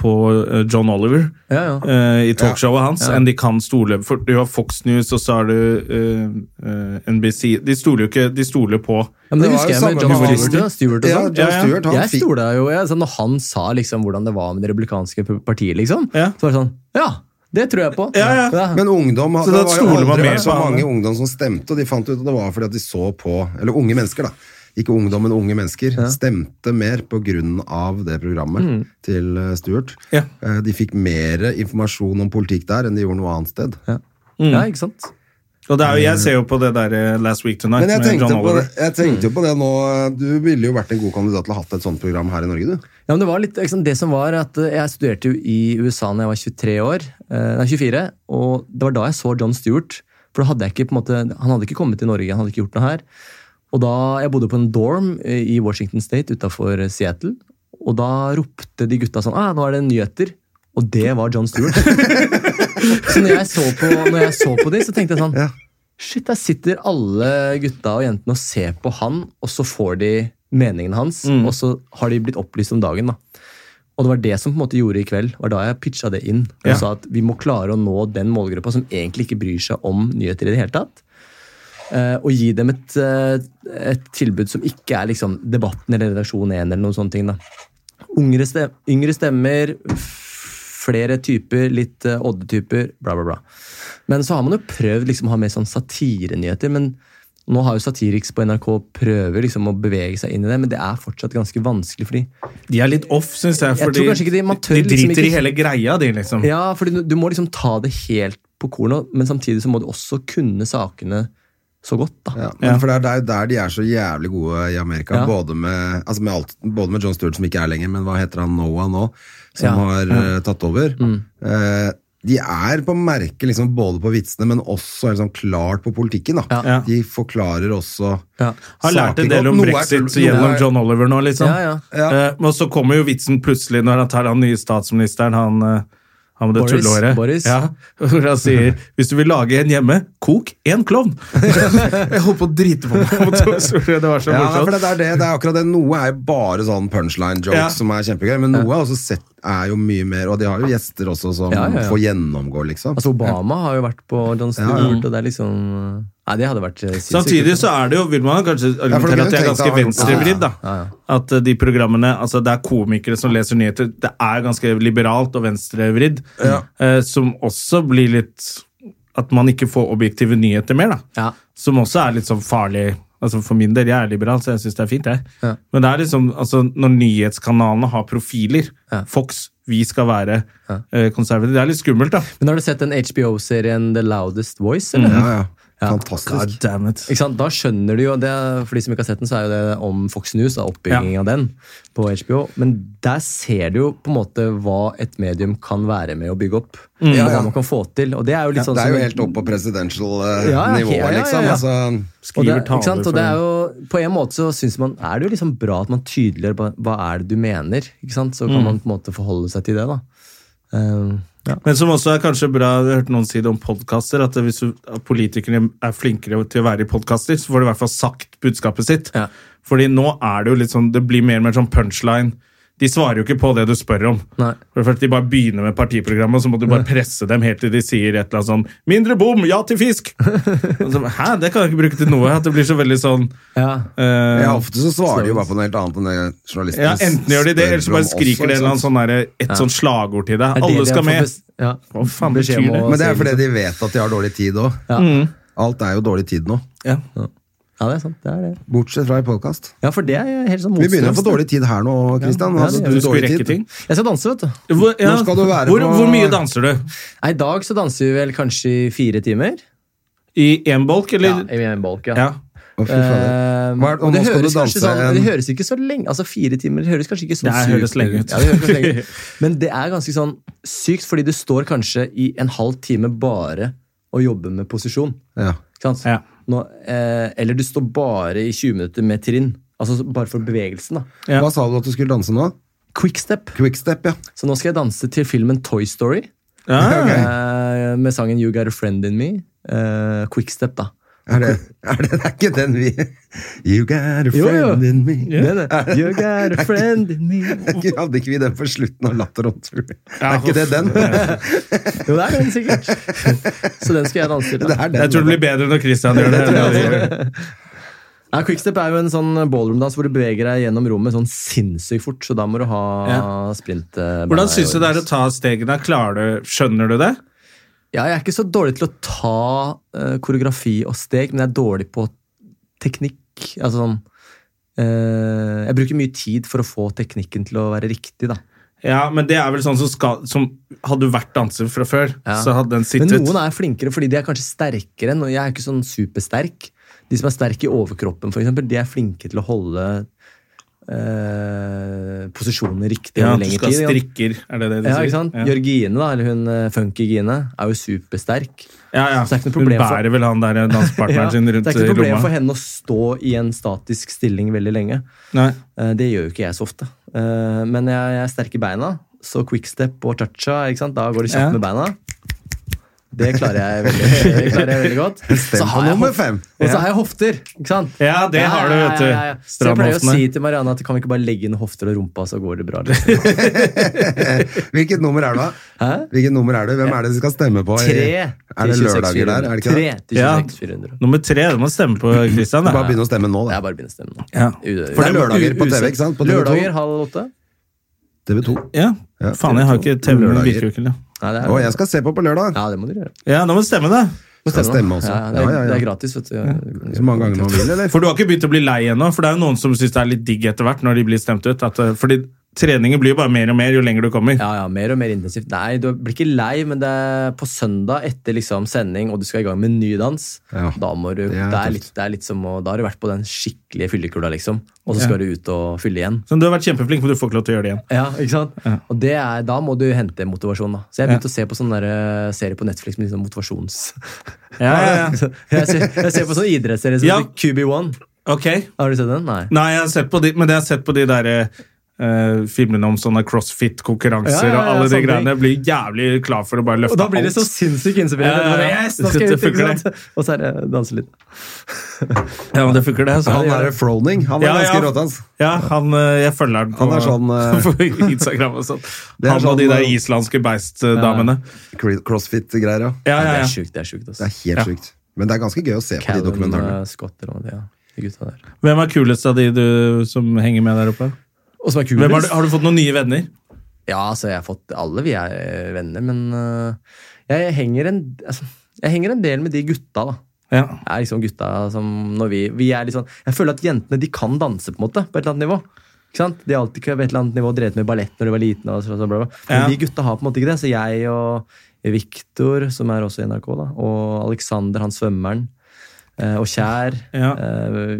Speaker 1: på eh, John Oliver
Speaker 3: Ja, ja.
Speaker 1: eh, i talkshowet hans enn de kan stole for Du har Fox News, og så har du eh, eh, NBC De stoler jo ikke De stoler på
Speaker 3: ja, men Det,
Speaker 2: var
Speaker 3: husker
Speaker 2: jo
Speaker 3: jeg med
Speaker 2: samme
Speaker 3: John
Speaker 2: med Stewart.
Speaker 3: Stewart, Stewart og
Speaker 2: Ja,
Speaker 3: sånn.
Speaker 2: John
Speaker 1: Ja, ja.
Speaker 2: Stewart, han
Speaker 3: jeg
Speaker 2: fikk
Speaker 3: stola jo, jeg, sånn, Når han sa liksom hvordan det var med det republikanske partiet, liksom,
Speaker 1: Ja.
Speaker 3: så var det sånn Ja, det tror jeg på!
Speaker 1: Ja, ja.
Speaker 2: Men ungdom
Speaker 1: Så
Speaker 2: det
Speaker 1: da
Speaker 2: var jo
Speaker 1: stoler man
Speaker 2: aldri
Speaker 1: mer
Speaker 2: vært så
Speaker 1: på han,
Speaker 2: mange
Speaker 1: ja.
Speaker 2: ungdom som stemte, og de fant ut at det var fordi at de så på Eller unge mennesker, da. Ikke ungdom, men unge mennesker. Stemte mer på grunn av det programmet til eh, Stuart.
Speaker 1: Ja.
Speaker 2: Eh, De fikk mer informasjon om politikk der enn de gjorde noe annet sted.
Speaker 3: ja, ikke sant?
Speaker 1: Og det er jo, jeg ser jo på det der eh, Last Week Tonight
Speaker 2: Men jeg
Speaker 1: med
Speaker 2: tenkte,
Speaker 1: John
Speaker 2: på det,
Speaker 1: Oliver.
Speaker 2: jeg tenkte jo på det nå eh, Du ville jo vært en god kandidat til å ha hatt et sånt program her i Norge, du.
Speaker 3: Ja, men det var litt, liksom, det som var at eh, Jeg studerte jo i USA da jeg var 23 år, eh, nei 24, og det var da jeg så John Stewart. For da hadde jeg ikke, på en måte, Han hadde ikke kommet til Norge, han hadde ikke gjort noe her. Og da, Jeg bodde på en dorm eh, i Washington State utafor Seattle, og da ropte de gutta sånn ah, 'Nå er det nyheter', og det var John Stewart. så når jeg så på, når jeg så på de, så tenkte jeg sånn
Speaker 2: Ja.
Speaker 3: Shit, der sitter alle gutta og jentene og ser på han, og så får de meningen hans, og så har de blitt opplyst om dagen. da. Og det var det som på en måte gjorde i kveld. var da jeg pitcha det inn. Og
Speaker 1: Ja.
Speaker 3: sa at vi må klare å nå den målgruppa som egentlig ikke bryr seg om nyheter i det hele tatt. eh, Og gi dem et, eh, et tilbud som ikke er liksom Debatten eller Redaksjon 1 eller noen sånne ting. da. Ungre stem, yngre stemmer, f- flere typer, litt eh, oddetyper, bla, bla, bla. Men så har man jo prøvd liksom å ha mer sånn satirenyheter. men nå har jo Satiriks på NRK prøver liksom å bevege seg inn i det, men det er fortsatt ganske vanskelig. fordi
Speaker 1: De er litt off, syns jeg.
Speaker 3: tror
Speaker 1: Fordi
Speaker 3: kanskje ikke de- man tør
Speaker 1: de
Speaker 3: liksom
Speaker 1: driter
Speaker 3: ikke-
Speaker 1: i hele greia, de, liksom.
Speaker 3: Ja, fordi du, du må liksom ta det helt på kornet, men samtidig så må du også kunne sakene så godt, da.
Speaker 2: Ja, men For det er- det er jo der de er så jævlig gode i Amerika.
Speaker 3: Ja.
Speaker 2: Både, med, altså med alt, både med John Stewart, som ikke er lenger, men hva heter han Noah nå, som
Speaker 3: Ja,
Speaker 2: har eh, tatt over. Eh, de er på merket liksom, både på vitsene, men også liksom, klart på politikken. Da.
Speaker 1: Ja.
Speaker 2: De forklarer også
Speaker 3: Ja.
Speaker 1: Har lært en
Speaker 2: saker
Speaker 1: del
Speaker 2: godt.
Speaker 1: om
Speaker 2: Noe er
Speaker 1: brexit
Speaker 2: tull- noe
Speaker 1: gjennom
Speaker 2: er-
Speaker 1: John Oliver nå, liksom.
Speaker 3: Ja, ja.
Speaker 2: Ja.
Speaker 1: Eh, men så kommer jo vitsen plutselig når han tar han nye statsministeren, han, eh, han med det
Speaker 3: Boris,
Speaker 1: tullehåret.
Speaker 3: Boris.
Speaker 1: Ja, hvor han sier hvis du vil lage en hjemme, kok en klovn! jeg holdt på å drite på meg. det var så
Speaker 2: Ja, nei, for
Speaker 1: morsomt.
Speaker 2: det, er det, det er akkurat det. Noe er jo bare sånn punchline jokes
Speaker 1: Ja.
Speaker 2: som er kjempegøy, men noe er også sett, er jo mye mer Og de har jo gjester også som
Speaker 3: Ja, ja, ja.
Speaker 2: får gjennomgå, liksom.
Speaker 3: Altså, Obama har jo vært på John Stewart, og det er liksom Nei, det hadde vært eh, sinnssykt.
Speaker 1: Samtidig så er det jo, vil man kanskje
Speaker 2: for du
Speaker 1: argumentere
Speaker 2: kunne
Speaker 1: at det
Speaker 2: tenkt
Speaker 1: er
Speaker 2: deg
Speaker 1: ganske
Speaker 2: å ha gjort det.
Speaker 1: venstrevridd. da. At eh, de programmene, altså Det er komikere som leser nyheter. Det er ganske liberalt og venstrevridd. eh, Som også blir litt At man ikke får objektive nyheter mer. da.
Speaker 3: Ja.
Speaker 1: Som også er litt sånn farlig. Altså For min del, jeg er liberal, så jeg syns det er fint. jeg.
Speaker 3: Ja.
Speaker 1: Men det er liksom, altså når nyhetskanalene har profiler
Speaker 3: Ja.
Speaker 1: Fox, vi skal være eh, konservative. Det er litt skummelt, da.
Speaker 3: Men har du sett den HBO-serien The Loudest Voice? Eller?
Speaker 2: Ja, ja. Fantastisk.
Speaker 1: damn it.
Speaker 3: Ikke sant? Da skjønner du jo det, er- For de som ikke har sett den, så er jo det om Fox News, da, oppbyggingen av den på HBO. Men der ser du jo på en måte hva et medium kan være med å bygge opp.
Speaker 2: Mm. Ja,
Speaker 3: Og
Speaker 2: ja.
Speaker 3: hva man kan få til. Og det er jo litt sånn
Speaker 2: det er jo
Speaker 3: som-
Speaker 2: helt opp på presidential-nivået,
Speaker 3: Ja, ja, ja, ja, ja.
Speaker 2: liksom. Altså,
Speaker 3: Og det,
Speaker 1: Skriver
Speaker 3: ikke sant? Og det er
Speaker 1: for-
Speaker 3: jo, på en måte så synes man, er det jo liksom bra at man tydeliggjør hva- hva er det du mener. ikke sant? Så kan
Speaker 2: Mm.
Speaker 3: man på en måte forholde seg til det. da. Um, ja.
Speaker 1: Men som også er kanskje bra, jeg hørte noen si det om podkaster, at hvis du- at politikerne er flinkere til å være i podkaster, så får du i hvert fall sagt budskapet sitt.
Speaker 3: Ja.
Speaker 1: Fordi nå er det jo litt sånn, det blir mer og mer sånn punchline. De svarer jo ikke på det du spør om.
Speaker 3: Nei.
Speaker 1: For det første, De bare begynner med partiprogrammet, og så må du bare presse dem helt til de sier et eller annet sånn 'Mindre bom! Ja til fisk!' Og så, Hæ, det kan jeg ikke bruke til noe. At det blir så veldig sånn
Speaker 3: Ja.
Speaker 1: eh,
Speaker 2: Ja, ofte så svarer de jo bare på noe helt annet enn det journalistene
Speaker 1: ja, Enten gjør de det, eller så
Speaker 2: spør
Speaker 1: bare
Speaker 2: om
Speaker 1: skriker de
Speaker 2: også,
Speaker 1: et eller annet sånn derre- et sånn slagord til deg.
Speaker 3: Er det
Speaker 1: Alle
Speaker 3: det
Speaker 1: skal
Speaker 3: jeg får
Speaker 1: med.
Speaker 3: bes- Ja.
Speaker 1: Hva faen
Speaker 3: Beskjed
Speaker 1: betyr
Speaker 3: om
Speaker 1: det?
Speaker 3: å
Speaker 2: Men det er
Speaker 3: si
Speaker 2: fordi de vet at de har dårlig tid òg.
Speaker 3: Ja.
Speaker 2: Alt er jo dårlig tid nå.
Speaker 1: Ja.
Speaker 3: Ja, det er sant. Det er det.
Speaker 2: Bortsett fra i podkast.
Speaker 3: Ja, for det er jeg helt sånn
Speaker 2: Vi begynner å få
Speaker 3: motstrøms.
Speaker 2: dårlig tid her nå, Christian.
Speaker 3: Ja,
Speaker 2: Altså,
Speaker 3: det
Speaker 2: du,
Speaker 1: Du skulle
Speaker 2: dårlig
Speaker 1: rekke
Speaker 2: tid.
Speaker 1: ting.
Speaker 3: Jeg skal danse, vet du.
Speaker 1: Hvor, ja.
Speaker 2: Når skal du være
Speaker 1: hvor,
Speaker 2: på-
Speaker 1: hvor mye danser du?
Speaker 3: Nei, I dag så danser vi vel kanskje i fire timer.
Speaker 1: I én bolk,
Speaker 3: Ja,
Speaker 1: eller?
Speaker 3: i en bolk, ja.
Speaker 1: Ja.
Speaker 2: Å, fy fader. Hva er
Speaker 3: Eh,
Speaker 2: det- og
Speaker 3: og det
Speaker 2: nå skal du
Speaker 3: høres kanskje
Speaker 2: danse
Speaker 3: sånn, det
Speaker 2: en-
Speaker 3: høres ikke så lenge Altså Fire timer høres kanskje ikke så
Speaker 1: Det her
Speaker 3: sykt
Speaker 1: høres lenge ut.
Speaker 3: Ja, det høres kanskje lenge ut. Men det er ganske sånn sykt, fordi du står kanskje i en halv time bare og jobber med posisjon.
Speaker 2: Ja.
Speaker 3: Ikke sant?
Speaker 1: Ja.
Speaker 3: Nå, eh, eller du står bare i 20 minutter med trinn. Altså så- Bare for bevegelsen. da
Speaker 1: Ja.
Speaker 2: Hva sa du at du skulle danse nå?
Speaker 3: Quickstep.
Speaker 2: Quickstep, ja.
Speaker 3: Så nå skal jeg danse til filmen Toy Story
Speaker 1: Ja.
Speaker 2: Ok.
Speaker 3: eh, med sangen You Got A Friend In Me. Eh, Quickstep, da.
Speaker 2: Er det, er det, det er ikke den vi You got a
Speaker 3: Jo, jo.
Speaker 2: friend in me.
Speaker 3: Den er, you got a friend in me
Speaker 2: Ikke- Hadde ikke vi den på slutten av Latter on Tour?
Speaker 1: Ja,
Speaker 2: er ikke det den?
Speaker 3: Jo, det er den sikkert. Så den skal jeg danse til.
Speaker 2: Det
Speaker 3: da.
Speaker 2: er den.
Speaker 1: Jeg tror det blir bedre når Christian gjør det.
Speaker 3: Ja, quickstep er jo en sånn ballroom-dans hvor du beveger deg gjennom rommet sånn sinnssykt fort. Så da må du ha
Speaker 1: Ja.
Speaker 3: sprint. eh,
Speaker 1: Hvordan syns du det er å ta stegene? Klarer du, skjønner du det?
Speaker 3: Ja, jeg er ikke så dårlig til å ta eh, koreografi og steg, men jeg er dårlig på teknikk. Altså sånn eh, Jeg bruker mye tid for å få teknikken til å være riktig, da.
Speaker 1: Ja, men det er vel sånn som, skal, som Hadde du vært danser fra før,
Speaker 3: Ja.
Speaker 1: så hadde den
Speaker 3: Men
Speaker 1: sittet.
Speaker 3: noen er flinkere fordi de er kanskje sterkere enn og Jeg er ikke sånn supersterk. De som er sterke i overkroppen, for eksempel, de er flinke til å holde eh, posisjonene riktig
Speaker 1: ja,
Speaker 3: over
Speaker 1: du
Speaker 3: lengre
Speaker 1: skal
Speaker 3: tid.
Speaker 1: ha
Speaker 3: ikke sant?
Speaker 1: strikker, er det det du
Speaker 3: Ja,
Speaker 1: sier?
Speaker 3: ikke sant?
Speaker 1: Ja.
Speaker 3: Jørgine, da, eller hun eh, funky Gine, er jo supersterk.
Speaker 1: Ja, ja.
Speaker 3: Så det er ikke noe
Speaker 1: Hun
Speaker 3: problem for-
Speaker 1: bærer vel han der
Speaker 3: Ja,
Speaker 1: dansepartneren
Speaker 3: det
Speaker 1: sin
Speaker 3: er
Speaker 1: rundt
Speaker 3: ikke noe problem
Speaker 1: rommet.
Speaker 3: for henne å stå i en statisk stilling veldig lenge.
Speaker 1: Nei.
Speaker 3: Eh, Det gjør jo ikke jeg så ofte. Eh, Men jeg, jeg er sterk i beina, så quickstep og cha-cha, ikke sant? da går det
Speaker 1: Ja.
Speaker 3: kjapt med beina. Det klarer jeg veldig, det klarer jeg veldig godt. Så
Speaker 2: Stem på
Speaker 3: har jeg
Speaker 2: nummer
Speaker 3: hof-
Speaker 2: fem.
Speaker 3: Og så har jeg hofter, ikke sant?
Speaker 1: Ja, det har du, vet du.
Speaker 3: Så jeg pleier å
Speaker 1: Stramhoftene.
Speaker 3: si til Marianne at kan vi ikke bare legge inn hofter og rumpa, så går det bra. liksom.
Speaker 2: Hvilket nummer er du, da?
Speaker 3: Hæ?
Speaker 2: Hvilket nummer er du? Hvem er det du skal stemme på? i-
Speaker 3: Tre
Speaker 2: Er det lørdager der? Er det ikke det?
Speaker 3: 3 til
Speaker 1: Ja.
Speaker 3: 26 400.
Speaker 1: Nummer tre, du må stemme på Christian.
Speaker 2: Bare begynne å stemme nå,
Speaker 3: Det
Speaker 2: da.
Speaker 3: er bare å begynne å stemme nå.
Speaker 1: Ja.
Speaker 3: U-
Speaker 2: For det er lørdager på
Speaker 3: u-
Speaker 2: TV, ikke sant? På TV2.
Speaker 3: Lørdager halv åtte?
Speaker 2: TV 2.
Speaker 1: ja. Faen, jeg har ikke TV, men det virker jo ikke. det.
Speaker 3: Nei, det er,
Speaker 2: Å, jeg skal se på på lørdag.
Speaker 3: Ja, det må dere gjøre.
Speaker 1: Ja, nå må du stemme, da.
Speaker 3: Må
Speaker 2: Skal stemme også.
Speaker 3: Ja, det, er,
Speaker 2: Ja, ja, ja.
Speaker 3: det er gratis, vet du.
Speaker 2: Så mange ganger man vil, eller?
Speaker 1: For du har ikke begynt å bli lei ennå? For det er jo noen som syns det er litt digg etter hvert når de blir stemt ut. At, eh, fordi treningen blir jo bare mer og mer jo lenger du kommer.
Speaker 3: Ja, ja, mer og mer intensivt. Nei, du blir ikke lei, men det er på søndag etter liksom sending, og du skal i gang med en ny dans,
Speaker 2: Ja,
Speaker 3: da må du,
Speaker 2: det
Speaker 3: det
Speaker 2: er tøft.
Speaker 3: er, litt, det er litt som å, da har du vært på den skikkelige fyllekula, liksom, og så skal du ut og fylle igjen.
Speaker 1: Så du har vært kjempeflink, men du får ikke lov til å gjøre det igjen.
Speaker 3: Ja, ikke sant? Og det er, da må du hente motivasjon, da. Så jeg begynte å se på sånne der, eh, serier på Netflix med litt sånn motivasjons...
Speaker 1: Ja, ja, ja.
Speaker 3: jeg, ser, jeg ser på sånne idrettsserie som
Speaker 1: Ja.
Speaker 3: heter QB1.
Speaker 1: Ok.
Speaker 3: Har du sett den? Nei.
Speaker 1: Nei, jeg har sett på de, men jeg har sett på de der eh, eh, filmene om sånne crossfit-konkurranser
Speaker 3: Ja, ja, ja,
Speaker 1: og alle de
Speaker 3: sånne
Speaker 1: greiene. Blir jævlig klar for å bare løfte
Speaker 3: Og da blir det så sinnssykt
Speaker 1: Ja,
Speaker 3: inspirerende.
Speaker 1: ja, ja.
Speaker 3: Bare, Yes, nå skal jeg
Speaker 1: Det
Speaker 3: ut, ikke
Speaker 1: funker,
Speaker 3: sant? Og så er det eh, danse litt.
Speaker 1: Ja, men det funker, det. Så
Speaker 2: Han
Speaker 1: han,
Speaker 2: er Froning. Han er
Speaker 1: Ja, ja.
Speaker 2: ganske rått, hans.
Speaker 1: ja, han, eh, jeg følger han på,
Speaker 2: Han er sånn, eh,
Speaker 1: på Instagram og sånn.
Speaker 2: Det er
Speaker 1: Han og de
Speaker 2: sånn,
Speaker 1: der
Speaker 2: eh,
Speaker 1: islandske beistdamene.
Speaker 2: Cr- Crossfit-greier, ja.
Speaker 1: Ja, ja,
Speaker 3: Det
Speaker 1: ja.
Speaker 3: er sjukt. det er sjukt, altså. ass.
Speaker 2: Det er helt sjukt. Men det er ganske gøy å se på de
Speaker 3: Callum
Speaker 2: dokumentarene.
Speaker 3: eh, Scotter og de, ja. de gutta der.
Speaker 1: Hvem er kulest av de du, som henger med der oppe?
Speaker 3: Og som er
Speaker 1: Hvem har, du,
Speaker 3: kulest.
Speaker 1: har du fått noen nye venner?
Speaker 3: Ja, altså, jeg har fått alle vi er eh, venner, men eh, jeg, henger en, altså, jeg henger en del med de gutta, da.
Speaker 1: Ja.
Speaker 3: Det er liksom gutta som når vi, vi er litt sånn, Jeg føler at jentene de kan danse på en måte, på et eller annet nivå. Ikke sant? De har alltid på et eller annet nivå drevet med ballett når de var liten. Og så, så, bla, bla. Men
Speaker 1: Ja.
Speaker 3: de gutta har på en måte ikke det. Så jeg og Viktor, som er også i NRK, da, og Alexander, han svømmeren, eh, og Kjær
Speaker 1: Ja.
Speaker 3: eh,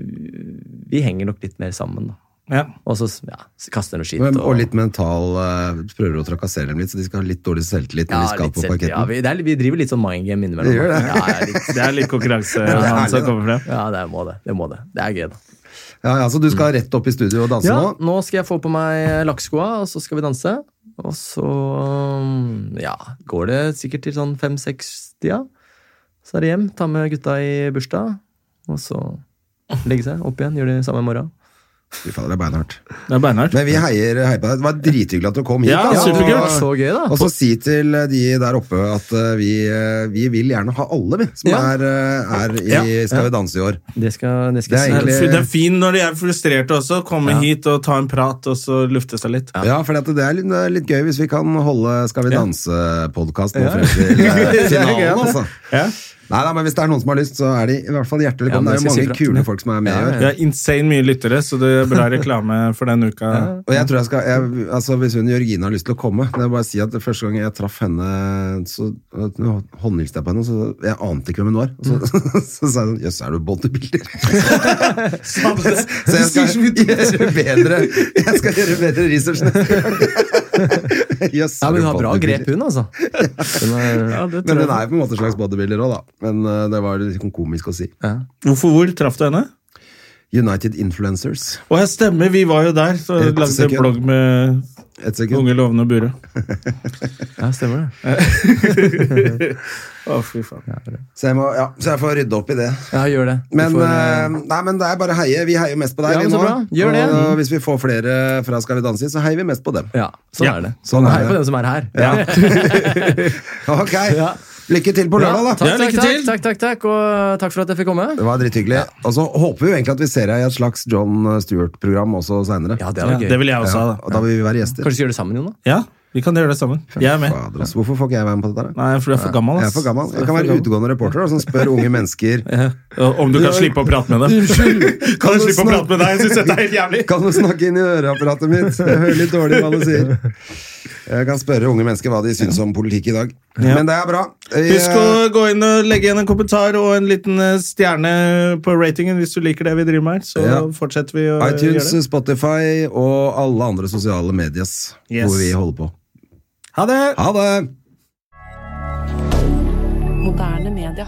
Speaker 3: Vi henger nok litt mer sammen, da.
Speaker 1: ja.
Speaker 3: Og så ja, så kaster noe skitt.
Speaker 2: Men, og litt mental eh, Prøver å trakassere dem litt, så de skal ha litt dårlig selvtillit når
Speaker 3: ja,
Speaker 2: de skal
Speaker 3: litt
Speaker 2: på
Speaker 3: selv-
Speaker 2: parketten.
Speaker 3: ja, vi, det er, vi driver litt sånn mind game innimellom.
Speaker 2: Vi gjør det.
Speaker 3: da. Ja, ja, litt,
Speaker 1: Det er litt konkurranse
Speaker 2: ærlig,
Speaker 1: han som
Speaker 2: da.
Speaker 1: kommer frem.
Speaker 3: ja det må det. Det må det. Det er gøy, da.
Speaker 2: Ja, ja, så du skal rett opp i studio og danse
Speaker 3: Ja,
Speaker 2: nå?
Speaker 3: nå skal jeg få på meg lakkskoa, og så skal vi danse. Og så um, ja, går det sikkert til sånn fem-seks-tida. Så er det hjem, ta med gutta i bursdag, og så legge seg opp igjen. Gjør det samme i morgen.
Speaker 2: Fy fader, det er beinhardt.
Speaker 1: Det er beinhardt.
Speaker 2: Men vi heier, heier på deg. Det var drithyggelig at du kom hit.
Speaker 1: Ja,
Speaker 2: da.
Speaker 1: superkult.
Speaker 3: det
Speaker 1: gøy.
Speaker 3: var så gøy, da.
Speaker 2: Og så si til de der oppe at eh, vi, eh, vi vil gjerne ha alle, vi, som
Speaker 3: Ja.
Speaker 2: er, eh, er i Skal vi danse i år.
Speaker 3: Det skal, det skal
Speaker 2: Det er
Speaker 3: jeg si.
Speaker 2: egentlig-
Speaker 1: Det er fint når de er frustrerte også. Komme hit og ta en prat og så lufte seg litt.
Speaker 2: Ja, for det er, litt, det er litt gøy hvis vi kan holde Skal vi
Speaker 1: Ja.
Speaker 2: danse-podkast nå frem til eh,
Speaker 1: Det er
Speaker 2: finalen,
Speaker 1: gøy, det.
Speaker 2: altså.
Speaker 1: Ja.
Speaker 2: Nei, nei, men Hvis det er noen som har lyst, så er de i hvert fall hjertelig
Speaker 3: Ja, men
Speaker 2: velkommen. det er jo
Speaker 3: jeg skal si
Speaker 2: mange
Speaker 3: fra.
Speaker 2: kule folk som er med i år.
Speaker 1: Vi har insane mye lyttere, så det er bra reklame for den uka.
Speaker 2: Og jeg tror jeg skal, jeg, altså Hvis hun Jørgine har lyst til å komme kan jeg bare si at det Første gang jeg traff henne, så nå håndhilste jeg på henne. Så jeg ante ikke hvem hun var. Og så, så sa hun 'jøss, er du bodybuilder'? så jeg skal gjøre bedre Jeg skal gjøre bedre research neste gang. Jøss,
Speaker 3: Ja,
Speaker 2: er
Speaker 3: men
Speaker 2: du
Speaker 3: hun har bra
Speaker 2: bodybuilder?
Speaker 3: grep, hun, altså. Hun er,
Speaker 1: Ja, det
Speaker 2: Men hun
Speaker 1: tror jeg.
Speaker 2: er jo på en måte en slags bodybuilder òg, da. Men eh, det var litt komisk å si.
Speaker 1: Hvorfor hvor traff du henne?
Speaker 2: United Influencers.
Speaker 1: Og jeg stemmer, vi var jo der. Så
Speaker 2: Et
Speaker 1: lagde
Speaker 2: sekund.
Speaker 1: jeg blogg med
Speaker 2: Et sekund.
Speaker 1: Unge lovende og Bure.
Speaker 3: ja, stemmer det.
Speaker 1: Å, fy faen.
Speaker 2: Så jeg, må, ja, så jeg får rydde opp i det.
Speaker 3: Ja, gjør det. Du
Speaker 2: Men,
Speaker 3: får, eh,
Speaker 2: eh, nei, men det er bare heie. Vi heier mest på deg.
Speaker 3: Ja,
Speaker 2: vi
Speaker 3: men så
Speaker 2: nå.
Speaker 3: bra. Gjør det.
Speaker 2: Og eh, hvis vi får flere fra Skal vi danse, så heier vi mest på dem.
Speaker 3: ja, sånn
Speaker 1: Ja,
Speaker 3: er det.
Speaker 2: sånn er
Speaker 3: Hei
Speaker 2: det.
Speaker 3: på dem som er her.
Speaker 2: Ok,
Speaker 3: Ja.
Speaker 2: Lykke til på lørdag, da.
Speaker 3: takk,
Speaker 1: Ja,
Speaker 3: takk,
Speaker 1: lykke
Speaker 3: takk,
Speaker 1: til.
Speaker 3: takk, takk, takk, og takk for at jeg fikk komme.
Speaker 2: Det var drithyggelig. Og så håper vi jo egentlig at vi ser deg i et slags John Stewart-program også seinere.
Speaker 3: Ja, det
Speaker 1: Ja,
Speaker 3: var gøy.
Speaker 1: det vil jeg også ha, da.
Speaker 2: og da vil vi være gjester.
Speaker 3: Kanskje vi skal gjøre det sammen, Jon? da?
Speaker 1: Ja, vi kan gjøre det sammen. Jeg er med.
Speaker 2: Fader, altså, hvorfor får ikke jeg være med på dette? her, da?
Speaker 1: Nei, for du er for gammel.
Speaker 2: Jeg
Speaker 1: ass.
Speaker 2: er for gammel. Jeg kan
Speaker 1: For
Speaker 2: være
Speaker 1: gammel.
Speaker 2: utegående reporter da, som spør unge mennesker
Speaker 1: Ja, Om du kan slippe å prate med dem.
Speaker 2: Unnskyld!
Speaker 1: Kan du slippe å prate med deg? Jeg syns dette er helt jævlig.
Speaker 2: Kan du snakke inn i øreapparatet mitt? Jeg hører litt dårlig hva du sier. Jeg kan spørre unge mennesker hva de syns om politikk i dag.
Speaker 1: Ja.
Speaker 2: Men det er bra. Vi,
Speaker 1: Husk å gå inn og legge igjen en kommentar og en liten eh, stjerne på ratingen hvis du liker det vi driver med her. Så
Speaker 2: Ja.
Speaker 1: fortsetter vi å
Speaker 2: eh, iTunes,
Speaker 1: gjøre det.
Speaker 2: Spotify og alle andre sosiale medies
Speaker 1: Yes.
Speaker 2: hvor vi holder på.
Speaker 1: Ha det!
Speaker 2: Ha det!
Speaker 4: Moderne media.